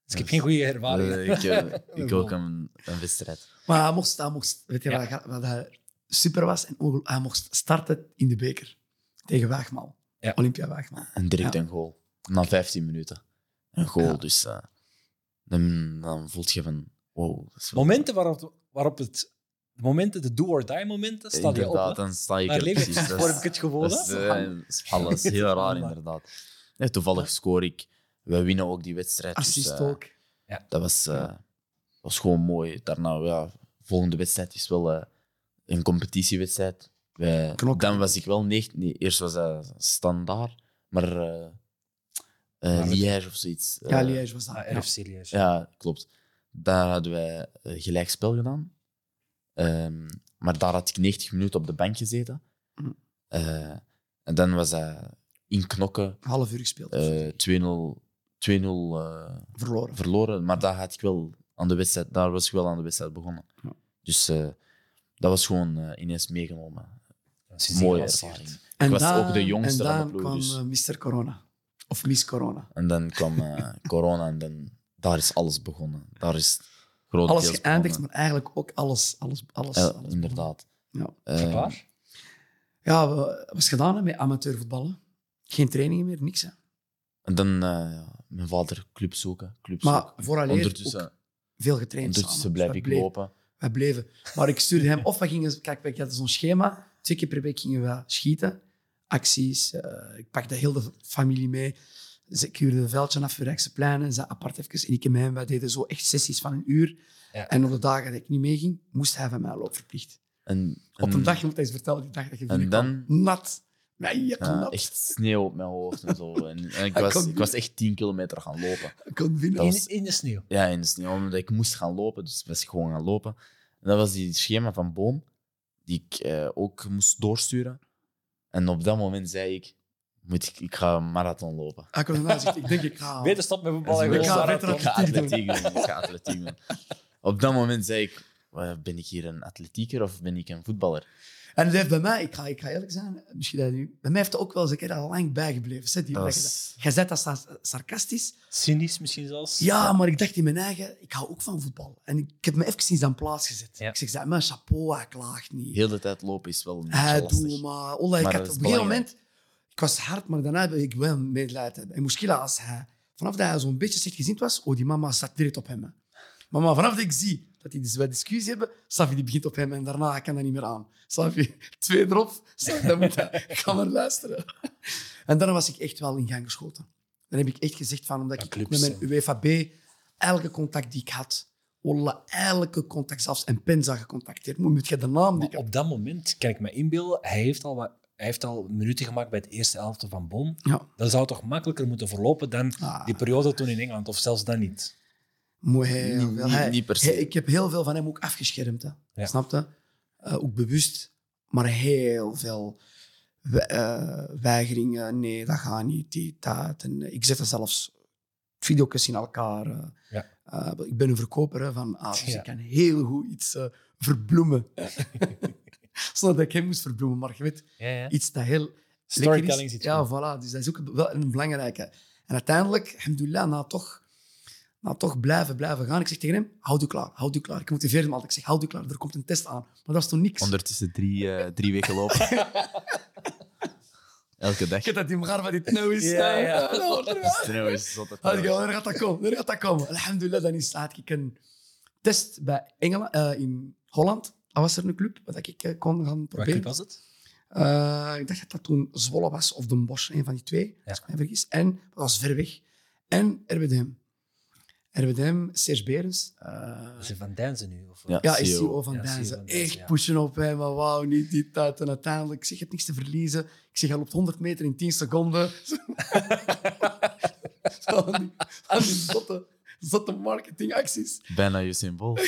Speaker 1: Dus ik heb geen goede ervaring.
Speaker 2: Eh, ik, eh, ik
Speaker 1: Wel.
Speaker 2: ook een, een wedstrijd.
Speaker 3: Maar hij mocht, hij mocht weet je
Speaker 1: Ja.
Speaker 3: wat, hij- wat hij super was? En ongel- hij mocht starten in de beker tegen Waagmaal.
Speaker 1: Ja.
Speaker 3: Olympia Waagmaal.
Speaker 2: En direct
Speaker 3: Ja.
Speaker 2: een goal. Na 15 minuten. Een goal,
Speaker 3: Ja.
Speaker 2: dus eh, dan, dan voel je van... Wow, dat is wel-
Speaker 1: Momenten waarop, waarop het... De momenten, de do-or-die momenten, staan je op.
Speaker 2: Eh, Inderdaad,
Speaker 1: hè.
Speaker 2: dan sta je
Speaker 1: Daar
Speaker 2: er
Speaker 1: leef ik
Speaker 2: precies. Dat
Speaker 1: voor,
Speaker 2: is-
Speaker 1: heb ik het gevoel. Ah,
Speaker 2: Dat
Speaker 1: hè.
Speaker 2: is, eh, alles heel raar, inderdaad. Ja, toevallig scoor ik. We winnen ook die wedstrijd. dus,
Speaker 3: Assist
Speaker 2: eh,
Speaker 3: ook.
Speaker 2: Dat was, eh,
Speaker 3: Ja.
Speaker 2: was gewoon mooi. Daarna, ja, volgende wedstrijd is wel eh, een competitiewedstrijd. Wij-
Speaker 3: Knokken.
Speaker 2: dan was ik wel 19. Nee, eerst was dat standaard, maar eh, eh,
Speaker 1: Maar het-
Speaker 2: Liège of zoiets.
Speaker 3: Ja,
Speaker 2: Eh,
Speaker 3: Liège was dat.
Speaker 1: Ah,
Speaker 3: Ja.
Speaker 1: RFC Liège.
Speaker 2: Ja, klopt. Daar hadden wij eh, gelijk spel gedaan. Ehm, maar daar had ik 90 minuten op de bank gezeten.
Speaker 3: Hm.
Speaker 2: Eh, en dan was dat inknokken.
Speaker 3: Een half uur gespeeld.
Speaker 2: eh 2-0 2-0, eh,
Speaker 3: verloren.
Speaker 2: verloren. Maar daar, had ik wel aan de wedstrijd, daar was ik wel aan de wedstrijd begonnen.
Speaker 3: Ja.
Speaker 2: Dus eh, dat was gewoon eh, ineens meegenomen.
Speaker 1: Sindsdien
Speaker 2: Mooie
Speaker 1: gelanceerd.
Speaker 2: ervaring.
Speaker 3: En
Speaker 2: was ook de jongste
Speaker 3: en
Speaker 2: van de
Speaker 3: dan
Speaker 2: ploeg,
Speaker 3: kwam
Speaker 2: dus.
Speaker 3: eh, Mr. Corona. Of Miss Corona.
Speaker 2: En dan kwam eh, corona en dan, daar is alles begonnen. Daar is groot
Speaker 3: Alles
Speaker 2: deels
Speaker 3: geëindigd,
Speaker 2: begonnen.
Speaker 3: maar eigenlijk ook alles. alles, alles,
Speaker 2: Ja,
Speaker 3: alles
Speaker 2: inderdaad.
Speaker 3: Ja.
Speaker 2: Eh,
Speaker 1: Gebaar?
Speaker 3: Ja, we- was gedaan hè, met amateurvoetballen. Geen trainingen meer, niks. Hè.
Speaker 2: en dan eh, ja, mijn vader club zoeken. Club
Speaker 3: Maar
Speaker 2: zoeken.
Speaker 3: vooraleer ook
Speaker 2: Ondertussen,
Speaker 3: veel getraind
Speaker 2: ondertussen
Speaker 3: samen.
Speaker 2: blijf
Speaker 3: Dus
Speaker 2: ik
Speaker 3: wij bleven-
Speaker 2: lopen.
Speaker 3: Wij bleven. Maar ik stuurde hem of we gingen... Kijk, we hadden zo'n schema. Twee keer per week gingen we schieten. Acties. eh, ik pakte heel de familie mee. Ze kuurden een veldje af voor Rijkse Pleinen. Ze apart even. En ik en mij. Wij deden zo echt sessies van een uur.
Speaker 1: Ja.
Speaker 3: En op de dagen dat ik niet meeging, moest hij van mij loopverplicht.
Speaker 2: En,
Speaker 3: Op
Speaker 2: en-
Speaker 3: een dag, je moet eens vertellen, die dag dat je
Speaker 2: En
Speaker 3: binnenkwam, Nat. Nee, je kon
Speaker 2: ja,
Speaker 3: nat.
Speaker 2: echt sneeuw op mijn hoofd en zo. En, en ik,
Speaker 3: Hij
Speaker 2: was,
Speaker 3: kon-
Speaker 2: ik was echt 10 kilometer gaan lopen.
Speaker 3: Ik kon binnen.
Speaker 2: Dat was-
Speaker 1: In, in de sneeuw.
Speaker 2: Ja, in de sneeuw, omdat ik moest gaan lopen, dus was ik gewoon gaan lopen. En dat was die schema van Boom, die ik eh, ook moest doorsturen. En op dat moment zei ik, moet ik, ik ga een marathon lopen.
Speaker 3: Hij kon ernaast zitten. Ik denk, ik ga...
Speaker 1: Beter stop met voetbal
Speaker 2: En
Speaker 1: en
Speaker 2: ze
Speaker 1: gewoon
Speaker 3: Oh, Ik
Speaker 2: wilden-
Speaker 3: ga
Speaker 1: marathon.
Speaker 3: vetter-
Speaker 2: ik ga
Speaker 3: atletiek doen.
Speaker 2: atletiek doen. Ik ga atletiek doen. Op dat moment zei ik, "Wat, ben ik hier een atletieker of ben ik een voetballer?
Speaker 3: En het heeft bij mij, ik ga, ik ga eerlijk zijn, misschien dat nu, bij mij heeft het ook wel eens een keer al lang bijgebleven. Zet die
Speaker 2: Dat
Speaker 3: dat
Speaker 2: was-
Speaker 3: Jij zet dat sa- sarcastisch.
Speaker 1: Cynisch misschien zelfs.
Speaker 3: Ja, maar ik dacht in mijn eigen, ik hou ook van voetbal. En ik, ik heb me even aan plaats gezet.
Speaker 1: Ja.
Speaker 3: Ik zeg, dat, maar chapeau, hij klaagt niet.
Speaker 2: Heel de tijd lopen is wel een beetje
Speaker 3: hij
Speaker 2: lastig.
Speaker 3: doet Ah, maar. Ola, ik
Speaker 2: Maar
Speaker 3: had,
Speaker 2: dat
Speaker 3: op
Speaker 2: is
Speaker 3: een gegeven
Speaker 2: belangrijk.
Speaker 3: moment, ik was hard, maar daarna heb ik wel medelijden hebben. En Moeskila, als hij, vanaf dat hij zo'n beetje slecht gezind was, oh, die mama staat direct op hem. hè. Maar, maar vanaf dat ik zie dat die dus wat discussie hebben, Safi die begint op hem en daarna kan dat niet meer aan. Safi, twee erop, Safi, dan moet hij, ga maar luisteren. En daarna was ik echt wel in gang geschoten. Dan heb ik echt gezegd van, omdat
Speaker 1: Ja,
Speaker 3: ik ook
Speaker 1: clubs,
Speaker 3: met mijn E UEFAB, elke contact die ik had, Ola, elke contact, zelfs en Penza gecontacteerd. Maar Moet je de naam die ik
Speaker 1: Maar op dat moment kan ik me inbeelden, hij heeft al, wat- hij heeft al minuten gemaakt bij het eerste elfte van Bon.
Speaker 3: Ja.
Speaker 1: Dat zou toch makkelijker moeten verlopen dan
Speaker 3: Ah.
Speaker 1: die periode toen in Engeland, of zelfs dan niet.
Speaker 3: Mooi, hij,
Speaker 2: Niet-
Speaker 3: wel,
Speaker 2: niet-
Speaker 3: hij-
Speaker 2: niet per se.
Speaker 3: hij- ik heb heel veel van hem ook afgeschermd. Hè.
Speaker 1: Ja.
Speaker 3: Snap je? Eh, ook bewust, maar heel veel we- eh, weigeringen. Nee, dat gaat niet, dit, dat. En, eh, ik zet dat zelfs video's in elkaar. eh.
Speaker 1: Ja.
Speaker 3: Eh, ik ben een verkoper hè, van ah, dus
Speaker 1: Ja.
Speaker 3: ik kan heel goed iets eh, verbloemen. Zonder dat ik hem moest verbloemen, maar je weet,
Speaker 1: Ja, ja.
Speaker 3: iets dat heel
Speaker 1: Storytelling zit
Speaker 3: zit Ja,
Speaker 1: goed.
Speaker 3: voilà. Dus dat is ook wel een belangrijke. En uiteindelijk, alhamdulillah, na toch, na toch blijven, blijven gaan. Ik zeg tegen hem, houd u klaar, houd u klaar. Ik motiveer hem altijd. Ik zeg, houd u klaar, er komt een test aan. Maar dat is toch niks?
Speaker 2: Ondertussen drie, eh, drie weken lopen. Elke dag.
Speaker 3: Ik heb dat in elkaar wat dit nou is.
Speaker 1: Ja, ja.
Speaker 2: Sneeuw is altijd
Speaker 3: Had ik
Speaker 2: wel-
Speaker 3: al, er gaat dat komen, er gaat dat komen. Alhamdulillah, dan is had ik een test bij Engeland, eh, in Holland. Dat was er een club, wat ik eh, kon gaan
Speaker 1: Wat club
Speaker 3: proberen.
Speaker 1: was het?
Speaker 3: Eh, ik dacht dat dat toen Zwolle was of Den Bosch, een van die twee, als ik me niet vergis. En dat was ver weg. En RWDM. RWDM, Serge Berens. eh,
Speaker 1: Dat is Van Dijnzen nu? Of,
Speaker 2: Ja.
Speaker 3: ja, is
Speaker 2: CEO.
Speaker 3: CEO van
Speaker 1: E Ja, CEO
Speaker 3: Dijnzen.
Speaker 1: van Dijnzen,
Speaker 3: Echt
Speaker 1: ja.
Speaker 3: pushen op hem, maar wauw, niet dit, dat. En uiteindelijk, ik zeg, je hebt niks te verliezen. Ik zeg, hij loopt 100 meter in 10 seconden. Zo aan die, aan die zotte, zotte marketingacties.
Speaker 2: Bijna Usain Bolt.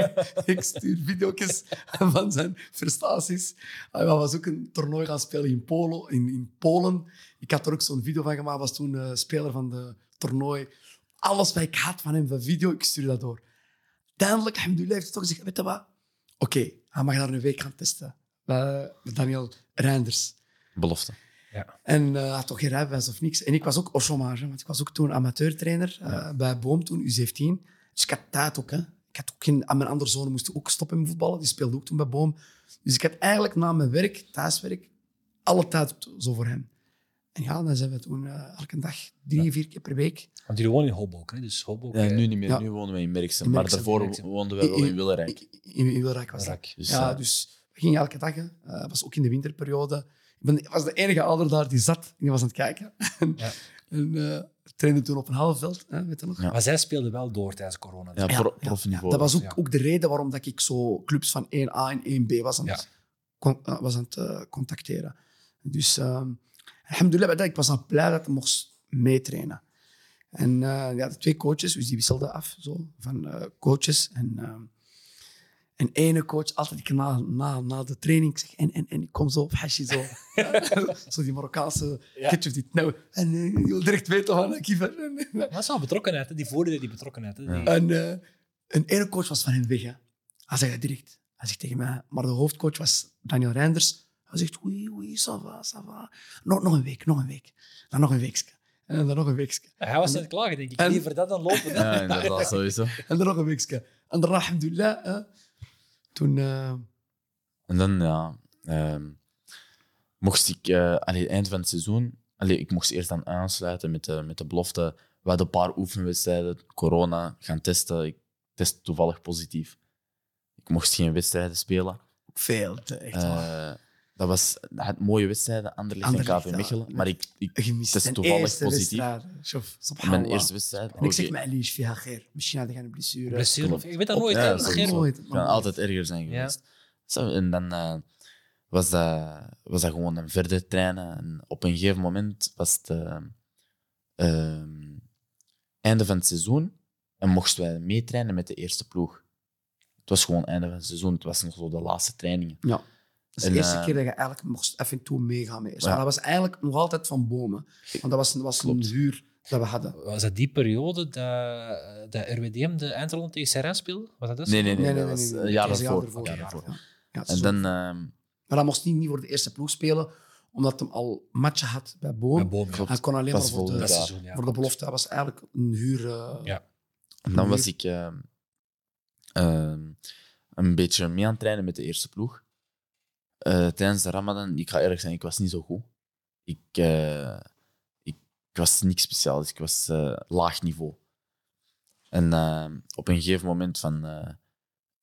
Speaker 3: ik stuur video's van zijn prestaties. Ah, Hij was ook een toernooi gaan spelen in, Polo, in, in Polen. Ik had er ook zo'n video van gemaakt. was toen eh, speler van de toernooi. Alles wat ik had van hem, van video, ik stuurde dat door. Uiteindelijk, alhamdulillah, heeft hij toch gezegd, weet je wat? Oké, hij mag daar een week gaan testen. Eh, Met Daniel Reinders.
Speaker 2: Belofte.
Speaker 3: En eh, had toch geen rijbewijs of niks. En ik was ook au chômage, hè, want ik was ook toen amateurtrainer eh, bij Boom, toen U17. Dus ik had tijd ook. Hè. Ik had ook geen, aan mijn andere zonen moesten ook stoppen met voetballen. Die speelde ook toen bij Boom. Dus ik had eigenlijk na mijn werk, thuiswerk, alle tijd op- zo voor hem. En ja, dan zijn we toen eh, elke dag drie, vier keer per week.
Speaker 1: Want jullie wonen in Hoboken, hè? dus Hoboken...
Speaker 2: Ja, nu niet meer.
Speaker 3: Ja.
Speaker 2: Nu wonen we in Merksem.
Speaker 3: In
Speaker 2: maar
Speaker 3: Merksem,
Speaker 2: daarvoor
Speaker 1: in Merksem.
Speaker 2: woonden we wel in Willerijk.
Speaker 3: In, in, in Wilrijk was dat.
Speaker 1: Rak.
Speaker 2: Dus,
Speaker 3: ja,
Speaker 2: eh,
Speaker 3: dus we gingen elke dag. hè. Eh, Het was ook in de winterperiode. Ik ben, ik was de enige ouder daar die zat en die was aan het kijken. en
Speaker 1: Ja.
Speaker 3: en eh, trainde toen op een halfveld, hè, weet je nog?
Speaker 2: Ja.
Speaker 1: Maar zij speelden wel door tijdens corona. dus
Speaker 2: ja,
Speaker 1: Ja.
Speaker 2: pro-
Speaker 3: ja,
Speaker 2: profniveau.
Speaker 3: Dat was ook,
Speaker 1: ja.
Speaker 3: ook de reden waarom dat ik zo clubs van 1A en 1B was aan het, kon- eh, was aan het eh, contacteren. Dus ehm alhamdulillah, bij dat, ik was al blij dat ik mocht meetrainen. En eh, ja, de twee coaches, dus die wisselden af zo, van eh, coaches. En, eh, en ene coach, altijd ik na, na, na de training, ik zeg, en, en, en ik kom zo op hashi zo. zo die Marokkaanse
Speaker 1: Ja.
Speaker 3: ketchup die nou, en eh, je wil direct weten van eh, Kiefer. En, en,
Speaker 1: Maar dat is wel betrokkenheid, hè? die voordelen, die betrokkenheid. Hè? Die-
Speaker 3: en, eh, en ene coach was van hen weg. Hè. Hij zei dat direct. Hij zegt tegen mij, maar de hoofdcoach was Daniel Reinders. Hij zegt, oei, oei, ça va, ça va. Nog, nog een week, nog een week. Dan nog een weekje. En dan nog een weekje.
Speaker 1: Hij was aan het klagen, denk ik.
Speaker 3: En-
Speaker 1: Liever dat dan lopen. hè.
Speaker 2: eh, Ja, inderdaad, sowieso.
Speaker 3: En dan nog een weekje. En daarna, alhamdulillah, hè, toen... eh,
Speaker 2: En dan, ja, ehm, mocht ik eh allee, eind van het seizoen, allee, ik mocht eerst dan aansluiten met de, met de belofte. We hadden een paar oefenwedstrijden, corona, gaan testen. Ik test toevallig positief. Ik mocht geen wedstrijden spelen.
Speaker 3: Veel, te- echt waar.
Speaker 2: Eh, dat was had mooie wedstrijden, Anderlecht en
Speaker 3: Anderlecht,
Speaker 2: KV
Speaker 3: ja.
Speaker 2: Mechelen. Maar ik, ik
Speaker 3: Gemist.
Speaker 2: het is
Speaker 3: Mijn
Speaker 2: toevallig
Speaker 3: eerste
Speaker 2: positief.
Speaker 3: wedstrijd. Shof, subhanallah.
Speaker 2: mijn eerste wedstrijd.
Speaker 3: En ik zeg
Speaker 2: oké,
Speaker 3: met Ali, via geer. Misschien had hij een blessure.
Speaker 1: Blessure,
Speaker 2: klopt.
Speaker 1: of- je weet dat nooit.
Speaker 2: Ja,
Speaker 1: hè,
Speaker 2: dat is
Speaker 1: Gerard.
Speaker 2: sowieso.
Speaker 3: Nooit,
Speaker 2: Het
Speaker 3: maar
Speaker 2: kan
Speaker 3: nooit.
Speaker 2: altijd erger
Speaker 1: Ja.
Speaker 2: zijn geweest. Zo, en dan eh, was, dat, was dat gewoon een verder trainen. En op een gegeven moment was het eh, ehm, einde van het seizoen en mochten wij meetrainen met de eerste ploeg. Het was gewoon einde van het seizoen. Het was nog zo de laatste trainingen.
Speaker 3: Ja. Dat is de
Speaker 2: En,
Speaker 3: eerste
Speaker 2: eh,
Speaker 3: keer dat je eigenlijk mocht even toe meegaan met eerst.
Speaker 2: Ja.
Speaker 3: Maar dat was eigenlijk nog altijd van bomen. Want dat was, dat was een
Speaker 2: Klopt.
Speaker 3: huur dat we hadden.
Speaker 1: Was dat die periode dat, dat RWDM de Eindhoven tegen CRN speelde? Was dat dus? dat?
Speaker 2: Nee, nee, nee.
Speaker 3: Nee, nee, nee.
Speaker 2: dat was
Speaker 3: nee,
Speaker 2: een
Speaker 3: nee.
Speaker 2: jaar
Speaker 3: Dat was
Speaker 2: daarvoor.
Speaker 3: ervoor,
Speaker 2: Een jaar
Speaker 3: ja,
Speaker 2: daarvoor.
Speaker 3: ja. Ja, het is
Speaker 2: En
Speaker 3: zo.
Speaker 2: dan... ehm,
Speaker 3: Maar dat moest niet, niet voor de eerste ploeg spelen, omdat hij al matchen had bij
Speaker 1: Bij
Speaker 3: Boom.
Speaker 1: Boom, ja.
Speaker 2: Klopt.
Speaker 3: Hij kon
Speaker 2: Dat
Speaker 3: alleen maar
Speaker 2: is
Speaker 3: voor de,
Speaker 2: volgend
Speaker 1: Dat
Speaker 2: Ja.
Speaker 1: seizoen, ja.
Speaker 3: voor de belofte. Dat was eigenlijk een huur. eh,
Speaker 1: Ja.
Speaker 2: En dan was ik ehm, ehm, een beetje mee aan het trainen met de eerste ploeg. Eh, tijdens de Ramadan, ik ga eerlijk zijn, ik was niet zo goed. Ik, eh, ik, ik was niks speciaals, ik was eh, laag niveau. En ehm, op een gegeven moment van, eh,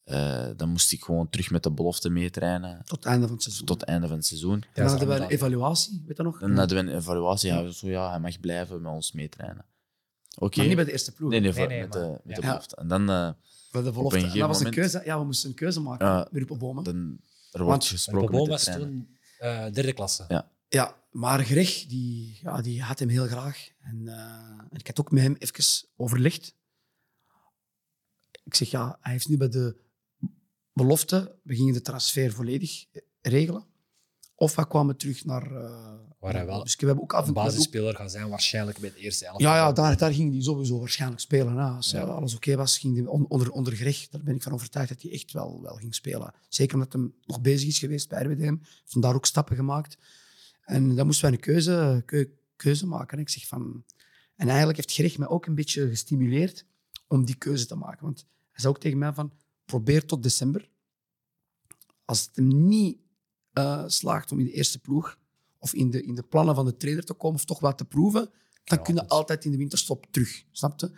Speaker 2: eh, dan moest ik gewoon terug met de belofte meetrainen
Speaker 3: Tot het einde van het seizoen.
Speaker 2: tot het einde van het seizoen.
Speaker 3: en dan hadden we een
Speaker 1: Ramadan.
Speaker 3: evaluatie, weet je nog?
Speaker 2: Dan hadden we een evaluatie, ja, zo ja, hij mag blijven met ons meetrainen. Oké.
Speaker 3: Hmm. Maar niet bij de eerste ploeg.
Speaker 2: Nee, nee,
Speaker 1: Nee,
Speaker 2: voor-
Speaker 1: nee,
Speaker 2: met,
Speaker 1: maar-
Speaker 2: de, met de
Speaker 3: ja.
Speaker 2: belofte. En dan... eh,
Speaker 3: Bij de
Speaker 2: Op een
Speaker 3: belofte. En
Speaker 2: gegeven
Speaker 3: dat was een
Speaker 2: moment-
Speaker 3: keuze. Ja, we moesten een keuze maken.
Speaker 2: Ja.
Speaker 3: Met Rupen Bomen.
Speaker 2: Dan, er wordt
Speaker 3: Want-
Speaker 2: gesproken
Speaker 1: Boom
Speaker 2: met
Speaker 1: was
Speaker 2: de trainer.
Speaker 1: toen eh, derde klasse.
Speaker 2: Ja.
Speaker 3: Ja, maar Greg, die, ja, die had hem heel graag. En, eh, en ik had ook met hem even overlegd. Ik zeg, ja, hij heeft nu bij de belofte, we gingen de transfer volledig regelen. Of we kwamen terug naar... eh,
Speaker 1: Waar hij wel
Speaker 3: Dus we hebben ook af en
Speaker 1: Een
Speaker 3: toe...
Speaker 1: basisspeler gaan zijn waarschijnlijk bij het eerste elftal.
Speaker 3: Ja, ja daar, daar ging hij sowieso waarschijnlijk spelen. hè. Als
Speaker 1: Ja.
Speaker 3: eh, alles oké was, ging hij on- onder, onder Greg. Daar ben ik van overtuigd dat hij echt wel, wel ging spelen. Zeker omdat hij nog bezig is geweest bij RWDM. Heeft hem daar ook stappen gemaakt. En dan moesten wij een keuze, keu- keuze maken. Ik zeg van... En eigenlijk heeft Greg mij ook een beetje gestimuleerd om die keuze te maken. Want hij zei ook tegen mij van, probeer tot december. Als het hem niet eh, slaagt om in de eerste ploeg of in de, in de plannen van de trainer te komen of toch wat te proeven, dan
Speaker 1: Ja,
Speaker 3: kun je
Speaker 1: dat-
Speaker 3: altijd in de winterstop terug. Snap je?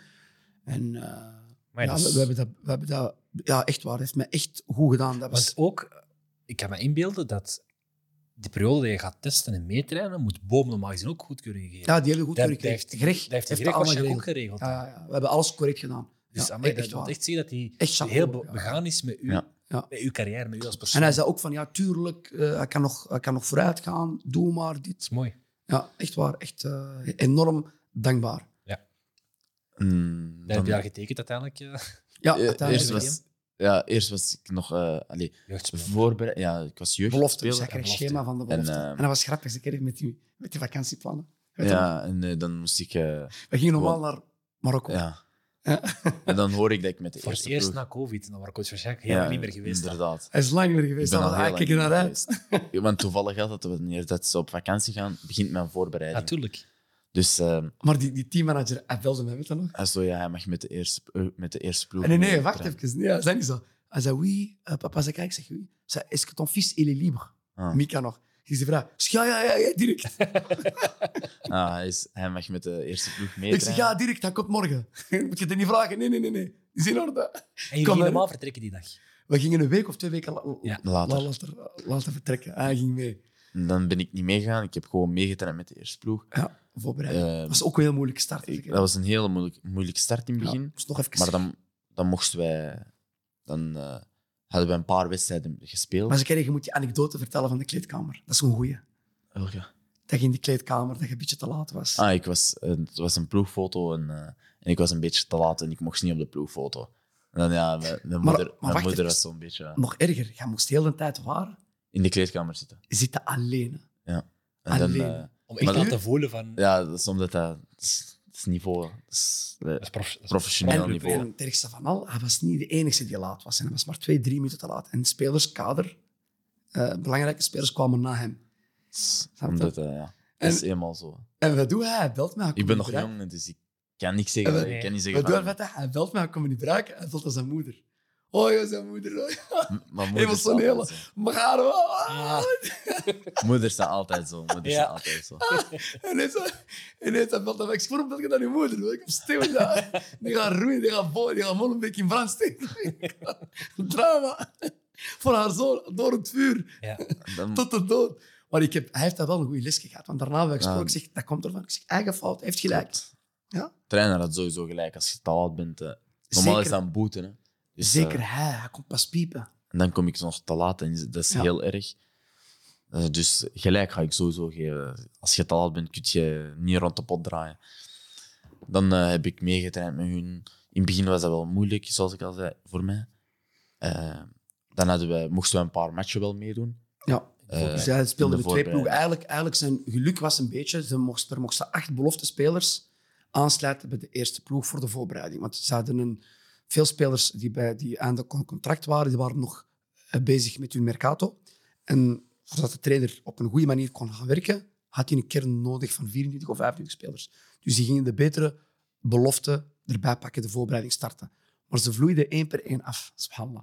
Speaker 3: En eh,
Speaker 1: Maar ja, dus-
Speaker 3: ja,
Speaker 1: dat
Speaker 3: we,
Speaker 1: is-
Speaker 3: we hebben dat, we hebben dat... Ja, echt waar. Dat heeft mij echt goed gedaan. Dat was,
Speaker 1: Want ook, ik kan me inbeelden dat de periode die je gaat testen en meetrainen, moet Boom normaal gezien ook goedkeuring geven.
Speaker 3: ja, die hebben we goed
Speaker 1: Dat
Speaker 3: gekregen.
Speaker 1: heeft-
Speaker 3: Greg
Speaker 1: dat heeft hij
Speaker 3: dat
Speaker 1: Greg
Speaker 3: allemaal
Speaker 1: waarschijnlijk ook
Speaker 3: geregeld.
Speaker 1: geregeld.
Speaker 3: Ja, ja, ja. We hebben alles correct gedaan.
Speaker 1: Dus
Speaker 3: Ja, e-
Speaker 1: amai,
Speaker 3: echt
Speaker 1: dat wil
Speaker 3: waar.
Speaker 1: echt zien dat hij
Speaker 3: Echt chapeau,
Speaker 1: heel be-
Speaker 3: ja.
Speaker 1: begaan is met u,
Speaker 2: Ja.
Speaker 3: Ja.
Speaker 1: met uw carrière, met u als persoon.
Speaker 3: En hij zei ook van, ja, tuurlijk, eh, hij, kan nog, hij kan nog vooruit gaan. Doe maar
Speaker 1: Dat
Speaker 3: dit.
Speaker 1: is mooi.
Speaker 3: Ja, echt waar. Echt eh, enorm dankbaar.
Speaker 2: Mm,
Speaker 1: Daar heb
Speaker 2: dan-
Speaker 1: je daar getekend uiteindelijk. eh
Speaker 3: Ja,
Speaker 2: Eh,
Speaker 3: uiteindelijk.
Speaker 2: eerst,
Speaker 1: bij
Speaker 2: was, ja, eerst was ik nog eh allee,
Speaker 1: jeugdspeler.
Speaker 2: voorbereid. Ja, ik was jeugd.
Speaker 3: belofte. Dus hij
Speaker 1: en
Speaker 3: kreeg
Speaker 1: belofte.
Speaker 3: schema van de
Speaker 2: En,
Speaker 3: belofte. En,
Speaker 2: eh,
Speaker 3: dat was grappig, ze kregen met die, met die vakantieplannen. Weet je
Speaker 2: Ja, en eh, dan moest ik. eh,
Speaker 3: wel. We gingen normaal naar Marokko.
Speaker 2: ja.
Speaker 3: Ja.
Speaker 2: En dan hoor ik dat ik met de
Speaker 1: Voor het
Speaker 2: eerste
Speaker 1: eerst
Speaker 2: ploeg-
Speaker 1: na COVID, dan was ik waarschijnlijk helemaal niet meer geweest. dan.
Speaker 2: Inderdaad.
Speaker 3: Hij is lang niet meer
Speaker 2: Ik
Speaker 3: geweest.
Speaker 2: ben
Speaker 3: dan
Speaker 2: al
Speaker 3: was-
Speaker 2: heel
Speaker 3: ah,
Speaker 2: lang
Speaker 3: kijk
Speaker 2: niet
Speaker 3: er
Speaker 2: meer
Speaker 3: naar uit.
Speaker 2: geweest. Ja, Want toevallig had dat wanneer dat ze op vakantie gaan, begint mijn voorbereiding.
Speaker 1: Natuurlijk.
Speaker 2: dus eh,
Speaker 3: Maar die, die teammanager, hij belde mij, weet je nog?
Speaker 2: hij zo, ja, hij mag met de eerste, eh, met de eerste ploeg.
Speaker 3: En nee, nee,
Speaker 2: mee
Speaker 3: wacht
Speaker 2: trainen.
Speaker 3: even. Nee, hij zei niet zo. Hij zei, oui, eh, papa, zei, kijk, ik zeg, oui. Hij zei, est-ce que ton fils, il est libre?
Speaker 2: Ah.
Speaker 3: Mika nog. Die zei, vraag, ja, ja, ja, ja, direct.
Speaker 2: Ah, hij, is, hij mag met de eerste ploeg mee.
Speaker 3: Ik zeg, ja, direct, hij komt morgen. Moet je dat niet vragen? Nee, nee, nee, nee. Is in orde.
Speaker 1: En jullie
Speaker 3: Kom,
Speaker 1: gingen
Speaker 3: hè.
Speaker 1: normaal vertrekken die dag.
Speaker 3: We gingen een week of twee weken la-
Speaker 1: Ja.
Speaker 2: Later.
Speaker 3: la- later, later vertrekken. Hij ging mee.
Speaker 2: En Dan ben ik niet meegegaan. Ik heb gewoon meegetraind met de eerste ploeg.
Speaker 3: Ah Ja, voorbereid.
Speaker 2: Eh,
Speaker 3: Dat was ook een heel moeilijke start.
Speaker 2: ik- dat was een hele moeilijk, moeilijk start in het
Speaker 3: Ja,
Speaker 2: begin.
Speaker 3: moest nog even.
Speaker 2: Maar dan, dan moesten wij... Dan eh, hadden we een paar wedstrijden gespeeld.
Speaker 3: Maar ze krijgen, je moet je anekdote vertellen van de kleedkamer. Dat is een goeie.
Speaker 2: Welke?
Speaker 3: dat je in de kleedkamer dat je een beetje te laat was.
Speaker 2: Ah, ik was, eh, het was een ploegfoto en, eh, en ik was een beetje te laat en ik mocht niet op de ploegfoto. En dan, ja, mijn, mijn
Speaker 3: maar
Speaker 2: moeder, mijn
Speaker 3: wacht
Speaker 2: moeder
Speaker 3: even.
Speaker 2: was zo'n beetje eh,
Speaker 3: Nog erger, jij moest heel de tijd waar
Speaker 2: in de kleedkamer zitten.
Speaker 3: zitten alleen. hè.
Speaker 2: En dan,
Speaker 3: Alleen.
Speaker 2: eh,
Speaker 1: Om echt
Speaker 2: Maar
Speaker 1: aan
Speaker 2: dat-
Speaker 1: te voelen van...
Speaker 2: ja, dat is omdat dat, dat is, dat is niveau. dat is, eh,
Speaker 1: dat is prof- dat is
Speaker 2: professioneel
Speaker 1: En-
Speaker 2: niveau.
Speaker 3: En het ergste van al, hij was niet de enige die laat was. En hij was maar twee, drie minuten te laat. En spelerskader, eh, belangrijke spelers kwamen na hem. je?
Speaker 2: Omdat, eh, ja. Dat is eenmaal zo.
Speaker 3: En wat doet hij? Hij belt mij. hij
Speaker 2: Ik ben
Speaker 3: komt niet
Speaker 2: nog
Speaker 3: bereiken.
Speaker 2: jong, dus ik kan niks zeggen.
Speaker 3: En
Speaker 2: eh,
Speaker 1: we-
Speaker 2: Ik kan niet zeggen
Speaker 3: Wat doet hij?
Speaker 2: van...
Speaker 3: met dat? Hij belt mij, ik kom hem niet bereiken. Hij belt aan zijn moeder. Oh, joh, zijn moeder. oh, joh.
Speaker 2: M- Mijn moeder staat
Speaker 3: Emotionele.
Speaker 2: altijd zo.
Speaker 3: Maar haar, oh,
Speaker 1: Ah.
Speaker 2: Moeder staat altijd zo. Moeder
Speaker 1: Ja.
Speaker 2: staat altijd zo.
Speaker 3: Ah, En ineens, ineens hij belt hij mij. Ik spoor hem dat je naar je moeder wil. Ik heb stil daar. Die gaat roeien, die gaat boven, die gaat Molenbeek in brand steken. Drama. Voor haar zoon, door het vuur.
Speaker 1: Ja.
Speaker 2: Dan-
Speaker 3: tot de dood. Maar ik heb, hij heeft daar wel een goede les gehad. Want daarna heb ik gesproken.
Speaker 2: Ja.
Speaker 3: Ik zeg, dat komt ervan. Ik zeg, eigen fout, hij heeft gelijk.
Speaker 2: Klopt.
Speaker 3: Ja.
Speaker 2: Trainer had sowieso gelijk als je te laat bent. eh. normaal
Speaker 3: Zeker.
Speaker 2: is dat een boete. Hè. Dus, eh,
Speaker 3: Zeker hij, hij komt pas piepen.
Speaker 2: en dan kom ik nog te laat en dat is
Speaker 3: Ja.
Speaker 2: heel erg. Eh, dus gelijk ga ik sowieso geven. Als je te laat bent, kun je niet rond de pot draaien. Dan eh, heb ik meegetraind met hun. In het begin was dat wel moeilijk, zoals ik al zei, voor mij. Eh, dan hadden we, moesten we een paar matchen wel meedoen.
Speaker 3: Ja.
Speaker 2: Eh,
Speaker 3: dus hij speelde
Speaker 2: in
Speaker 3: met
Speaker 2: de
Speaker 3: twee
Speaker 2: voorbereiding.
Speaker 3: ploegen. Eigenlijk, eigenlijk zijn geluk was een beetje, ze mochten, er mochten acht belofte spelers aansluiten bij de eerste ploeg voor de voorbereiding. Want ze hadden een, veel spelers die, bij, die aan de con- contract waren, die waren nog eh, bezig met hun mercato. En voordat de trainer op een goede manier kon gaan werken, had hij een kern nodig van 24 of 25 spelers. Dus die gingen de betere belofte erbij pakken, de voorbereiding starten. Maar ze vloeiden één per één af, subhanallah.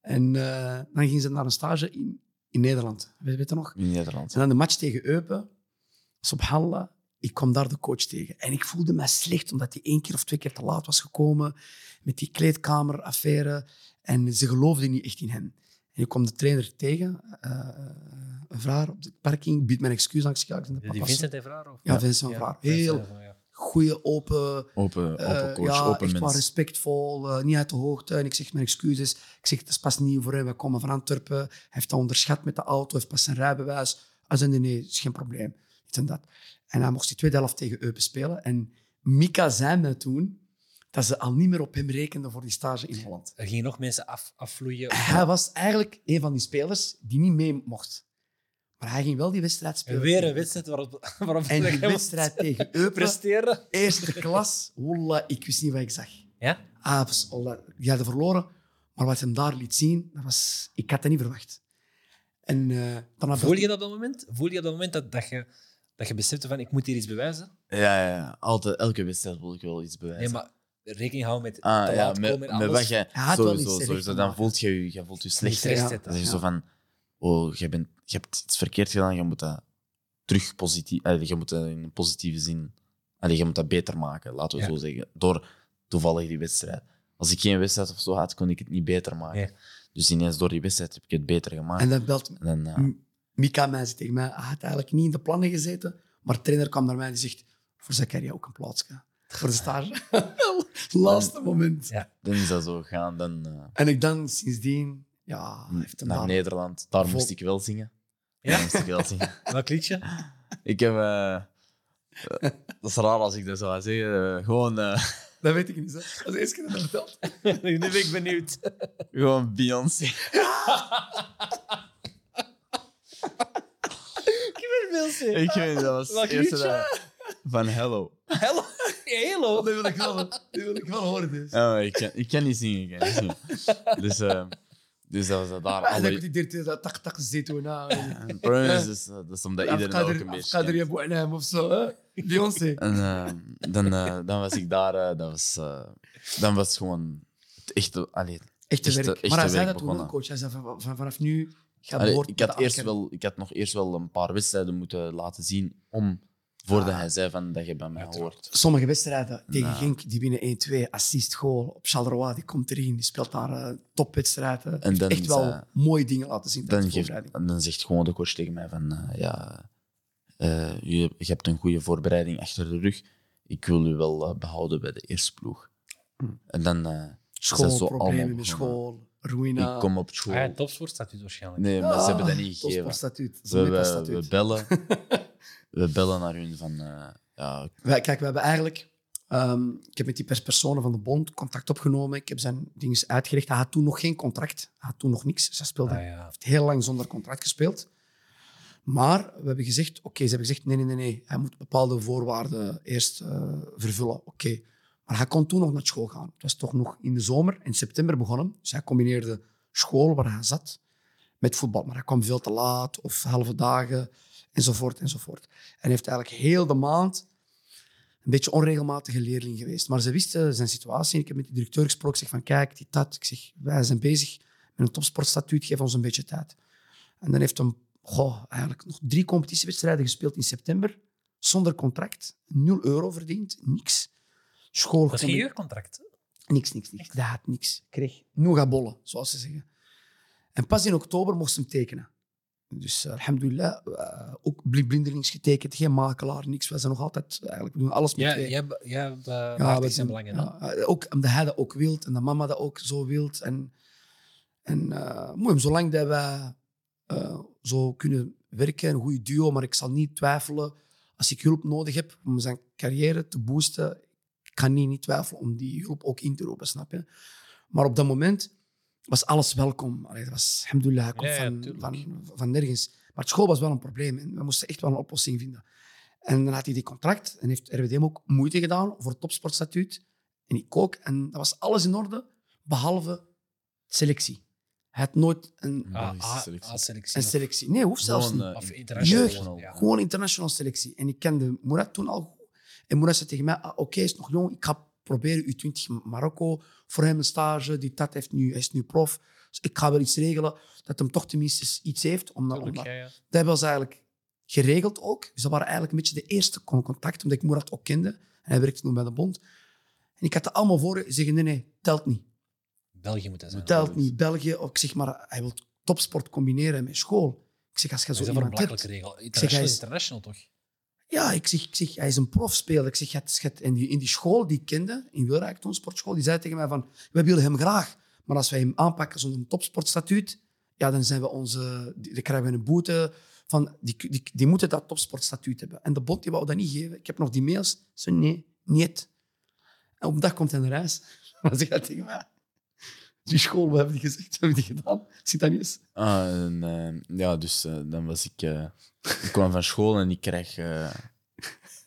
Speaker 3: En eh, dan gingen ze naar een stage in, in Nederland. Weet weet je nog?
Speaker 2: In Nederland.
Speaker 3: En dan de match tegen Eupen. Subhanallah, ik kwam daar de coach tegen. En ik voelde mij slecht omdat hij één keer of twee keer te laat was gekomen. Met die kleedkameraffaire. En ze geloofden niet echt in hem. En ik kwam de trainer tegen. eh, een vraag op de parking. Biedt mijn excuus aan. Ik zeg, ja, ik ben de
Speaker 1: Die
Speaker 3: papa.
Speaker 1: Vincent en Vraar? of-
Speaker 3: Ja, Vincent
Speaker 1: Ja,
Speaker 3: Vraar.
Speaker 1: Vincent
Speaker 3: Heel
Speaker 1: en Vraar, ja.
Speaker 3: goede, open...
Speaker 2: Open, open
Speaker 3: Eh,
Speaker 2: coach,
Speaker 3: ja,
Speaker 2: open
Speaker 3: echt wel
Speaker 2: mens.
Speaker 3: respectvol, eh, niet uit de hoogte. En ik zeg mijn excuses. Ik zeg, het is pas nieuw voor hem, we komen van Antwerpen. Hij heeft dat onderschat met de auto, hij heeft pas zijn rijbewijs. Hij zei, nee, nee, is geen probleem. Dit en dat. En hij mocht die tweede helft tegen Eupen spelen. En Mika zei mij toen dat ze al niet meer op hem rekenden voor die stage in Holland.
Speaker 1: Er gingen nog mensen af, afvloeien.
Speaker 3: Hij was eigenlijk een van die spelers die niet mee mocht. Maar hij ging wel die wedstrijd
Speaker 1: En
Speaker 3: spelen.
Speaker 1: weer een wedstrijd waarop, waarop
Speaker 3: En die
Speaker 1: hij moest
Speaker 3: wedstrijd tegen Eupen
Speaker 1: presteren.
Speaker 3: eerste klas, wallah, ik wist niet wat ik zag.
Speaker 1: Ja?
Speaker 3: Apes, Allah, die hadden verloren. Maar wat hem daar liet zien, dat was, ik had dat niet verwacht. En eh dan
Speaker 1: Voel je dat op dat moment? Voel je op dat moment dat, dat je, dat je besefte van ik moet hier iets bewijzen?
Speaker 2: Ja, ja, ja, altijd. Elke wedstrijd wil ik wel iets bewijzen.
Speaker 1: Nee, maar rekening houden met
Speaker 2: ah,
Speaker 1: te
Speaker 2: ja,
Speaker 1: laat
Speaker 2: met,
Speaker 1: komen en
Speaker 2: met
Speaker 1: alles.
Speaker 2: wat jij
Speaker 3: Hij had wel iets
Speaker 2: sowieso,
Speaker 3: terecht
Speaker 2: sowieso
Speaker 3: te
Speaker 2: dan
Speaker 3: maken.
Speaker 2: voelt je je, je voelt je
Speaker 1: Niet
Speaker 2: slecht.
Speaker 1: stress
Speaker 3: ja.
Speaker 1: zetten.
Speaker 2: Dan zeg je
Speaker 3: Ja.
Speaker 2: zo van, oh, je, bent, je hebt iets verkeerd gedaan, je moet dat terug positief, eh, je moet dat in een positieve zin, allee, je moet dat beter maken, laten we
Speaker 1: Ja.
Speaker 2: zo zeggen, door toevallig die wedstrijd. Als ik geen wedstrijd of zo had, kon ik het niet beter maken.
Speaker 1: Nee.
Speaker 2: Dus ineens door die wedstrijd heb ik het beter gemaakt.
Speaker 3: En dan belt
Speaker 2: En dan, ah. eh, ja,
Speaker 3: M- Mika mij zei tegen mij, hij had eigenlijk niet in de plannen gezeten. Maar de trainer kwam naar mij en die zegt, voor Zakaria ook een plaatsje. Voor de stage. Laatste moment.
Speaker 1: Ja.
Speaker 2: dan is dat zo gegaan. Dan eh,
Speaker 3: En ik dan sindsdien, ja, Ah, hij heeft hem
Speaker 2: Mm, naar
Speaker 3: daar-
Speaker 2: Nederland, daar
Speaker 3: Vol-
Speaker 2: moest ik wel zingen.
Speaker 1: Ja?
Speaker 2: Daar moest ik wel zingen.
Speaker 1: Welk liedje?
Speaker 2: Ik heb. eh, eh, dat is raar als ik dat zou zeggen. eh, gewoon, eh,
Speaker 3: Dat weet ik niet. Zo. Als eerste keer dat hij vertelt.
Speaker 1: nu ben ik benieuwd.
Speaker 2: gewoon Beyoncé.
Speaker 1: Ik ben Wilson.
Speaker 2: Ik weet niet, dat was
Speaker 1: Welk
Speaker 2: het eerste
Speaker 1: liedje?
Speaker 2: dat- van Hello.
Speaker 1: Hello. Hello.
Speaker 3: Dat Oh, wil ik wel, dat wil ik wel horen. Dus.
Speaker 2: Ja, maar ik, kan, ik kan niet zingen. Ik kan niet zingen. Dus, eh, dus dat was dat daar.
Speaker 3: Ah, dan
Speaker 2: Alle,
Speaker 3: moet ik dit dat tak tak zitten. Nou,
Speaker 2: het probleem is dus, eh, dat is omdat iedereen dat ook een beetje.
Speaker 3: Afkader
Speaker 2: kent.
Speaker 3: Abu Anam of zo, hè? Beyoncé.
Speaker 2: En eh, dan, eh, dan was ik daar. eh, dat was, eh, dan was gewoon het echte. Allee,
Speaker 3: Echte
Speaker 2: Echte-
Speaker 3: werk.
Speaker 2: echte
Speaker 3: maar hij zei
Speaker 2: werk
Speaker 3: dat toen
Speaker 2: begonnen.
Speaker 3: wel, coach. Hij zei van, van- vanaf nu gaat
Speaker 2: allee,
Speaker 3: behoort
Speaker 2: ik,
Speaker 3: bij
Speaker 2: had
Speaker 3: de
Speaker 2: eerst
Speaker 3: afkeer.
Speaker 2: wel, ik had nog eerst wel een paar wedstrijden moeten laten zien. Om, voordat hij zei van, dat je bij mij
Speaker 1: Uiteraard.
Speaker 2: hoort.
Speaker 3: Sommige wedstrijden tegen
Speaker 2: Nou.
Speaker 3: Genk, die winnen 1-2, assist, goal. Op Charleroi, die komt erin, die speelt daar eh, topwedstrijden.
Speaker 2: En dan
Speaker 3: Echt
Speaker 2: is,
Speaker 3: wel
Speaker 2: eh,
Speaker 3: mooie dingen laten zien
Speaker 2: dan,
Speaker 3: tijdens de
Speaker 2: geeft,
Speaker 3: voorbereiding.
Speaker 2: dan zegt gewoon de coach tegen mij van eh, ja, eh, je, je hebt een goede voorbereiding achter de rug. Ik wil u wel eh, behouden bij de eerste ploeg.
Speaker 3: Hmm.
Speaker 2: En dan eh, zijn ze
Speaker 3: School, problemen
Speaker 2: allemaal
Speaker 3: met
Speaker 2: begonnen.
Speaker 3: school, ruïna.
Speaker 2: ik kom op school.
Speaker 1: Ah, ja, topsport staat u waarschijnlijk.
Speaker 2: nee, maar ze hebben dat niet
Speaker 3: Ah,
Speaker 2: gegeven.
Speaker 3: topsportstatuut,
Speaker 2: We, we,
Speaker 3: Zemepa-statuut.
Speaker 2: we bellen. we bellen naar hun van... eh, ja,
Speaker 3: Wij, kijk, we hebben eigenlijk... ehm, ik heb met die perspersonen van de bond contact opgenomen. Ik heb zijn dingen uitgericht. Hij had toen nog geen contract. Hij had toen nog niks. Ze speelde
Speaker 1: Ah, ja.
Speaker 3: heeft heel lang zonder contract gespeeld. Maar we hebben gezegd, oké, ze hebben gezegd, nee, nee, nee, nee, hij moet bepaalde voorwaarden eerst eh, vervullen. Oké, maar hij kon toen nog naar school gaan. Het was toch nog in de zomer, in september begonnen. Dus hij combineerde school, waar hij zat, met voetbal. Maar hij kwam veel te laat, of halve dagen, enzovoort, enzovoort. En heeft eigenlijk heel de maand een beetje onregelmatige leerling geweest. Maar ze wisten zijn situatie. Ik heb met die directeur gesproken, ik zeg van, kijk, die dat. Ik zeg, wij zijn bezig met een topsportstatuut, geef ons een beetje tijd. En dan heeft hij goh, eigenlijk nog drie competitiewedstrijden gespeeld in september, zonder contract, 0 euro verdiend, niks. School
Speaker 1: Dat is geen huurcontract.
Speaker 3: Niks, niks, niks. Dat had niks. Kreeg bollen, zoals ze zeggen. En pas in oktober mocht ze hem tekenen. Dus eh, alhamdulillah, eh, ook bl- blindelings getekend, geen makelaar, niks. We zijn nog altijd, eh, eigenlijk, we doen alles met
Speaker 1: Ja,
Speaker 3: twee.
Speaker 1: jij, hebt- jij hebt, eh,
Speaker 3: Ja,
Speaker 1: maakt
Speaker 3: we
Speaker 1: iets in
Speaker 3: zijn-
Speaker 1: belangen. hè?
Speaker 3: ja, eh, ook omdat hij dat ook wilt en dat mama dat ook zo wilt. En, en eh, mooi, zolang dat wij eh, zo kunnen werken, een goede duo, maar ik zal niet twijfelen. Als ik hulp nodig heb om zijn carrière te boosten, ik kan niet, niet twijfelen om die hulp ook in te roepen, snap je? Maar op dat moment was alles welkom. Allee, dat was, alhamdulillah, hij komt
Speaker 1: Ja, ja,
Speaker 3: van,
Speaker 1: tuurlijk.
Speaker 3: van, van nergens. Maar school was wel een probleem en we moesten echt wel een oplossing vinden. En dan had hij die contract en heeft RWDM ook moeite gedaan voor het topsportstatuut. En ik ook. En dat was alles in orde, behalve selectie. Hij had nooit een,
Speaker 1: Ah,
Speaker 2: Belgische
Speaker 1: ah,
Speaker 2: selectie.
Speaker 1: ah, selectie.
Speaker 3: een selectie. Nee, hoeft zelfs
Speaker 2: gewoon,
Speaker 3: niet.
Speaker 2: eh,
Speaker 1: Of
Speaker 2: in-
Speaker 1: international,
Speaker 2: jeugd.
Speaker 1: ja.
Speaker 3: Gewoon international selectie. En ik kende Murat toen al. goed. En Murat zei tegen mij, ah, oké, hij is nog jong. Ik ga proberen U20 Marokko. Voor hem een stage. Die tat heeft nu, hij is nu prof. Dus ik ga wel iets regelen. Dat hem toch tenminste iets heeft. Om, om,
Speaker 1: Tuurlijk, ja, ja.
Speaker 3: dat hebben ze eigenlijk geregeld ook. Dus dat waren eigenlijk een beetje de eerste con- contacten, omdat ik Murat ook kende. En hij werkte toen bij de bond. En ik had er allemaal voor zeggen, nee, nee, telt niet.
Speaker 1: België moet dat zijn.
Speaker 3: Telt niet. België, of ik zeg maar, hij wil topsport combineren met school. Ik zeg, als je
Speaker 1: Dat
Speaker 3: zo
Speaker 1: is een
Speaker 3: iemand
Speaker 1: vermakelijke
Speaker 3: hebt...
Speaker 1: regel.
Speaker 3: zeg, hij
Speaker 1: International
Speaker 3: is-
Speaker 1: is international, toch?
Speaker 3: Ja, ik zeg, ik zeg, hij is een profspeler. Ik zeg, "Je hebt- je hebt-" en die, in die school die ik kende, in Wilrijk, toen sportschool, die zei tegen mij van, we willen hem graag. Maar als wij hem aanpakken zonder een topsportstatuut, ja, dan, zijn we onze, die- dan krijgen we een boete. Van, die, die, die moeten dat topsportstatuut hebben. En de bond die wou dat niet geven. Ik heb nog die mails. Ze zei, nee, niet. En op een dag komt hij naar huis. Dan zegt hij tegen mij, die school, we hebben die gezegd, we hebben die gedaan. Ziet dat niet eens?
Speaker 2: Ah, en, eh, ja, dus eh, dan was ik... eh, ik kwam van school en ik kreeg eh,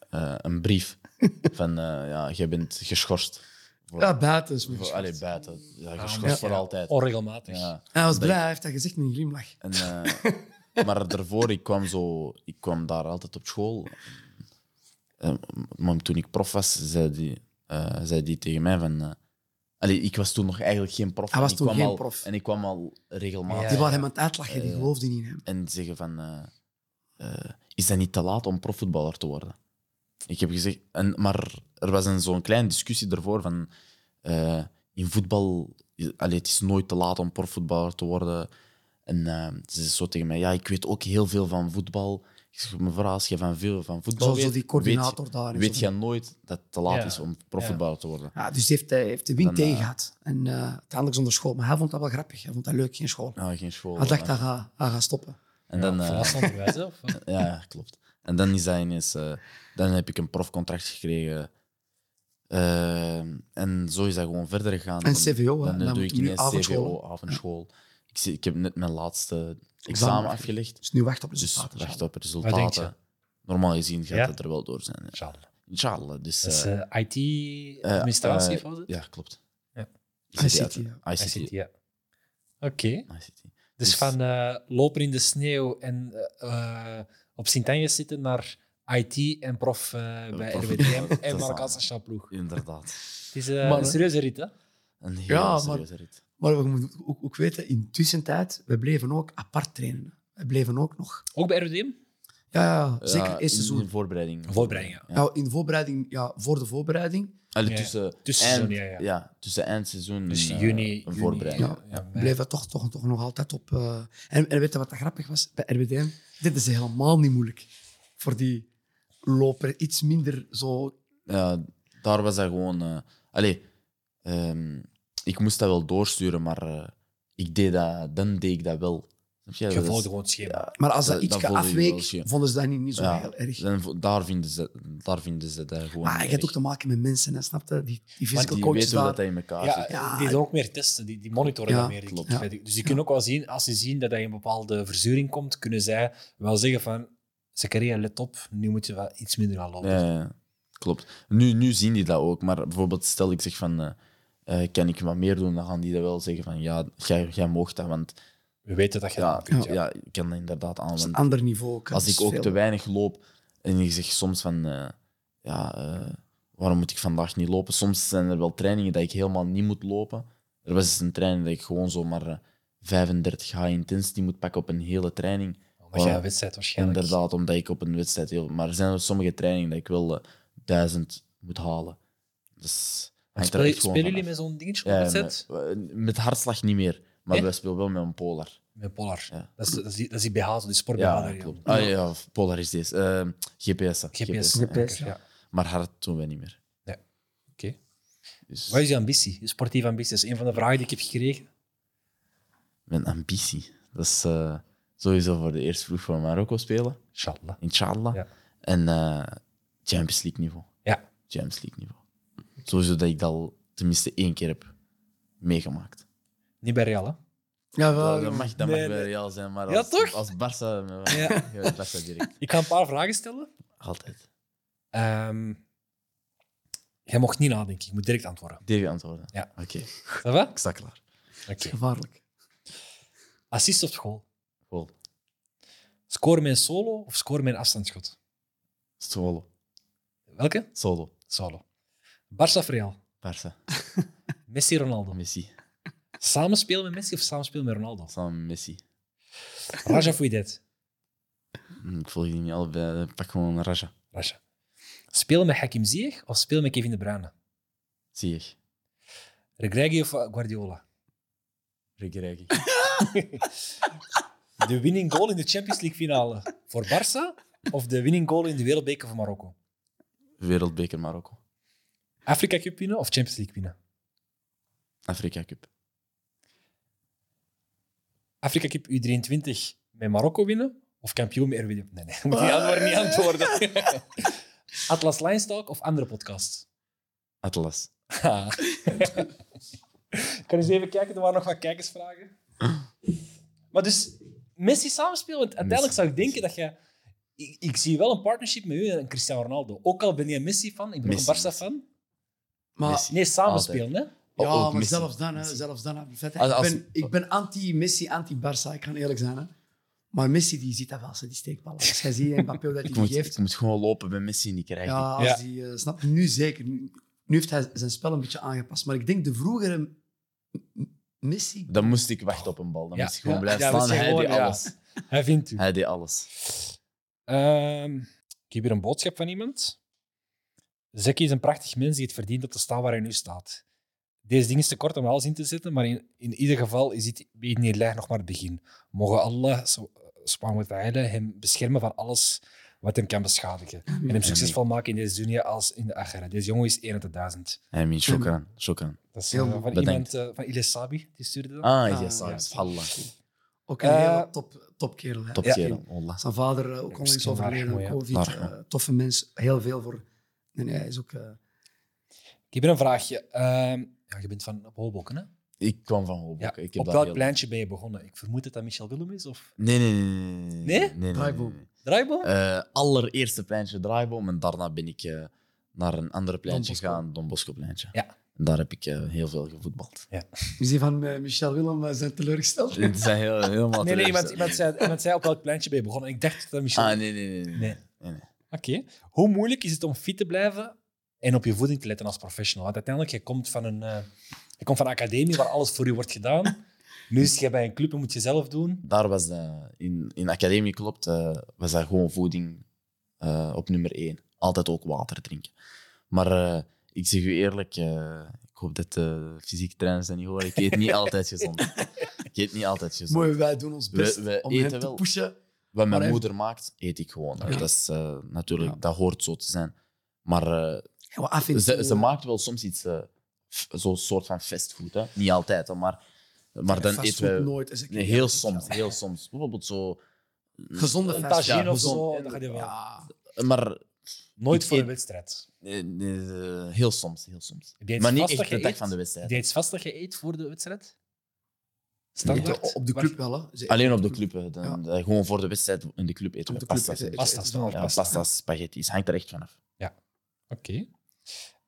Speaker 2: eh, een brief van... eh, ja, jij bent geschorst. Voor,
Speaker 3: Ja, buiten. is me
Speaker 2: voor,
Speaker 3: geschorst.
Speaker 2: allee, buiten.
Speaker 3: Ah,
Speaker 2: Ja, geschorst
Speaker 1: maar-
Speaker 2: voor
Speaker 1: ja.
Speaker 2: altijd.
Speaker 3: Oh.
Speaker 1: Onregelmatig.
Speaker 2: Ja.
Speaker 3: En hij was
Speaker 2: Dat
Speaker 3: blij, hij heeft dat gezegd met een glimlach.
Speaker 2: En, eh, maar daarvoor, ik kwam, zo, ik kwam daar altijd op school. En, maar toen ik prof was, zei die, eh, zei die tegen mij van... eh, allee, ik was toen nog eigenlijk geen prof.
Speaker 3: Hij was
Speaker 2: en ik
Speaker 3: toen
Speaker 2: kwam
Speaker 3: geen
Speaker 2: al-
Speaker 3: prof.
Speaker 2: En ik kwam al regelmatig.
Speaker 3: Die
Speaker 1: Ja,
Speaker 3: waren
Speaker 1: ja.
Speaker 3: hem aan het uitlachen, die
Speaker 2: Eh,
Speaker 3: geloofden niet in hem.
Speaker 2: En zeggen van... eh, eh, is dat niet te laat om profvoetballer te worden? Ik heb gezegd... En, maar er was een, zo'n kleine discussie daarvoor van... eh, in voetbal... Allee, het is nooit te laat om profvoetballer te worden. En eh, ze zei zo tegen mij... Ja, ik weet ook heel veel van voetbal. Ik zeg, mevrouw, als je van veel van voetbal
Speaker 3: Zo,
Speaker 2: weet...
Speaker 3: zo die
Speaker 2: weet-
Speaker 3: coördinator daar. en
Speaker 2: Weet
Speaker 3: zo.
Speaker 2: je nooit dat het te laat
Speaker 1: Ja.
Speaker 2: is om profvoetballer te worden?
Speaker 3: Ja, dus die heeft, eh, heeft de wind
Speaker 2: Dan, eh,
Speaker 3: tegen gehad. En eh, uiteindelijk zonder school. Maar hij vond dat wel grappig. Hij vond dat leuk, geen school.
Speaker 2: Nou, geen school.
Speaker 3: hij Ah, dacht,
Speaker 2: maar-
Speaker 3: hij gaat, hij gaat stoppen.
Speaker 2: En dan, eh,
Speaker 1: Volwassen onderwijs, hè, of wat?
Speaker 2: Ja, ja, klopt. En dan is hij ineens... eh, dan heb ik een profcontract gekregen. Eh, en zo is dat gewoon verder gegaan.
Speaker 3: En
Speaker 2: Dan-
Speaker 3: CVO, hè.
Speaker 2: Dan, eh,
Speaker 3: Dan
Speaker 2: doe ik
Speaker 3: moet je nu
Speaker 2: ineens
Speaker 3: avondschool,
Speaker 2: CVO, avondschool. Ik, zie- ik heb net mijn laatste
Speaker 3: Examen.
Speaker 2: examen afgelegd.
Speaker 3: Dus nu wacht op
Speaker 2: Dus
Speaker 3: resultaten.
Speaker 2: wacht
Speaker 3: Charles.
Speaker 2: op resultaten. Normaal gezien gaat
Speaker 1: Ja.
Speaker 2: het er wel door zijn. ja.
Speaker 1: Inshallah.
Speaker 2: Inshallah. Dus,
Speaker 1: Dat is
Speaker 2: eh, eh,
Speaker 1: IT-administratie,
Speaker 2: eh,
Speaker 1: volgens mij?
Speaker 2: ja, klopt.
Speaker 1: Ja.
Speaker 3: ICT,
Speaker 2: ICT.
Speaker 1: ICT,
Speaker 2: ICT.
Speaker 1: ja. Oké. Dus van eh, lopen in de sneeuw en eh, eh, op Sint-Anjes zitten naar IT en prof eh, bij
Speaker 2: prof.
Speaker 1: RWDM
Speaker 2: Dat is
Speaker 1: en
Speaker 2: dan-
Speaker 1: Marokkaanse chapeau.
Speaker 2: Inderdaad.
Speaker 1: Het is eh,
Speaker 3: Maar-
Speaker 1: een serieuze rit, hè?
Speaker 2: Een heel
Speaker 3: Ja, maar-
Speaker 2: serieuze rit.
Speaker 3: Maar we moeten ook, ook weten, in tussentijd, we bleven ook apart trainen. hè. We bleven ook nog.
Speaker 1: Ook bij RWDM?
Speaker 3: Ja, ja, ja, zeker
Speaker 2: Ja,
Speaker 3: eerste
Speaker 2: in-
Speaker 3: seizoen.
Speaker 2: In voorbereiding.
Speaker 1: Voorbereiding, ja.
Speaker 3: Nou, in de voorbereiding, ja, voor de voorbereiding,
Speaker 2: Allee,
Speaker 1: Ja, ja.
Speaker 2: tussen,
Speaker 1: Tussenseizoen,
Speaker 2: eind-
Speaker 1: ja, ja.
Speaker 2: tussen eindseizoen
Speaker 1: Dus
Speaker 2: en, eh,
Speaker 1: juni,
Speaker 2: een
Speaker 1: juni,
Speaker 2: voorbereiding.
Speaker 3: ja,
Speaker 1: ja, maar-
Speaker 3: bleven we toch, toch, toch nog altijd op. eh, En, en weet je wat dat grappig was? Bij RWDM, dit is helemaal niet moeilijk. Voor die loper, iets minder zo
Speaker 2: Ja, daar was dat gewoon. eh, allee, ehm, ik moest dat wel doorsturen, maar eh, ik deed dat, dan deed ik dat wel. Snap je?
Speaker 1: Je
Speaker 2: Dat is-
Speaker 1: volgde gewoon het schema.
Speaker 2: Ja,
Speaker 3: Maar als dat,
Speaker 2: Dat-
Speaker 3: iets
Speaker 2: dat voelde je wel
Speaker 3: afweek,
Speaker 2: eens, ja.
Speaker 3: vonden ze dat niet, niet zo
Speaker 2: Ja.
Speaker 3: heel erg.
Speaker 2: dan vo- daar, vinden ze, daar vinden ze dat gewoon.
Speaker 1: Ah,
Speaker 3: Maar je hebt ook te maken met mensen, hè, snap je? Die, die
Speaker 2: Maar
Speaker 3: physical
Speaker 2: die
Speaker 3: coaches
Speaker 2: weten hoe dat
Speaker 3: daar.
Speaker 2: hij in elkaar
Speaker 1: Ja,
Speaker 2: zit.
Speaker 3: Ja,
Speaker 1: die doen ook meer testen, die, die monitoren
Speaker 3: Ja,
Speaker 1: dat meer. denk ik.
Speaker 2: klopt.
Speaker 1: Dus die kunnen ook wel zien, als ze zien dat er een bepaalde verzuring komt, kunnen zij wel zeggen van, Zakaria, let op, nu moet je wel iets minder gaan lopen.
Speaker 2: Ja, ja, klopt. Nu, nu zien die dat ook, maar bijvoorbeeld stel ik zeg van, eh, eh, kan ik wat meer doen, dan gaan die dat wel zeggen van, ja, jij, jij mocht dat, want
Speaker 1: We weten dat je
Speaker 2: ja,
Speaker 1: dat kunt.
Speaker 2: ja.
Speaker 1: Ja. Dus
Speaker 2: ik kan dat inderdaad aan.
Speaker 3: Dat is een
Speaker 2: want
Speaker 3: ander niveau. ook, hè.
Speaker 2: als
Speaker 3: Dat
Speaker 2: ik
Speaker 3: is
Speaker 2: ook
Speaker 3: veel-
Speaker 2: te weinig loop en ik zeg soms van, eh, ja, eh, waarom moet ik vandaag niet lopen? Soms zijn er wel trainingen dat ik helemaal niet moet lopen. Er was eens een training dat ik gewoon zomaar eh, 35 high intensity moet pakken op een hele training.
Speaker 1: Omdat jij
Speaker 2: Ja.
Speaker 1: een wedstrijd waarschijnlijk...
Speaker 2: Inderdaad, omdat ik op een wedstrijd heel. Maar er zijn er sommige trainingen dat ik wel eh, 1000 moet halen. Dus hangt er
Speaker 1: Speel,
Speaker 2: echt gewoon
Speaker 1: spelen jullie
Speaker 2: vanaf.
Speaker 1: met zo'n dingetje op
Speaker 2: Ja,
Speaker 1: wedstrijd?
Speaker 2: met, eh, met hartslag niet meer. Maar
Speaker 1: Eh?
Speaker 2: wij spelen wel met een Polar.
Speaker 1: Met Polar.
Speaker 2: Ja.
Speaker 1: Dat, is, dat, is die, dat is die BH, zo die sport
Speaker 2: Ja, klopt. Ah, ja, ja, Polar is deze. Eh, GPS. hè.
Speaker 1: GPS.
Speaker 2: ja.
Speaker 3: GPS,
Speaker 1: ja.
Speaker 3: ja.
Speaker 2: Maar hard doen wij niet meer.
Speaker 1: Nee. Oké.
Speaker 2: Dus
Speaker 1: Wat is je ambitie, je sportieve ambitie? Dat is een van de vragen die ik heb gekregen.
Speaker 2: mijn ambitie. Dat is eh, sowieso voor de eerste ploeg van Marokko spelen.
Speaker 1: Inshallah.
Speaker 2: Inshallah.
Speaker 1: Ja.
Speaker 2: En eh, Champions League niveau.
Speaker 1: Ja.
Speaker 2: Champions League niveau. Sowieso dat ik dat al tenminste één keer heb meegemaakt.
Speaker 1: Niet bij Real, hè?
Speaker 3: Ja, wel,
Speaker 2: Dat, dat mag, dat
Speaker 1: Oh, nee,
Speaker 2: mag bij
Speaker 1: nee.
Speaker 2: Real zijn, maar
Speaker 1: Ja,
Speaker 2: als,
Speaker 1: toch?
Speaker 2: als Barça, eh,
Speaker 1: Ja.
Speaker 2: ja. Barça direct.
Speaker 1: Ik ga een paar vragen stellen.
Speaker 2: Altijd.
Speaker 1: Ehm, jij mocht niet nadenken, je moet direct antwoorden.
Speaker 2: Direct antwoorden.
Speaker 1: Ja.
Speaker 2: Oké,
Speaker 1: Is Dat wel?
Speaker 2: ik sta klaar.
Speaker 3: dat
Speaker 1: Oké.
Speaker 3: is gevaarlijk.
Speaker 1: Assist op school.
Speaker 2: Vol.
Speaker 1: Score mijn solo of score mijn afstandsschot?
Speaker 2: Solo.
Speaker 1: Welke?
Speaker 2: Solo.
Speaker 1: Solo. Barça of Real?
Speaker 2: Barça.
Speaker 1: Messi, Ronaldo.
Speaker 2: Messi.
Speaker 1: Samen spelen met Messi of samen spelen met Ronaldo?
Speaker 2: Samen met Messi.
Speaker 1: Raja of Widet?
Speaker 2: Hm, Ik volg die niet allebei. Pak gewoon Raja.
Speaker 1: Raja. Spelen met Hakim Ziyech of spelen met Kevin De Bruyne?
Speaker 2: Zie je.
Speaker 1: Regragui of Guardiola?
Speaker 2: Regregi.
Speaker 1: De winning goal in de Champions League finale voor Barça of de winning goal in de Wereldbeker voor Marokko?
Speaker 2: Wereldbeker Marokko.
Speaker 1: Afrika Cup winnen of Champions League winnen?
Speaker 2: Afrika Cup.
Speaker 1: Afrika Cup U23 met Marokko winnen of kampioen met RWD? Nee, nee, moet niet antwoorden. Niet antwoorden. Atlas Lions Talk of andere podcast?
Speaker 2: Atlas.
Speaker 1: Ha. Ik kan eens even kijken, er waren nog wat kijkersvragen. Maar dus, Messi samenspelen, want uiteindelijk zou ik denken dat je... Ik, ik zie wel een partnership met u en Cristiano Ronaldo. Ook al ben je een Messi-fan, ik ben ook
Speaker 2: Messi,
Speaker 1: een Barça-fan.
Speaker 3: Maar,
Speaker 2: Messi.
Speaker 1: Nee, samenspelen, hè.
Speaker 2: Oh,
Speaker 3: ja,
Speaker 2: ook
Speaker 3: maar
Speaker 2: Messi.
Speaker 3: zelfs dan, hè, zelfs dan. hè, vet, hè.
Speaker 2: Als- als-
Speaker 3: ik, ben, ik ben anti-Messi, anti-Barça, ik kan eerlijk zijn. Hè. Maar Messi die ziet dat wel, ze, die steekballen. Als jij ziet en Mbappé dat hij
Speaker 2: Ik
Speaker 3: die
Speaker 2: moet,
Speaker 3: geeft.
Speaker 2: ik moet gewoon lopen bij Messi niet krijgen.
Speaker 3: Ja, als
Speaker 1: Ja.
Speaker 3: die, eh, snap je? Nu zeker. Nu, nu heeft hij zijn spel een beetje aangepast. Maar ik denk de vroegere M- M- Messi...
Speaker 2: Dan moest ik wachten op een bal. Dan
Speaker 1: Ja.
Speaker 2: moest ik gewoon
Speaker 1: Ja.
Speaker 2: blijven
Speaker 1: Ja, dat
Speaker 2: staan.
Speaker 1: is
Speaker 2: Hij
Speaker 1: gewoon,
Speaker 2: deed
Speaker 1: ja.
Speaker 2: alles.
Speaker 1: Hij vindt u.
Speaker 2: Hij deed alles.
Speaker 1: Ehm, ik heb hier een boodschap van iemand. Zeki is een prachtig mens die het verdient om te staan waar hij nu staat. Deze ding is te kort om alles in te zetten, maar in, in ieder geval is dit bij Nederland nog maar het begin. Mogen eh, Allah sub- subhanahu wa ta'ala hem beschermen van alles wat hem kan beschadigen. En hem succesvol maken in deze dunia als in de agra. Deze jongen is 1 uit de duizend.
Speaker 2: Hij mean, shokran. shokran.
Speaker 1: Dat is
Speaker 3: Heel
Speaker 1: eh,
Speaker 3: mooi.
Speaker 1: van
Speaker 2: Bedankt.
Speaker 1: iemand eh, van Ilesabi, die stuurde dat.
Speaker 2: Ah,
Speaker 3: Ah,
Speaker 2: yes,
Speaker 3: ja.
Speaker 2: ah, subhanallah.
Speaker 3: Ook een
Speaker 1: Eh,
Speaker 3: hele top, topkerel. hè.
Speaker 1: Ja.
Speaker 2: Topkerel. Wallah.
Speaker 3: Zijn vader eh, ook onlangs
Speaker 1: Misschien waar,
Speaker 3: overleden
Speaker 1: mooi,
Speaker 3: aan
Speaker 1: ja.
Speaker 3: COVID.
Speaker 2: Waar, ja.
Speaker 3: eh, toffe mens. Heel veel voor... Nee, nee, hij is ook... eh,
Speaker 2: Mm.
Speaker 1: Ik heb hier een vraagje. Ehm, ja, je bent van op Hoboken, hè?
Speaker 2: Ik kwam van Hoboken.
Speaker 1: Ja.
Speaker 2: Ik heb
Speaker 1: Op
Speaker 2: dat
Speaker 1: welk
Speaker 2: heel-
Speaker 1: pleintje ben je begonnen? Ik vermoed dat dat Michel Willem is, of...
Speaker 2: Nee, nee, nee. nee,
Speaker 1: Nee?
Speaker 2: nee, nee,
Speaker 3: Draaiboom.
Speaker 2: nee.
Speaker 1: Draaiboom?
Speaker 2: Eh, allereerste pleintje draaiboom. En daarna ben ik eh, naar een ander pleintje
Speaker 3: Don Bosco.
Speaker 2: gegaan. Don Bosco pleintje.
Speaker 1: Ja.
Speaker 2: En Daar heb ik eh, heel veel gevoetbald.
Speaker 3: is die van eh, Michel Willem eh, zijn teleurgesteld?
Speaker 2: Het zijn heel, helemaal
Speaker 1: Nee, nee, iemand,
Speaker 2: teleurgesteld.
Speaker 1: iemand, zei, iemand zei op welk pleintje ben je begonnen. Ik dacht dat dat misschien...
Speaker 2: Ah, nee, nee, nee. nee.
Speaker 1: Nee.
Speaker 2: nee, nee.
Speaker 1: Oké. Hoe moeilijk is het om fit te blijven en op je voeding te letten als professional? Want uiteindelijk, je komt van een, eh, je komt van een academie waar alles voor je wordt gedaan. Nu is je bij een club en moet je zelf doen.
Speaker 2: daar was de, in, in academie klopt, eh, was dat gewoon voeding eh, op nummer één. Altijd ook water drinken. Maar eh, ik zeg u eerlijk, eh, ik hoop dat de fysieke trainers dat niet horen. Ik eet niet altijd gezond. Ik eet niet altijd gezond.
Speaker 3: Mooi, wij doen ons
Speaker 2: We-
Speaker 3: best
Speaker 2: we
Speaker 3: om hem
Speaker 2: eten
Speaker 3: te
Speaker 2: wel.
Speaker 3: pushen.
Speaker 2: Wat mijn
Speaker 3: Maar hij-
Speaker 2: moeder maakt, eet ik gewoon.
Speaker 3: Ja.
Speaker 2: Dat, is, eh, natuurlijk,
Speaker 3: Ja.
Speaker 2: dat hoort zo te zijn. Maar eh,
Speaker 3: Ja, wat af en
Speaker 2: ze,
Speaker 3: toe,
Speaker 2: ze maakt wel soms iets, eh, f- zo'n soort van fastfood. Hè? Niet altijd, hè, maar Maar dan
Speaker 3: Fastfood
Speaker 2: eten we
Speaker 3: nooit. is een
Speaker 2: nee,
Speaker 3: keer
Speaker 2: heel
Speaker 3: erg.
Speaker 2: soms, heel soms. Bijvoorbeeld zo.
Speaker 3: Gezonde
Speaker 1: Een
Speaker 3: fastfood.
Speaker 1: tagine
Speaker 2: ja,
Speaker 1: of
Speaker 2: gezond.
Speaker 1: zo, dat gaat je wel.
Speaker 3: Ja.
Speaker 2: eh, Maar
Speaker 1: Nooit
Speaker 2: Ik
Speaker 1: voor een
Speaker 2: eet-
Speaker 1: wedstrijd.
Speaker 2: eh, eh, heel soms, heel soms.
Speaker 1: Heb jij iets
Speaker 2: Maar niet
Speaker 1: vast
Speaker 2: echt
Speaker 1: dat
Speaker 2: de
Speaker 1: je
Speaker 2: dag
Speaker 1: eet?
Speaker 2: van de
Speaker 1: Heb
Speaker 2: wedstrijd.
Speaker 1: jij iets vast dat je eet voor de wedstrijd?
Speaker 3: Ja,
Speaker 1: Standaard?
Speaker 3: Op de
Speaker 1: Waar-
Speaker 3: club wel, hè. Ze-
Speaker 2: Alleen op de club. hè. Dan,
Speaker 3: Ja.
Speaker 2: dan gewoon voor de wedstrijd in de club eten
Speaker 3: Op
Speaker 2: we
Speaker 3: de club
Speaker 2: pasta's.
Speaker 3: eten-
Speaker 2: hè.
Speaker 1: Pasta,
Speaker 3: eten ze wel
Speaker 1: standaard
Speaker 2: Ja,
Speaker 1: pasta.
Speaker 2: pasta's, spaghetti's. Hangt er echt vanaf.
Speaker 1: Oké.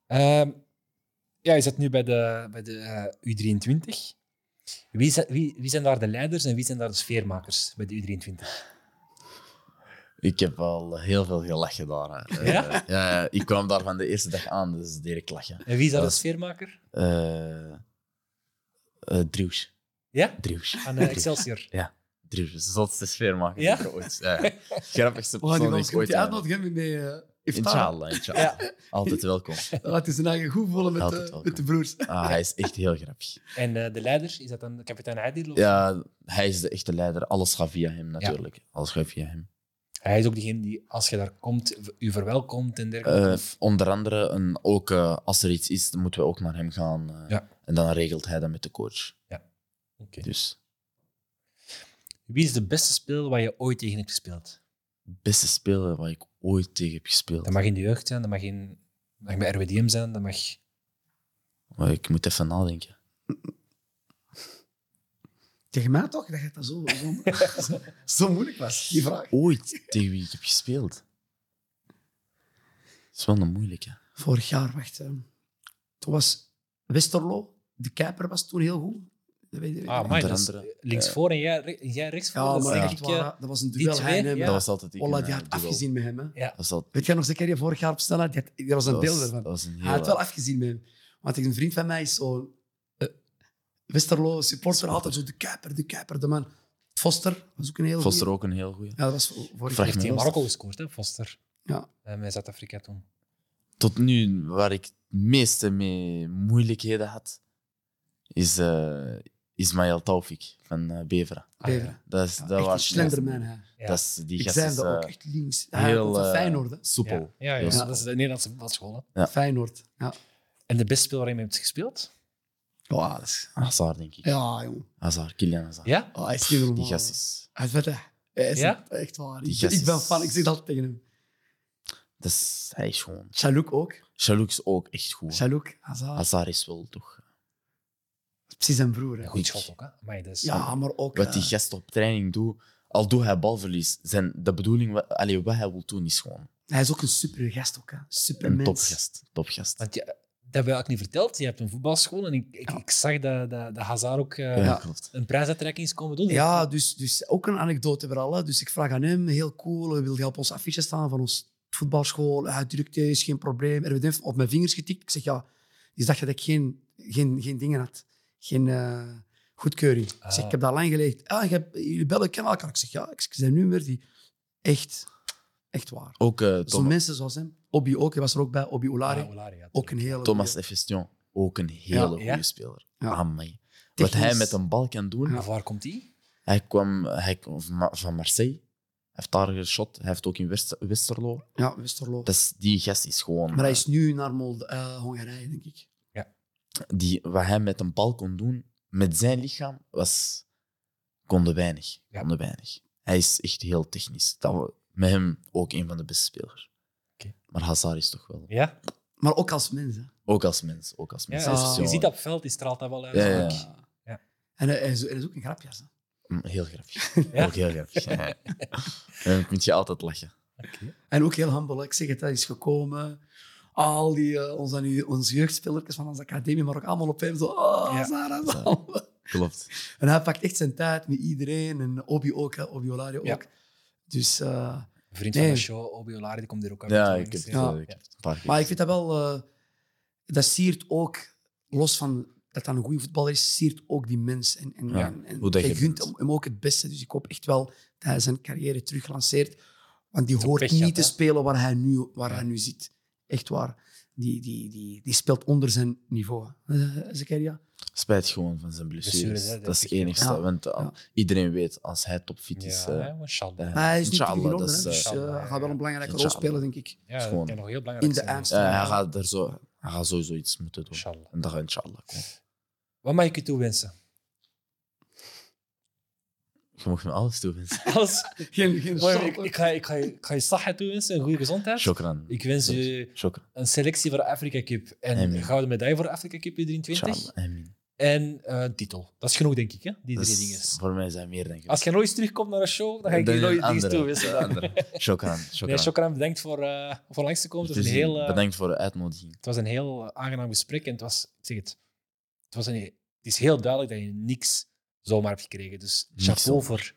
Speaker 1: Ehm, ja, je zit nu bij de, bij de eh, U23. Wie, zi- wie, wie zijn daar de leiders en wie zijn daar de sfeermakers bij de U23?
Speaker 2: Ik heb al heel veel gelachen daar. hè.
Speaker 1: Ja?
Speaker 2: Eh, ja, ik kwam daar van de eerste dag aan, dus direct lachen.
Speaker 1: En wie is daar de
Speaker 2: Dat is-
Speaker 1: sfeermaker?
Speaker 2: Eh eh Drews.
Speaker 1: Ja?
Speaker 2: Drews.
Speaker 3: Ah,
Speaker 1: Aan eh, Excelsior.
Speaker 2: Drews, de zotste sfeermaker
Speaker 1: Ja?
Speaker 2: die ik ooit. Ja. Grappigste
Speaker 3: We
Speaker 2: persoon die
Speaker 3: gaan die wel
Speaker 2: ik
Speaker 3: eens goed
Speaker 2: ooit heb.
Speaker 3: uitnodigen met eh, Iftar.
Speaker 2: Inshallah, inshallah.
Speaker 1: Ja.
Speaker 2: Altijd welkom.
Speaker 3: Dan laat hij zijn eigen goed vullen met,
Speaker 2: Altijd
Speaker 3: eh,
Speaker 2: welkom.
Speaker 3: met de broers.
Speaker 2: Ah, hij is echt heel grappig.
Speaker 1: En eh, de leider, is dat dan kapitein Adil? of-
Speaker 2: Ja, hij is de echte leider. Alles gaat via hem natuurlijk. Alles gaat via hem.
Speaker 1: Hij is ook degene die, als je daar komt, v- u verwelkomt en dergelijke.
Speaker 2: Eh,
Speaker 1: Of-
Speaker 2: onder andere, en ook eh, als er iets is, dan moeten we ook naar hem gaan. eh,
Speaker 1: Ja.
Speaker 2: En dan regelt hij dat met de coach.
Speaker 1: Oké.
Speaker 2: Dus,
Speaker 1: Wie is de beste speel waar je ooit tegen hebt gespeeld?
Speaker 2: beste speler waar ik ooit tegen heb gespeeld.
Speaker 1: Dat mag in de jeugd zijn, dat mag, in, dat mag bij RWDM zijn, dat mag...
Speaker 2: Maar ik moet even nadenken.
Speaker 3: Tegen mij toch? Dat het dat zo, zo, zo, zo moeilijk was, die vraag.
Speaker 2: Ooit tegen wie ik heb gespeeld? Dat is wel een moeilijke.
Speaker 3: Vorig jaar, wacht. eh, toen was Westerlo, de Kuiper was toen heel goed. Dat weet je.
Speaker 1: Ah,
Speaker 2: man.
Speaker 1: man,
Speaker 2: Onder
Speaker 1: dat is
Speaker 2: andere,
Speaker 1: links
Speaker 2: eh,
Speaker 1: voor en jij, re- jij rechts voor.
Speaker 3: ja,
Speaker 1: dat is
Speaker 3: maar
Speaker 1: denk
Speaker 3: echt
Speaker 1: ik,
Speaker 3: waar,
Speaker 1: eh,
Speaker 3: hè. dat was een
Speaker 1: die
Speaker 3: duel.
Speaker 1: twee,
Speaker 3: Hij en hem.
Speaker 1: ja.
Speaker 2: Dat was altijd ik.
Speaker 3: Ola,
Speaker 2: en,
Speaker 3: die
Speaker 2: eh,
Speaker 3: had
Speaker 2: duel.
Speaker 3: afgezien met hem. Hè.
Speaker 1: ja.
Speaker 2: Dat was al-
Speaker 3: Weet jij nog zeker, je vorig jaar op snelheid, die had- er was een
Speaker 2: dat
Speaker 3: beeld
Speaker 2: was-
Speaker 3: ervan.
Speaker 2: Dat was een
Speaker 3: Hij had
Speaker 2: heel... eh,
Speaker 3: wel afgezien met hem. Want een vriend van mij is zo... eh, Westerlo, supporter, altijd zo de Kuiper, de Kuiper, de man. Foster was ook een heel
Speaker 2: Foster
Speaker 3: goeie.
Speaker 2: ook een heel goeie.
Speaker 3: Ja, dat was vo- vorig
Speaker 2: Vraag
Speaker 3: jaar.
Speaker 1: Heeft hij in
Speaker 2: Marokko.
Speaker 1: Marokko gescoord, hè, Foster?
Speaker 3: Ja.
Speaker 1: Eh, met Zuid-Afrika toen.
Speaker 2: Tot nu, waar ik het meeste mee moeilijkheden had, is eh Ismaël Taufik van eh, Bevera.
Speaker 1: Ah, ja.
Speaker 3: Beveren.
Speaker 2: Dat is,
Speaker 3: Ja,
Speaker 2: dat
Speaker 3: echt een
Speaker 2: was
Speaker 3: slenderman, hè.
Speaker 1: Ja.
Speaker 2: Dat is, die
Speaker 3: Ik
Speaker 2: gast
Speaker 3: zei
Speaker 2: is
Speaker 3: dat
Speaker 2: eh,
Speaker 3: ook echt links. Hij
Speaker 2: heel
Speaker 3: komt van
Speaker 2: eh,
Speaker 3: Feyenoord, hè.
Speaker 2: soepel.
Speaker 1: Ja, ja, ja.
Speaker 2: Heel soepel.
Speaker 1: dat is de Nederlandse voetbalschool. hè.
Speaker 2: Ja.
Speaker 3: Feyenoord, ja.
Speaker 1: En de beste speel waar je mee hebt gespeeld?
Speaker 3: Ja,
Speaker 2: Oh,
Speaker 3: dat is...
Speaker 2: Hazard, denk ik.
Speaker 3: Ja, jongen.
Speaker 2: Hazard, Kylian Hazard.
Speaker 1: Ja?
Speaker 3: Oh, hij is niet normaal.
Speaker 2: Die gast is...
Speaker 3: Hij is vet, hè. Hij is
Speaker 1: Ja?
Speaker 3: echt waar.
Speaker 2: Die
Speaker 3: Ik,
Speaker 2: gast
Speaker 3: ik ben
Speaker 2: is-
Speaker 3: fan, ik zeg dat tegen hem.
Speaker 2: Dat is hij is gewoon...
Speaker 3: Chalouk ook.
Speaker 2: Chalouk is ook echt goed.
Speaker 3: Chalouk, Hazard.
Speaker 2: Hazard is wel toch...
Speaker 3: Precies zijn broer, hè.
Speaker 1: Een goed schot ook, hè? Amai, dat is-
Speaker 3: Ja, maar ook...
Speaker 2: Wat
Speaker 3: eh,
Speaker 2: die gast op training doet, al doet hij balverlies, zijn, de bedoeling, wa- allee, wat hij wil doen, is gewoon
Speaker 3: Hij is ook een super gast, ook, hè. Super
Speaker 2: een
Speaker 3: mens.
Speaker 2: topgast. topgast.
Speaker 1: Want je, dat hebben we eigenlijk niet verteld. Je hebt een voetbalschool en ik, ik,
Speaker 3: Ja.
Speaker 1: ik zag dat, dat, dat Hazard ook eh,
Speaker 2: Ja,
Speaker 3: Ja.
Speaker 2: klopt.
Speaker 1: een prijsuitreiking is komen doen.
Speaker 3: Ja, dus, dus ook een anekdote vooral. Hè. Dus ik vraag aan hem, heel cool, wil je op ons affiche staan van ons voetbalschool? Hij drukt "Eh, is geen probleem. Er werd even op mijn vingers getikt. Ik zeg, ja, die dacht je dat ik geen, geen, geen dingen had. Geen eh, goedkeuring. Ik zeg,
Speaker 1: Ah.
Speaker 3: ik heb dat lang gelegd. Ah, je hebt, jullie bellen kennen elkaar. Ik zeg, ja, ik zijn nu meer die... Echt, echt waar.
Speaker 2: Ook eh,
Speaker 3: Zo'n
Speaker 2: Thomas,
Speaker 3: mensen zoals hem. Obi ook, hij was er ook bij. Obi Olari.
Speaker 1: Ah, Olari, ja,
Speaker 3: ook een hele...
Speaker 2: Thomas Efestion, ook een hele
Speaker 3: Ja,
Speaker 2: goede
Speaker 1: ja.
Speaker 2: speler.
Speaker 3: Ja.
Speaker 2: Amai. Wat
Speaker 3: Technisch.
Speaker 2: hij met een bal kan doen,
Speaker 1: Van waar komt die?
Speaker 2: Hij kwam, hij kwam van Ma- van Marseille. Hij heeft daar geschot. Hij heeft ook in West- Westerlo.
Speaker 3: Ja, Westerlo.
Speaker 2: Dat is, die gast is gewoon...
Speaker 3: Maar hij is nu naar Molde, eh, Hongarije, denk ik.
Speaker 2: eh, die, wat hij met een bal kon doen, met zijn lichaam, was... Konden weinig.
Speaker 1: Ja.
Speaker 2: Konden weinig. Hij is echt heel technisch. Dat we, met hem ook een van de beste spelers.
Speaker 1: Oké.
Speaker 2: Maar Hazard is toch wel...
Speaker 1: Ja,
Speaker 3: Maar ook als mens, hè.
Speaker 2: Ook als mens. Ook als
Speaker 1: ja
Speaker 2: mens.
Speaker 1: dus
Speaker 2: Hij is
Speaker 1: je
Speaker 2: zo-
Speaker 1: ziet dat op veld, die straalt dat wel uit.
Speaker 2: Ja,
Speaker 1: Ja,
Speaker 2: ja.
Speaker 1: Ja.
Speaker 3: En hij is, hij is ook een grapjas. Hè?
Speaker 2: Mm, Heel grappig. Ook heel grappig. Ja. Dan kun je altijd lachen.
Speaker 1: Oké.
Speaker 3: En ook heel humble. hè. Ik zeg het, hij is gekomen. Al die, eh, onze, nu- onze jeugdspelertjes van onze academie, maar ook allemaal op hem. Zo, oh,
Speaker 1: Ja.
Speaker 3: Zara,
Speaker 2: Zara.
Speaker 3: Zara.
Speaker 2: Klopt.
Speaker 3: En hij pakt echt zijn tijd met iedereen. En Obi ook, hè. Obi Olario
Speaker 1: Ja.
Speaker 3: ook. Dus, eh,
Speaker 1: Een vriend
Speaker 3: Nee.
Speaker 1: van de show, Obi Olari, die komt hier ook uit.
Speaker 2: Ja, ik heb, het,
Speaker 1: Ja.
Speaker 2: eh, ik heb het een paar keer
Speaker 3: maar ik vind dat wel... eh, dat siert ook, los van dat hij een goede voetballer is, siert ook die mens. En, en,
Speaker 2: Ja,
Speaker 3: en, en
Speaker 2: hoe dat
Speaker 3: hij
Speaker 2: je
Speaker 3: gunt
Speaker 2: bent.
Speaker 3: hem, hem ook het beste. Dus ik hoop echt wel dat hij zijn carrière terug lanceert. Want die
Speaker 1: Het is
Speaker 3: hoort
Speaker 1: een
Speaker 3: niet
Speaker 1: pechgat,
Speaker 3: te
Speaker 1: hè?
Speaker 3: spelen waar hij nu, waar
Speaker 1: Ja.
Speaker 3: hij nu zit. Echt waar. Die, die, die, die speelt onder zijn niveau. hè. Eh, Zakaria?
Speaker 2: Spijt gewoon van zijn blessures.
Speaker 1: Blessures, hè, dat
Speaker 2: dat is het
Speaker 1: is echt
Speaker 2: enigste.
Speaker 3: jammer.
Speaker 2: Want eh,
Speaker 3: Ja.
Speaker 2: iedereen weet, als hij topfit is,
Speaker 1: Ja,
Speaker 2: eh,
Speaker 1: hè, maar Schalke.
Speaker 2: eh,
Speaker 3: Maar hij is niet
Speaker 2: inshallah,
Speaker 3: in orde,
Speaker 2: dat
Speaker 3: hè.
Speaker 2: is, eh,
Speaker 3: dus eh,
Speaker 1: Inshallah,
Speaker 3: hij gaat wel
Speaker 1: ja.
Speaker 3: een belangrijke rol
Speaker 2: Inshallah.
Speaker 3: spelen, denk ik.
Speaker 1: Ja, dat
Speaker 2: gewoon-
Speaker 1: kan nog heel belangrijk
Speaker 3: In de
Speaker 1: zijn.
Speaker 3: eindstand.
Speaker 2: eh, hij,
Speaker 3: Ja.
Speaker 2: gaat er zo, hij gaat sowieso iets moeten doen.
Speaker 1: Inshallah.
Speaker 2: En dat gaat inshallah komen.
Speaker 1: Wat mag ik je toewensen?
Speaker 2: Je mocht me alles toewensen.
Speaker 1: Alles.
Speaker 3: Geen, geen
Speaker 1: Maar
Speaker 3: shot,
Speaker 1: ik,
Speaker 3: hoor.
Speaker 1: ik, ga, ik, ga, je- ik ga je sacha toewensen, een goede gezondheid.
Speaker 2: Chokran.
Speaker 1: Ik wens je
Speaker 2: Chokran.
Speaker 1: een selectie voor de Afrika Cup en
Speaker 2: Amen.
Speaker 1: een gouden medaille voor de Afrika Cup U23.
Speaker 2: Charm. Amen.
Speaker 1: En eh, een titel. Dat is genoeg, denk ik, hè? die
Speaker 2: Dat
Speaker 1: drie
Speaker 2: is-
Speaker 1: dingen.
Speaker 2: Voor mij zijn meer, denk ik.
Speaker 1: Als je nooit terugkomt naar een show, dan ga ik
Speaker 2: Dan
Speaker 1: je nooit
Speaker 2: een
Speaker 1: dingen
Speaker 2: andere,
Speaker 1: toewensen.
Speaker 2: een andere. Chokran. Chokran.
Speaker 1: Nee, Chokran, bedankt voor, eh, voor langs te komen. Het was, een heel, eh,
Speaker 2: Bedankt voor de uitnodiging.
Speaker 1: het was een heel eh, aangenaam gesprek. En het was, ik zeg het, het, was een, het is heel duidelijk dat je niks zomaar hebt gekregen. Dus
Speaker 2: Niks
Speaker 1: chapeau
Speaker 2: zomaar.
Speaker 1: voor,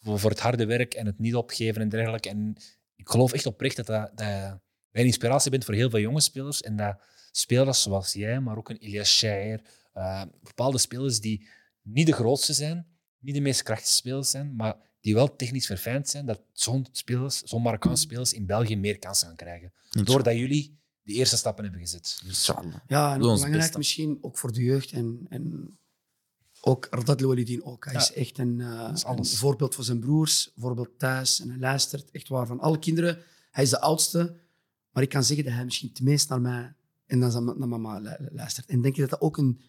Speaker 1: voor, voor het harde werk en het niet opgeven en dergelijke. En ik geloof echt oprecht dat, dat, dat jij een inspiratie bent voor heel veel jonge spelers. En dat spelers zoals jij, maar ook een Ilias Shire, eh, bepaalde spelers die niet de grootste zijn, niet de meest krachtige spelers zijn, maar die wel technisch verfijnd zijn, dat zo'n spelers, zo'n Marokkaanse
Speaker 2: Mhm.
Speaker 1: spelers in België meer kansen gaan krijgen. Doordat jullie de eerste stappen hebben gezet. Dus
Speaker 2: Inshallah.
Speaker 3: Ja, en
Speaker 2: Doe ons
Speaker 3: belangrijk
Speaker 2: best.
Speaker 3: misschien ook voor de jeugd en, en ook Radat Loualidin ook. Hij
Speaker 1: Ja.
Speaker 3: is echt een, eh,
Speaker 1: is alles.
Speaker 3: een voorbeeld voor zijn broers, voorbeeld thuis en hij luistert echt waar van alle kinderen. Hij is de oudste, maar ik kan zeggen dat hij misschien het meest naar mij en dan zijn- naar mama lu- luistert. En denk je dat dat ook een,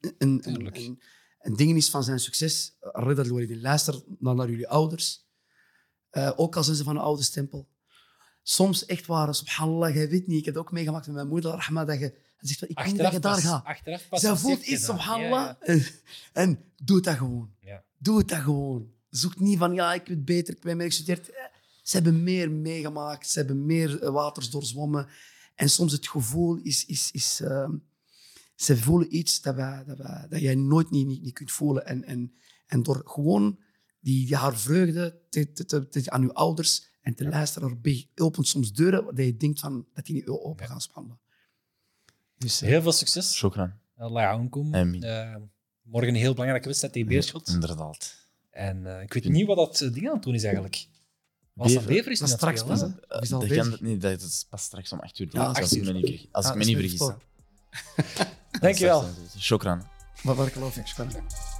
Speaker 3: een, een,
Speaker 1: Tuurlijk.
Speaker 3: een, een ding is van zijn succes? Radat Loualidin, luister dan naar jullie ouders, Eh, ook al zijn ze van een oude stempel. Soms echt waar, subhanallah, jij weet niet. Ik heb het ook meegemaakt met mijn moeder, Rahma, dat je hij zegt, van, ik weet niet dat je daar
Speaker 1: pas-
Speaker 3: gaat.
Speaker 1: achteraf pas
Speaker 3: Zij
Speaker 1: beseft
Speaker 3: voelt
Speaker 1: je
Speaker 3: iets,
Speaker 1: dat.
Speaker 3: subhanallah.
Speaker 1: Ja,
Speaker 3: En, en doe dat gewoon.
Speaker 1: Ja.
Speaker 3: Doe dat gewoon. Zoek niet van, ja, ik weet beter, ik ben meer gestudeerd. Eh, Ze hebben meer meegemaakt, ze hebben meer eh, waters doorzwommen. En soms het gevoel is... is, is ehm, ze voelen iets dat, wij, dat, wij, dat jij nooit niet, niet, niet kunt voelen. En, en, en door gewoon die, die haar vreugde te, te, te, te- aan je ouders en te luisteren, daarbij opent soms deuren dat je denkt van, dat die niet open
Speaker 1: Ja.
Speaker 3: gaan spannen. Dus,
Speaker 1: ja.
Speaker 3: eh,
Speaker 1: Heel veel succes. Eh,
Speaker 2: Chokran.
Speaker 1: Allah aankom.
Speaker 2: Amin.
Speaker 1: Eh, morgen een heel belangrijke wedstrijd tegen Beerschot.
Speaker 2: Inderdaad.
Speaker 1: En eh, ik weet niet wat dat eh, ding aan het doen is eigenlijk. Was dat
Speaker 2: Bever-
Speaker 1: Bever is
Speaker 3: Dat is
Speaker 1: niet aan het
Speaker 3: straks pas, hè?
Speaker 1: spelen,
Speaker 3: Of is dat
Speaker 2: dat,
Speaker 3: al
Speaker 2: kan,
Speaker 3: bezig?
Speaker 2: dat niet, dat is pas straks om 8 uur.
Speaker 3: Ja,
Speaker 2: als,
Speaker 3: acht
Speaker 2: ik me
Speaker 3: uur.
Speaker 2: niet vergis. als
Speaker 3: Ja,
Speaker 2: ik me
Speaker 3: dat
Speaker 2: niet
Speaker 3: Ah, is
Speaker 2: vergis.
Speaker 3: weer
Speaker 2: hè.
Speaker 1: hè? Dankjewel.
Speaker 2: Chokran.
Speaker 3: Maar waar geloof ik, Sven?